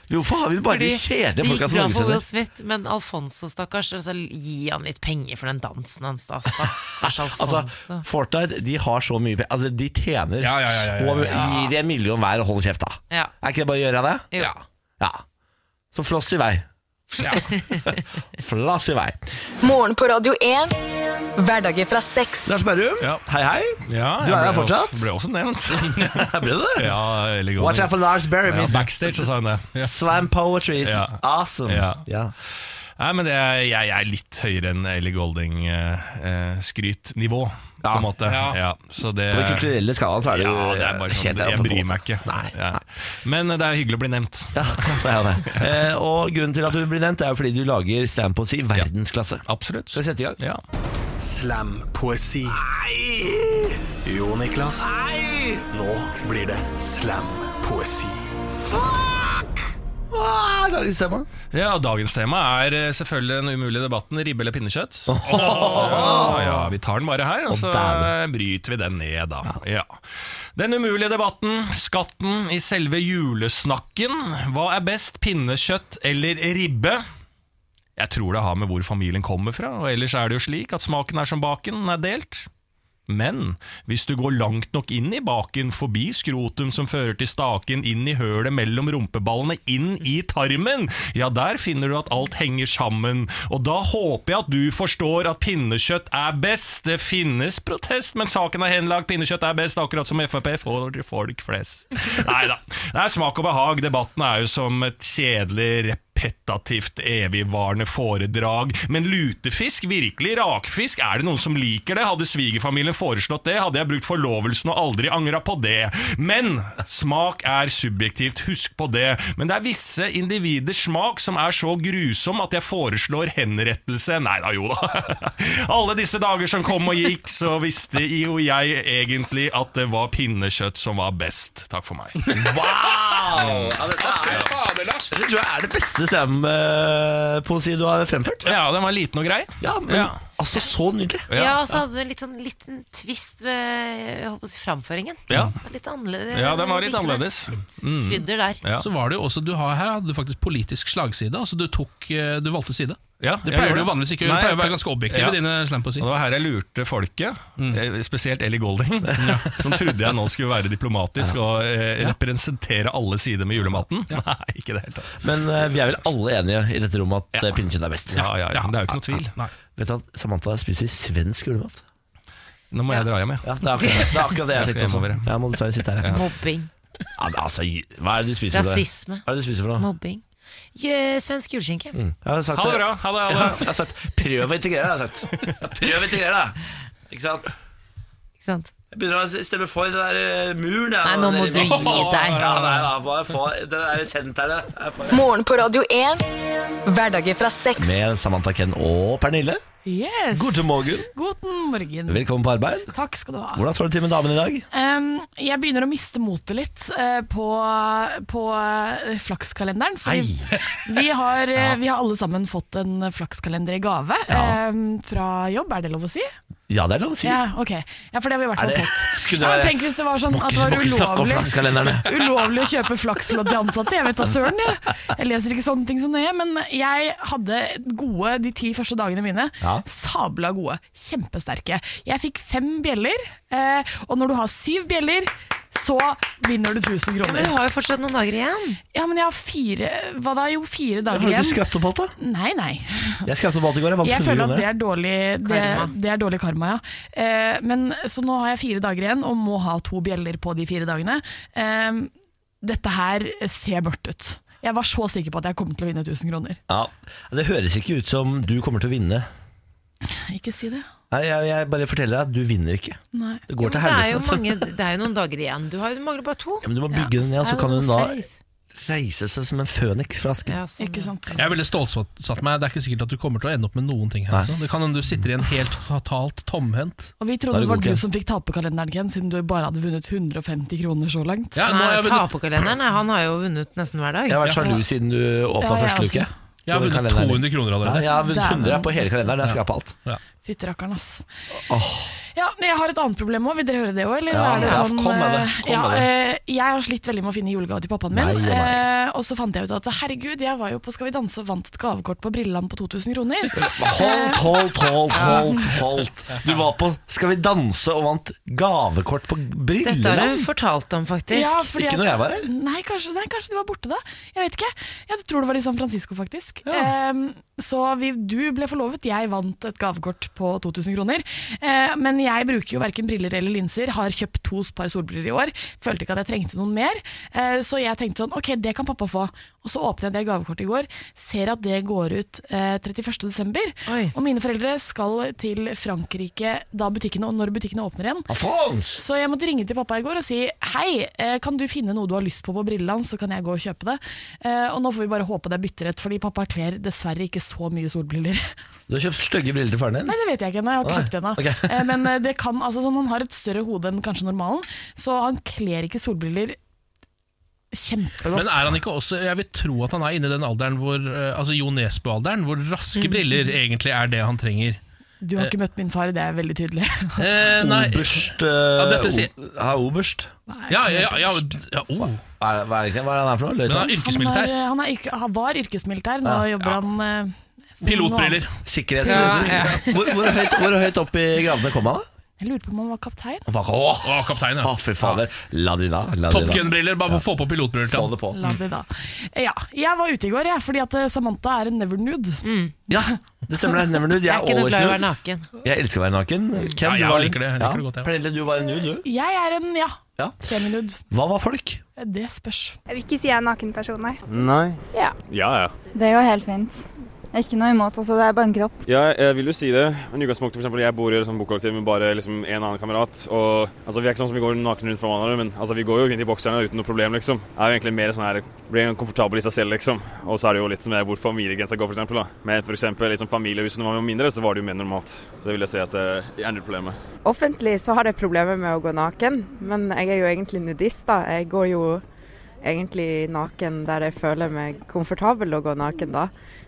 S3: Hvorfor har vi bare de
S1: det
S3: kjedelige
S1: gikk
S3: folka som
S1: bra for Will
S3: norgesvenner?
S1: Smith, men Alfonso, stakkars, altså, gi han litt penger for den dansen hans, da. Stakkars Alfonso.
S3: Altså, Fortnite de har så mye pe- Altså, de tjener
S2: Ja, ja, ja, ja, ja.
S3: så mye. Gi de en million hver og hold kjeft, da.
S1: Ja.
S3: Er ikke det bare å gjøre det?
S1: Jo. Ja.
S3: Ja. Så floss i vei. floss i vei.
S4: Morgen på Radio 1. Hverdager fra seks.
S3: Lars Berrum, hei, hei. du
S10: jeg
S3: er her
S10: ble
S3: fortsatt.
S10: Også, ble også nevnt.
S3: ble du det?
S10: Ja, elegant.
S3: Watch out for Lars Berrum.
S10: Ja,
S3: he's-
S10: backstage så sa hun det.
S3: Slam poetry is awesome.
S10: Ja.
S3: Ja.
S10: Nei, men det er, jeg er litt høyere enn Ellie Golding-skrytnivå, på en måte.
S3: Ja.
S10: Ja, så det,
S3: På den kulturelle skalaen så er det
S10: ja,
S3: jo eh,
S10: det er bare
S3: helt
S10: sånn,
S3: der
S10: Jeg
S3: oppe, på en
S10: bryr
S3: måte.
S10: meg ikke. Ja. Men eh, det er hyggelig å bli nevnt.
S3: Det er det. Eh, og grunnen til at du blir nevnt, er jo fordi du lager slampoesi i verdensklasse.
S10: Absolutt.
S3: Skal vi sette i gang?
S12: Slampoesi. Nei! Jo, Niklas. Nei! Nå blir det slampoesi. Ah,
S3: Dagens tema?
S10: Ja, dagens tema er eh, selvfølgelig den umulige debatten ribbe eller pinnekjøtt. Ja, ja, vi tar den bare her, og
S3: Altså,
S10: så eh, bryter vi den ned, da. Ja. Den umulige debatten, skatten i selve julesnakken. Hva er best, pinnekjøtt eller ribbe? Jeg tror det har med hvor familien kommer fra, og ellers er det jo slik at smaken er som baken, den er delt. Men hvis du går langt nok inn i baken, forbi skrotum som fører til staken, inn i hølet mellom rumpeballene, inn i tarmen, ja, der finner du at alt henger sammen. Og da håper jeg at du forstår at pinnekjøtt er best. Det finnes protest, men saken er henlagt. Pinnekjøtt er best, akkurat som Frp får folk flest. Nei da. Det er smak og behag. Debatten er jo som et kjedelig rep repetativt evigvarende foredrag. Men lutefisk, virkelig rakfisk, er det noen som liker det? Hadde svigerfamilien foreslått det, hadde jeg brukt forlovelsen og aldri angra på det. Men smak er subjektivt, husk på det. Men det er visse individers smak som er så grusom at jeg foreslår henrettelse. Nei da, jo da. Alle disse dager som kom og gikk, så visste jo jeg egentlig at det var pinnekjøtt som var best. Takk for meg.
S3: Wow! Ja, dette er, det tror jeg er det beste stemmepoesi du har fremført.
S10: Ja, den var liten og grei.
S3: Ja, men altså så nydelig.
S1: Ja, og så hadde du en litt sånn liten twist ved jeg holdt på å si, framføringen.
S10: Ja.
S1: Det var Litt annerledes.
S10: Ja, den var litt
S1: Jeg likte det.
S10: annerledes.
S1: Mm. krydder der. Ja.
S2: Så var det jo også, du har, Her hadde du faktisk politisk slagside. Altså Du tok, eh, du valgte side.
S10: Ja,
S2: det
S10: jeg
S2: pleier
S10: gjorde
S2: du
S10: det.
S2: jo vanligvis ikke å
S10: Nei,
S2: gjøre. Du pleier
S10: jeg
S2: å være
S10: ple-
S2: ganske objektiv
S10: Ja.
S2: i dine slampoesi.
S10: Og det var her jeg lurte folket,
S3: Mm.
S10: eh, spesielt Ellie Golding, som trodde jeg nå skulle være diplomatisk og eh, representere alle sider med julematen. Nei, ikke det helt tatt.
S3: Men eh, vi er vel alle enige i dette rommet at ja. pinnekjøtt er best.
S10: Ja, ja, ja. Det er jo ikke noe tvil.
S2: Nei.
S3: Vet du at Samantha spiser svensk julemat?
S10: Nå må jeg dra hjem, jeg.
S3: Ja, det er akkurat det, det, er akkurat det jeg
S10: Jeg skal
S3: tenkte også.
S10: hjemover, jeg.
S3: Ja, må dessverre sitte her. Ja.
S1: Mobbing.
S3: Ja, men altså, hva er det du spiser for
S1: Rasisme.
S3: noe? Hva er det du spiser for noe?
S1: Mobbing. Jø, Svensk juleskinke.
S3: Mm. Jeg har sagt
S1: Ha det bra,
S10: ha det, ha det.
S3: Ja, jeg har sagt, prøv å integrere deg, har jeg sagt. Prøv å integrere deg. Ikke sant?
S1: Ikke sant?
S3: Jeg begynner å stemme for den der eh, muren. jeg,
S1: Nei, nå må
S3: den
S1: du
S3: der-
S1: gi deg.
S3: Ja, nei, da, bare få det der senteret. Jeg får-
S4: Morgen på Radio 1. Hverdager fra seks.
S3: Med Samantha Ken og Pernille.
S9: Yes.
S3: God morgen.
S9: Guten morgen.
S3: Velkommen på arbeid.
S9: Takk skal du ha.
S3: Hvordan står det til med damen i dag?
S9: Em, jeg begynner å miste motet litt eh, på, på eh, flakskalenderen. Fordi vi, har, eh, vi har alle sammen fått en flakskalender i gave em, fra jobb, er det lov å si?
S3: Ja, det er lov å si.
S9: Ja, ok. ja, for det har vi i hvert
S3: Er
S9: fall
S3: det-
S9: fått.
S3: Skulle det
S9: ja, men
S3: være-
S9: tenk hvis det var sånn
S3: Må
S9: at
S3: ikke-
S9: det var
S3: må ikke snakke om
S9: ulovlig,
S3: flakskalenderne.
S9: ulovlig å kjøpe flakslodd til ansatte. Jeg vet da søren, jeg. Jeg leser ikke sånne ting så nøye. Men jeg hadde gode de ti første dagene mine.
S13: Ja.
S9: Sabla gode. Kjempesterke. Jeg fikk fem bjeller, eh, og når du har syv bjeller så vinner du 1000 kroner.
S1: men du har jo fortsatt noen dager igjen.
S9: Ja, men jeg har fire Hva da? Jo, fire
S3: Har
S9: dager
S3: du
S9: igjen.
S3: ikke skrapt opp alt, da?
S9: Nei, nei.
S3: Jeg skrapte opp alt i går. Jeg vant
S9: Jeg
S3: 100
S9: føler at det
S3: kroner.
S9: er dårlig, det,
S3: Karma.
S9: det er dårlig karma, ja. Eh, men, så nå har jeg fire dager igjen og må ha to bjeller på de fire dagene. Eh, dette her ser mørkt ut. Jeg var så sikker på at jeg kom til å vinne 1000 kroner.
S3: Ja. Det høres ikke ut som du kommer til å vinne.
S9: Ikke si det.
S3: Nei, jeg, jeg bare forteller deg at du vinner ikke.
S9: Nei.
S3: Det går til
S1: det er, jo
S3: helvete.
S1: mange, det er jo noen dager igjen. Du, har, du mangler bare to.
S3: Ja, men du må bygge den ned, og så kan hun da reise seg som en føniks fra asken.
S9: Ikke sant.
S2: Jeg er veldig stålsatt meg. Det er ikke sikkert at du kommer til å ende opp med noen ting her. Altså. Det kan hende du sitter igjen helt totalt tomhendt.
S9: Og vi
S2: Da
S9: trodde
S2: er
S9: det
S2: det
S9: var
S2: god,
S9: du
S2: Ken.
S9: som fikk taperkalenderen, Ken, siden du bare hadde vunnet 150 kroner så langt.
S2: Ja, nå
S1: Nei,
S2: har jeg vunnet-
S1: Taperkalenderen, nei, han har jo vunnet nesten hver dag.
S3: Jeg har vært sjalu siden du åpna
S9: Ja, jeg
S3: første
S9: også.
S3: uke.
S2: Jeg har
S3: På den
S2: vunnet 200
S3: kalenderen.
S2: kroner allerede.
S3: Ja, jeg har vunnet
S9: Dæven.
S3: 100 på hele kalenderen. Jeg skraper alt.
S9: Fytti rakkeren, ass. Ja, men jeg har et annet problem òg. Vil dere høre det òg, eller?
S3: Ja,
S9: er det
S3: ja,
S9: sånn,
S3: kom med det,
S9: eh,
S3: kom
S9: ja,
S3: med det.
S9: eh, jeg har slitt veldig med å finne julegave til pappaen min.
S3: Nei, ja,
S9: eh, og så fant jeg ut at herregud, jeg var jo på Skal vi danse og vant et gavekort på Brilleland på 2000 kroner.
S3: Holdt,
S9: Eh,
S3: holdt, holdt, holdt, holdt. Du var på Skal vi danse og vant gavekort på Brilleland.
S1: Dette har du fortalt om, faktisk.
S9: ja, fordi
S3: Ikke
S9: at-
S3: når jeg var der.
S9: Nei kanskje, nei, kanskje du var borte da. Jeg vet ikke. Jeg tror det var i San Francisco, faktisk. Eh, så vi, du ble forlovet, jeg vant et gavekort på 2000 kroner. Eh, men jeg bruker jo verken briller eller linser, har kjøpt to par solbriller i år. Følte ikke at jeg trengte noen mer. Eh, så jeg tenkte sånn, ok, det kan pappa få. Og så åpnet jeg det gavekortet i går, ser at det går ut eh, 31. desember. Og mine foreldre skal til Frankrike da butikkene, og når butikkene åpner igjen. Så jeg måtte ringe til pappa i går og si Hei, eh, kan du finne noe du har lyst på på Brilleland, så kan jeg gå og kjøpe det. Eh, Og nå får vi bare håpe det er bytterett, fordi pappa kler dessverre ikke så mye solbriller.
S3: Du har kjøpt stygge briller til faren din.
S9: Nei, det vet jeg ikke ennå, jeg har ikke
S3: Nei,
S9: kjøpt det ennå.
S3: ok.
S9: Eh, Men eh, det kan, altså sånn, han har et større hode enn kanskje normalen, så han kler ikke solbriller kjempegodt.
S2: Men er han ikke også Jeg vil tro at han er inne i den alderen hvor eh, Altså Jo Nesbø-alderen, hvor raske
S9: Mhm.
S2: briller egentlig er det han trenger.
S9: Du har ikke møtt min far, det er veldig tydelig.
S2: Eh, nei.
S3: Oberst eh,
S2: Ja, dette sier-
S3: o- ja, Oberst?
S2: Ja, ja, ja, ja oh.
S3: Hva er, hva er det hva er det han er for noe?
S2: Men han er
S9: Han, er, eh, han, er, yrke- han var yrkesmilitær, nå
S3: Ah, Ja.
S9: jobber han eh, som noe annet.
S3: Sikkerhet.
S9: Ja, ja.
S3: Hvor, hvor, høyt, hvor høyt opp i gradene kom han, da?
S9: Jeg lurer på om han var kaptein.
S3: Han var- Åh,
S2: kaptein, ja.
S3: Å, fy fader. La de da. la de
S2: Top
S3: da.
S2: Gun-briller, bare få på pilotbriller til
S3: Få det på.
S9: La det da. Ja, jeg var ute i går, jeg, fordi at eh, Samantha er en never nude.
S3: Ja, det stemmer. det Never nude. Jeg er always nude.
S9: naken.
S3: Jeg elsker å være naken. Ken,
S2: Ja, jeg
S3: du var-
S2: liker det. Jeg liker det godt, jeg.
S3: Pernille, du var en nude, du.
S9: Jeg er en, ja,
S3: Ja.
S9: seminude.
S3: Hva var folk?
S9: Det spørs.
S14: Jeg vil ikke si jeg er en nakenperson, nei.
S15: Nei.
S14: Ja.
S15: Ja, ja.
S14: Det går helt fint. Det er ikke noe imot, altså. Det er bare en kropp.
S15: Ja, jeg vil jo si det. Men i utgangspunktet, for eksempel, jeg bor i liksom, bokkaktiv med bare liksom, en annen kamerat. Og altså, vi er ikke sånn som vi går naken rundt fra hverandre, men altså, vi går jo inn i bokserne uten noe problem, liksom. Det er jo egentlig mer sånn her Blir komfortabel i seg selv, liksom. Og så er det jo litt som det er hvor familiegrensa går, for eksempel, da. Men for eksempel liksom, familiehuset når man var mindre, så var det jo mer normalt. Så det vil jeg si at eh, det er null problem med.
S16: Offentlig så har jeg problemer med å gå naken, men jeg er jo egentlig nudist, da. Jeg går jo egentlig naken der jeg føler meg komfortabel å gå naken, da.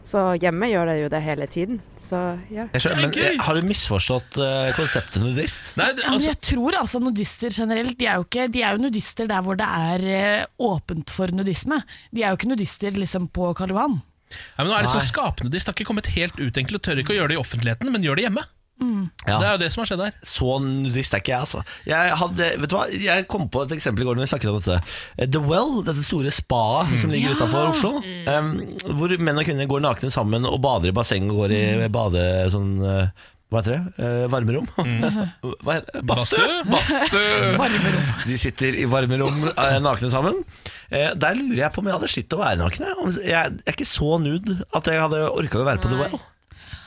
S16: Så hjemme gjør jeg jo det hele tiden. Så ja.
S3: Jeg skjønner, men eh, Har du misforstått eh, konseptet nudist?
S9: Ja, men jeg tror altså nudister generelt De er jo, ikke, de er jo nudister der hvor det er eh, åpent for nudisme. De er jo ikke nudister liksom på Karl Johan.
S2: Nei, men nå er det så
S9: Nei.
S2: skapende. De har ikke kommet helt ut, egentlig. og Tør ikke å gjøre det i offentligheten, men gjør det hjemme. Det er jo det som har skjedd her.
S3: Så nudist er ikke jeg, altså. Jeg, hadde, vet du hva? jeg kom på et eksempel i går når vi snakket om dette. Eh, The Well, dette store
S2: Mm.
S3: spaet som ligger
S12: Ja.
S3: utenfor Oslo. eh, hvor menn og kvinner går nakne sammen og bader i basseng og går i
S2: Mm.
S3: bade... Sånn, eh, hva heter det? Eh, varmerom?
S2: Mm.
S3: Hva heter det? Badstue! Badstue! De sitter i varmerom eh, nakne sammen. Eh, der lurer jeg på om jeg hadde slitt å være naken. jeg. Om- Jeg er ikke så nude at jeg hadde orka å være på The Well.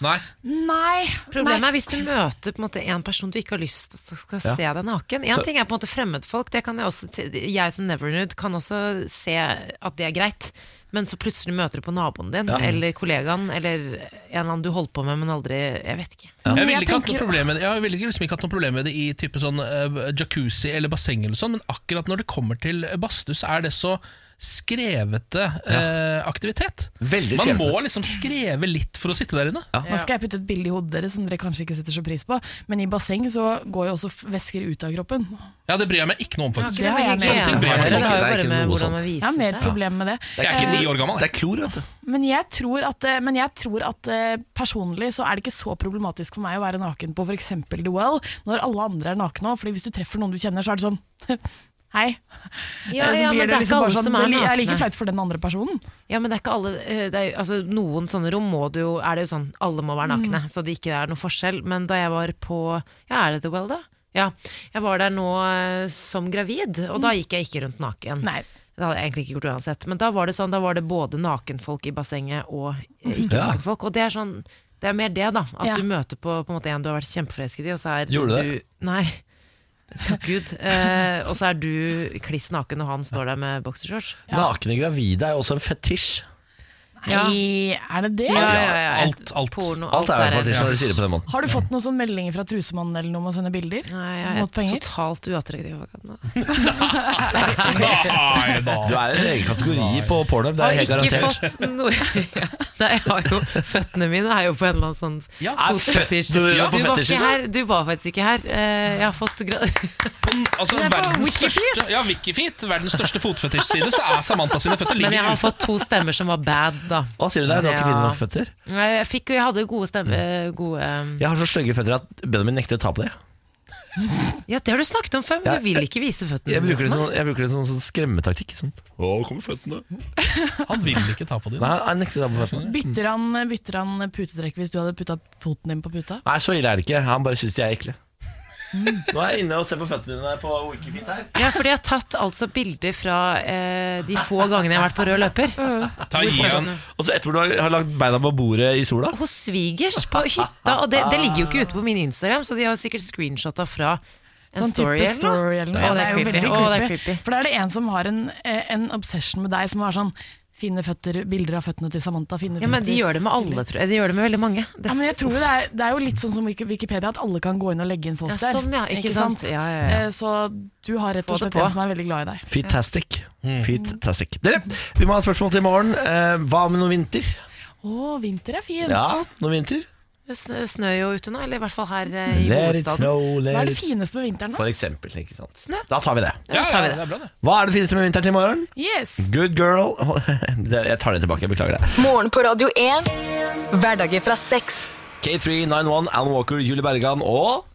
S2: Nei.
S9: Nei.
S1: Problemet
S9: nei.
S1: er hvis du møter på en, måte, en person du ikke har lyst til skal, skal
S3: Ja.
S1: se deg naken. En
S3: Så-
S1: ting er på en måte fremmedfolk, det kan jeg, også, jeg som nevernude kan også se at det er greit. men så plutselig møter du på naboen din
S2: Ja.
S1: eller kollegaen eller en eller annen du holdt på med, men aldri Jeg vet ikke.
S2: Jeg ville ikke, hatt noe problem med det- jeg ville liksom ikke hatt noe problem med det i type sånn eh, jacuzzi eller basseng, eller sånn, men akkurat når det kommer til badstue, så er det så skrevete eh, aktivitet.
S3: Veldig
S2: Man
S3: skrevete.
S2: må liksom skreve litt for å sitte der inne.
S9: Nå skal jeg putte et bilde i hodet deres som dere kanskje ikke setter så pris på, men i basseng så går jo også f- væsker ut av kroppen.
S2: Ja, det bryr jeg meg ikke noe om, faktisk.
S9: Ja, det har jeg
S2: Sånne
S9: med.
S2: ting bryr jeg meg
S9: Det
S2: ikke
S9: har
S2: om.
S9: jo bare
S2: Det er ikke
S9: med
S2: noe
S9: hvordan
S2: sånt.
S9: man viser Jeg har mer seg. problem med det.
S2: Jeg er ikke
S9: Eh,
S2: ni år gammel.
S3: Det er klor, vet du.
S9: Men jeg tror at, eh, men jeg tror at eh, personlig så er det ikke så problematisk for meg å være naken på f.eks. The Well, når alle andre er nakne òg. Fordi hvis du treffer noen du kjenner, så er det sånn Hei.
S1: Ja,
S9: Eh, så
S1: ja,
S9: blir
S1: men det er ikke
S9: bare
S1: alle som er
S9: det er
S1: nakne.
S9: like flaut for den andre personen.
S1: Ja, men det er ikke alle eh, det er, jo- altså, Noen sånne rom må du jo Er det jo sånn alle må være nakne,
S9: Mm.
S1: så det ikke er noe forskjell. Men da jeg var på Ja, er det The Well, da? Ja. Jeg var der nå eh, som gravid, og
S9: Mm.
S1: da gikk jeg ikke rundt naken. Det hadde jeg egentlig ikke gjort uansett. Men da var det sånn, da var det både nakenfolk i bassenget og eh, ikke
S3: Ja.
S1: nakenfolk. Og det er sånn det er mer det, da. At
S9: Mm. Ja.
S1: du møter på, på en måte en du har vært kjempeforelsket i, og så er
S3: Gjorde du det?
S1: Nei. Takk Gud. Eh, og så er du kliss naken, og han står der med boksershorts.
S3: Nakne gravide er jo også en fetisj.
S9: Nei, er det det?
S1: Ja, ja, ja.
S3: Alt, alt.
S1: Porno,
S3: Alt er jo
S1: der
S3: faktisk når du sier det på den måten.
S9: Har du fått noen sånne meldinger fra trusemannen eller noe med å sende bilder?
S1: Nei, jeg er totalt uattraktiv akkurat nå.
S2: Nei, da.
S3: Du er i en egen kategori på porno. Det er helt
S1: Ikke
S3: garantert.
S1: fått noe ja. Nei, jeg har jo, Føttene mine er jo på en eller annen sånn
S2: Ja.
S3: Er
S1: fotfetisj.
S3: føttene dine på
S1: Du var
S3: fetisjen?
S1: ikke her, du var faktisk ikke her. Eh, jeg har fått gra
S2: Altså,
S1: Det er fra
S2: verdens
S1: Wikifeet.
S2: største, ja, Wikifeet, verdens største fotfetisjside, så er Samantha sine føtter
S1: Men
S2: ligger
S1: jeg har
S2: ute.
S1: fått to stemmer som var bad, da.
S3: Hva sier du der? Du har ikke fine
S1: Ja.
S3: nok føtter?
S1: Nei, Jeg, fikk, jeg hadde gode stemmer
S3: Mm.
S1: gode,
S3: Jeg har så stygge føtter at Benjamin nekter å ta på det.
S1: Ja, det har du snakket om før, men
S3: Jeg-
S1: du vil ikke vise føttene.
S3: Jeg
S1: dine
S3: bruker det
S1: for meg.
S3: som jeg bruker det som sånn skremmetaktikk. Sånn. Å, kommer føttene?
S2: Han vil ikke ta på dem.
S3: Nei, han nekter å ta på føttene.
S9: Bytter han, bytter han putetrekk hvis du hadde putta foten din på puta?
S3: Nei, så ille er det ikke. Han bare syns de er ekle. Nå er jeg inne og ser på føttene mine på Wikifit her.
S1: Ja, fordi jeg har tatt altså bilder fra eh, de få gangene jeg har vært på rød løper.
S3: Ta i han.
S1: sånn?
S3: Og så etterpå du har, har lagt beina på bordet i sola.
S1: Hos svigers på hytta, og det, det ligger jo ikke ute på min Instagram, så de har jo sikkert screenshotta fra en
S9: Sånn
S1: story
S9: type story eller noe.
S1: Å, det er
S9: jo
S1: creepy.
S9: veldig
S1: Å, det er
S9: creepy.
S1: creepy.
S9: For da er det en som har en, eh, en obsession med deg, som har sånn fine føtter, bilder av føttene til Samantha. Fine
S1: Ja, men de gjør det med alle, tror jeg. De gjør det med veldig mange. Det-
S9: Ja, men jeg tror jo det er, det er jo litt sånn som Wiki- Wikipedia, at alle kan gå inn og legge inn folk
S1: Ja,
S9: der.
S1: sånn, ja, ikke sant? Ja, ja, ja.
S9: Eh, Så du har rett
S1: Få
S9: og
S1: det
S9: slett
S1: på.
S9: en som er veldig glad i deg.
S3: Fitastic. Fitastic. Hmm.
S9: Hmm.
S3: Dere, vi må ha et spørsmål til i morgen. Eh, hva med noe vinter?
S9: Å, vinter er fint!
S3: Ja, noe vinter?
S1: Det snø- snør jo ute nå, eller i hvert fall her eh, i
S3: Let it
S1: hovedstaden.
S3: snow, let
S9: Hva er det
S3: it-
S9: fineste med vinteren,
S3: For
S9: da?
S3: eksempel, ikke sant.
S1: Snø.
S3: Da tar vi det.
S1: Ja, da tar vi det.
S3: Hva er det fineste med vinteren til i morgen?
S9: Yes!
S3: Good girl. Det- Jeg tar det tilbake, jeg beklager det.
S4: Morgen på Radio 1. Hverdager fra seks.
S3: K391, Alan Walker, Julie Bergan og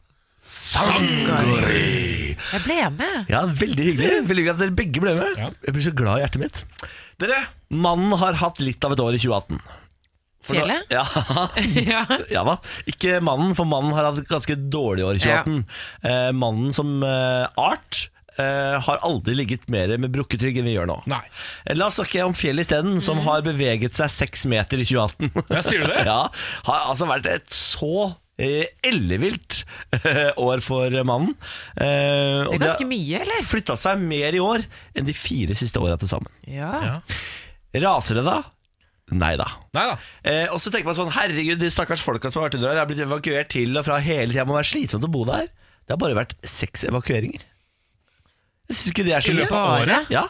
S3: Sangari.
S1: Jeg ble med.
S3: Ja, veldig hyggelig. Veldig hyggelig at dere begge ble med. Jeg blir så glad i hjertet mitt. Dere, mannen har hatt litt av et år i 2018. For da-
S1: Fjellet?
S3: Ja. ja da. Ikke mannen, for mannen har hatt et ganske dårlig år i 2018. Eh, mannen som eh, art eh, har aldri ligget mer med brukket rygg enn vi gjør nå. Eh, La oss snakke om fjellet isteden,
S1: Mm.
S3: som har beveget seg seks meter i 2018.
S2: Ja, sier du det?
S3: ja, har altså vært et så eh, ellevilt år for mannen. Eh, og
S1: Det er ganske mye, eller?
S3: Flytta seg mer i år enn de fire siste åra til sammen.
S1: Ja.
S3: Raser det da? Nei da. Eh, og så tenker man sånn Herregud, de stakkars folka som har vært under her, har blitt evakuert til og fra hele tida. Må være slitsomt å bo der. Det har bare vært seks evakueringer. Jeg syns ikke det er så
S2: I
S3: mye.
S2: løpet av året?
S3: Ja.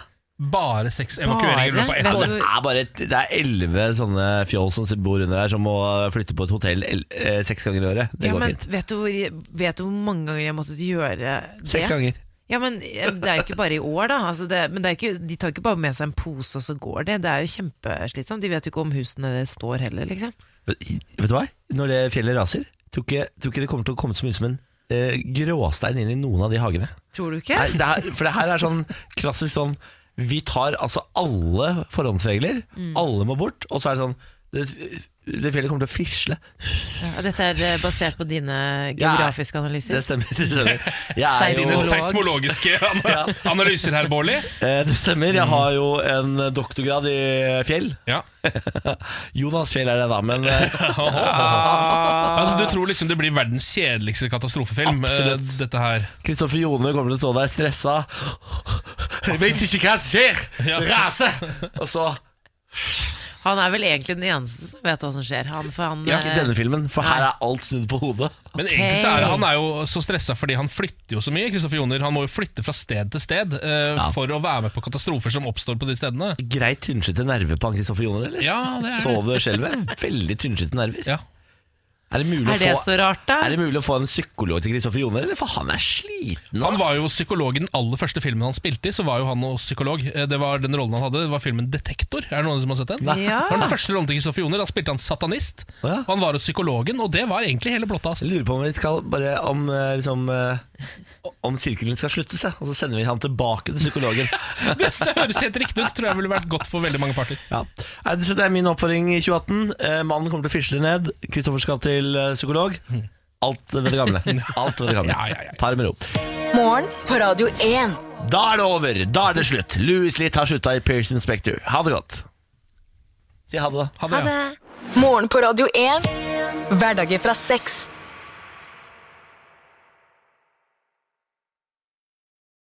S2: Bare seks evakueringer i løpet av ett
S3: Ja,
S2: år.
S3: det er bare et- Det er elleve sånne fjoll som bor under her, som må flytte på et hotell el- eh, seks ganger i året. Det
S1: ja,
S3: går
S1: men
S3: fint.
S1: vet du, hvor- vet du hvor mange ganger jeg måtte gjøre det?
S3: Seks ganger.
S1: Ja, men eh, Det er jo ikke bare i år, da. Altså det, men det er ikke, De tar ikke bare med seg en pose og så går de. Det er jo kjempeslitsomt. De vet jo ikke om husene det står heller, liksom.
S3: Vet vet du hva? Når det fjellet raser, tror ikke, tror ikke det kommer til å komme så mye som en eh, gråstein inn i noen av de hagene.
S1: Tror du ikke?
S3: Nei, det her, for det her er sånn klassisk sånn Vi tar altså alle forhåndsregler,
S1: Mm.
S3: alle må bort, og så er det sånn det, det fjellet kommer til å fisle.
S1: Ja, dette er eh, basert på dine geografiske analyser.
S3: Det stemmer. det stemmer Jeg er jo-
S2: Dine seismologiske an- analyser her, Bårli.
S3: Eh, Det stemmer. Jeg
S2: Mm.
S3: har jo en doktorgrad i fjell. Jonas Fjell er det, da, men eh,
S2: Ah. Altså, du tror liksom det blir verdens kjedeligste katastrofefilm,
S3: Absolutt.
S2: eh, dette her.
S3: Kristoffer Jone kommer til å stå der stressa. Jeg vet ikke hva som skjer! Det raser! Og så
S1: Han er vel egentlig den eneste som vet hva som skjer. Han, for han, eh,
S3: Ja, ikke i denne filmen, for her er alt snudd på hodet.
S2: Men egentlig så er det- han er jo så stressa fordi han flytter jo så mye. Kristoffer Joner, Han må jo flytte fra sted til sted eh, for å være med på katastrofer som oppstår på de stedene.
S3: Greit tynnsete nerver på han Kristoffer Joner, eller?
S2: Ja, det er det.
S3: Sover skjelvet? Veldig tynnsete nerver. Er, det mulig
S1: Er det
S3: å få,
S1: så rart, da?
S3: Er det mulig å få en psykolog til Kristoffer Joner, eller? For han er sliten.
S2: Han var jo psykolog i den aller første filmen han spilte i. Så var jo han også psykolog Eh, Det var den rollen han hadde, det var filmen 'Detektor'. Er det noen som har sett den?
S3: Nei. Ja.
S2: Det var den første rollen til Kristoffer Joner. Da spilte han satanist. Han var jo psykologen, og det var egentlig hele blotta. Altså.
S3: Jeg lurer på om vi skal bare om, eh, liksom, eh, om sirkelen skal slutte seg, og så sender vi han tilbake til psykologen.
S2: Det høres helt riktig ut. Tror jeg ville vært godt for veldig mange parter.
S3: Ja. Nei, det- Så det er min oppfordring i 2018. Eh, Mannen kommer til å fisle ned. Kristoffer skal til eh, psykolog. Alt ved det gamle. Alt ved det gamle. Ta det med ro.
S4: Morgen på Radio 1.
S3: Da er det over. Da er det slutt. Louis Litt har slutta i Pierce Inspector. Ha det godt. Si ha det, da.
S4: Morgen på Radio 1. Hverdager fra seks.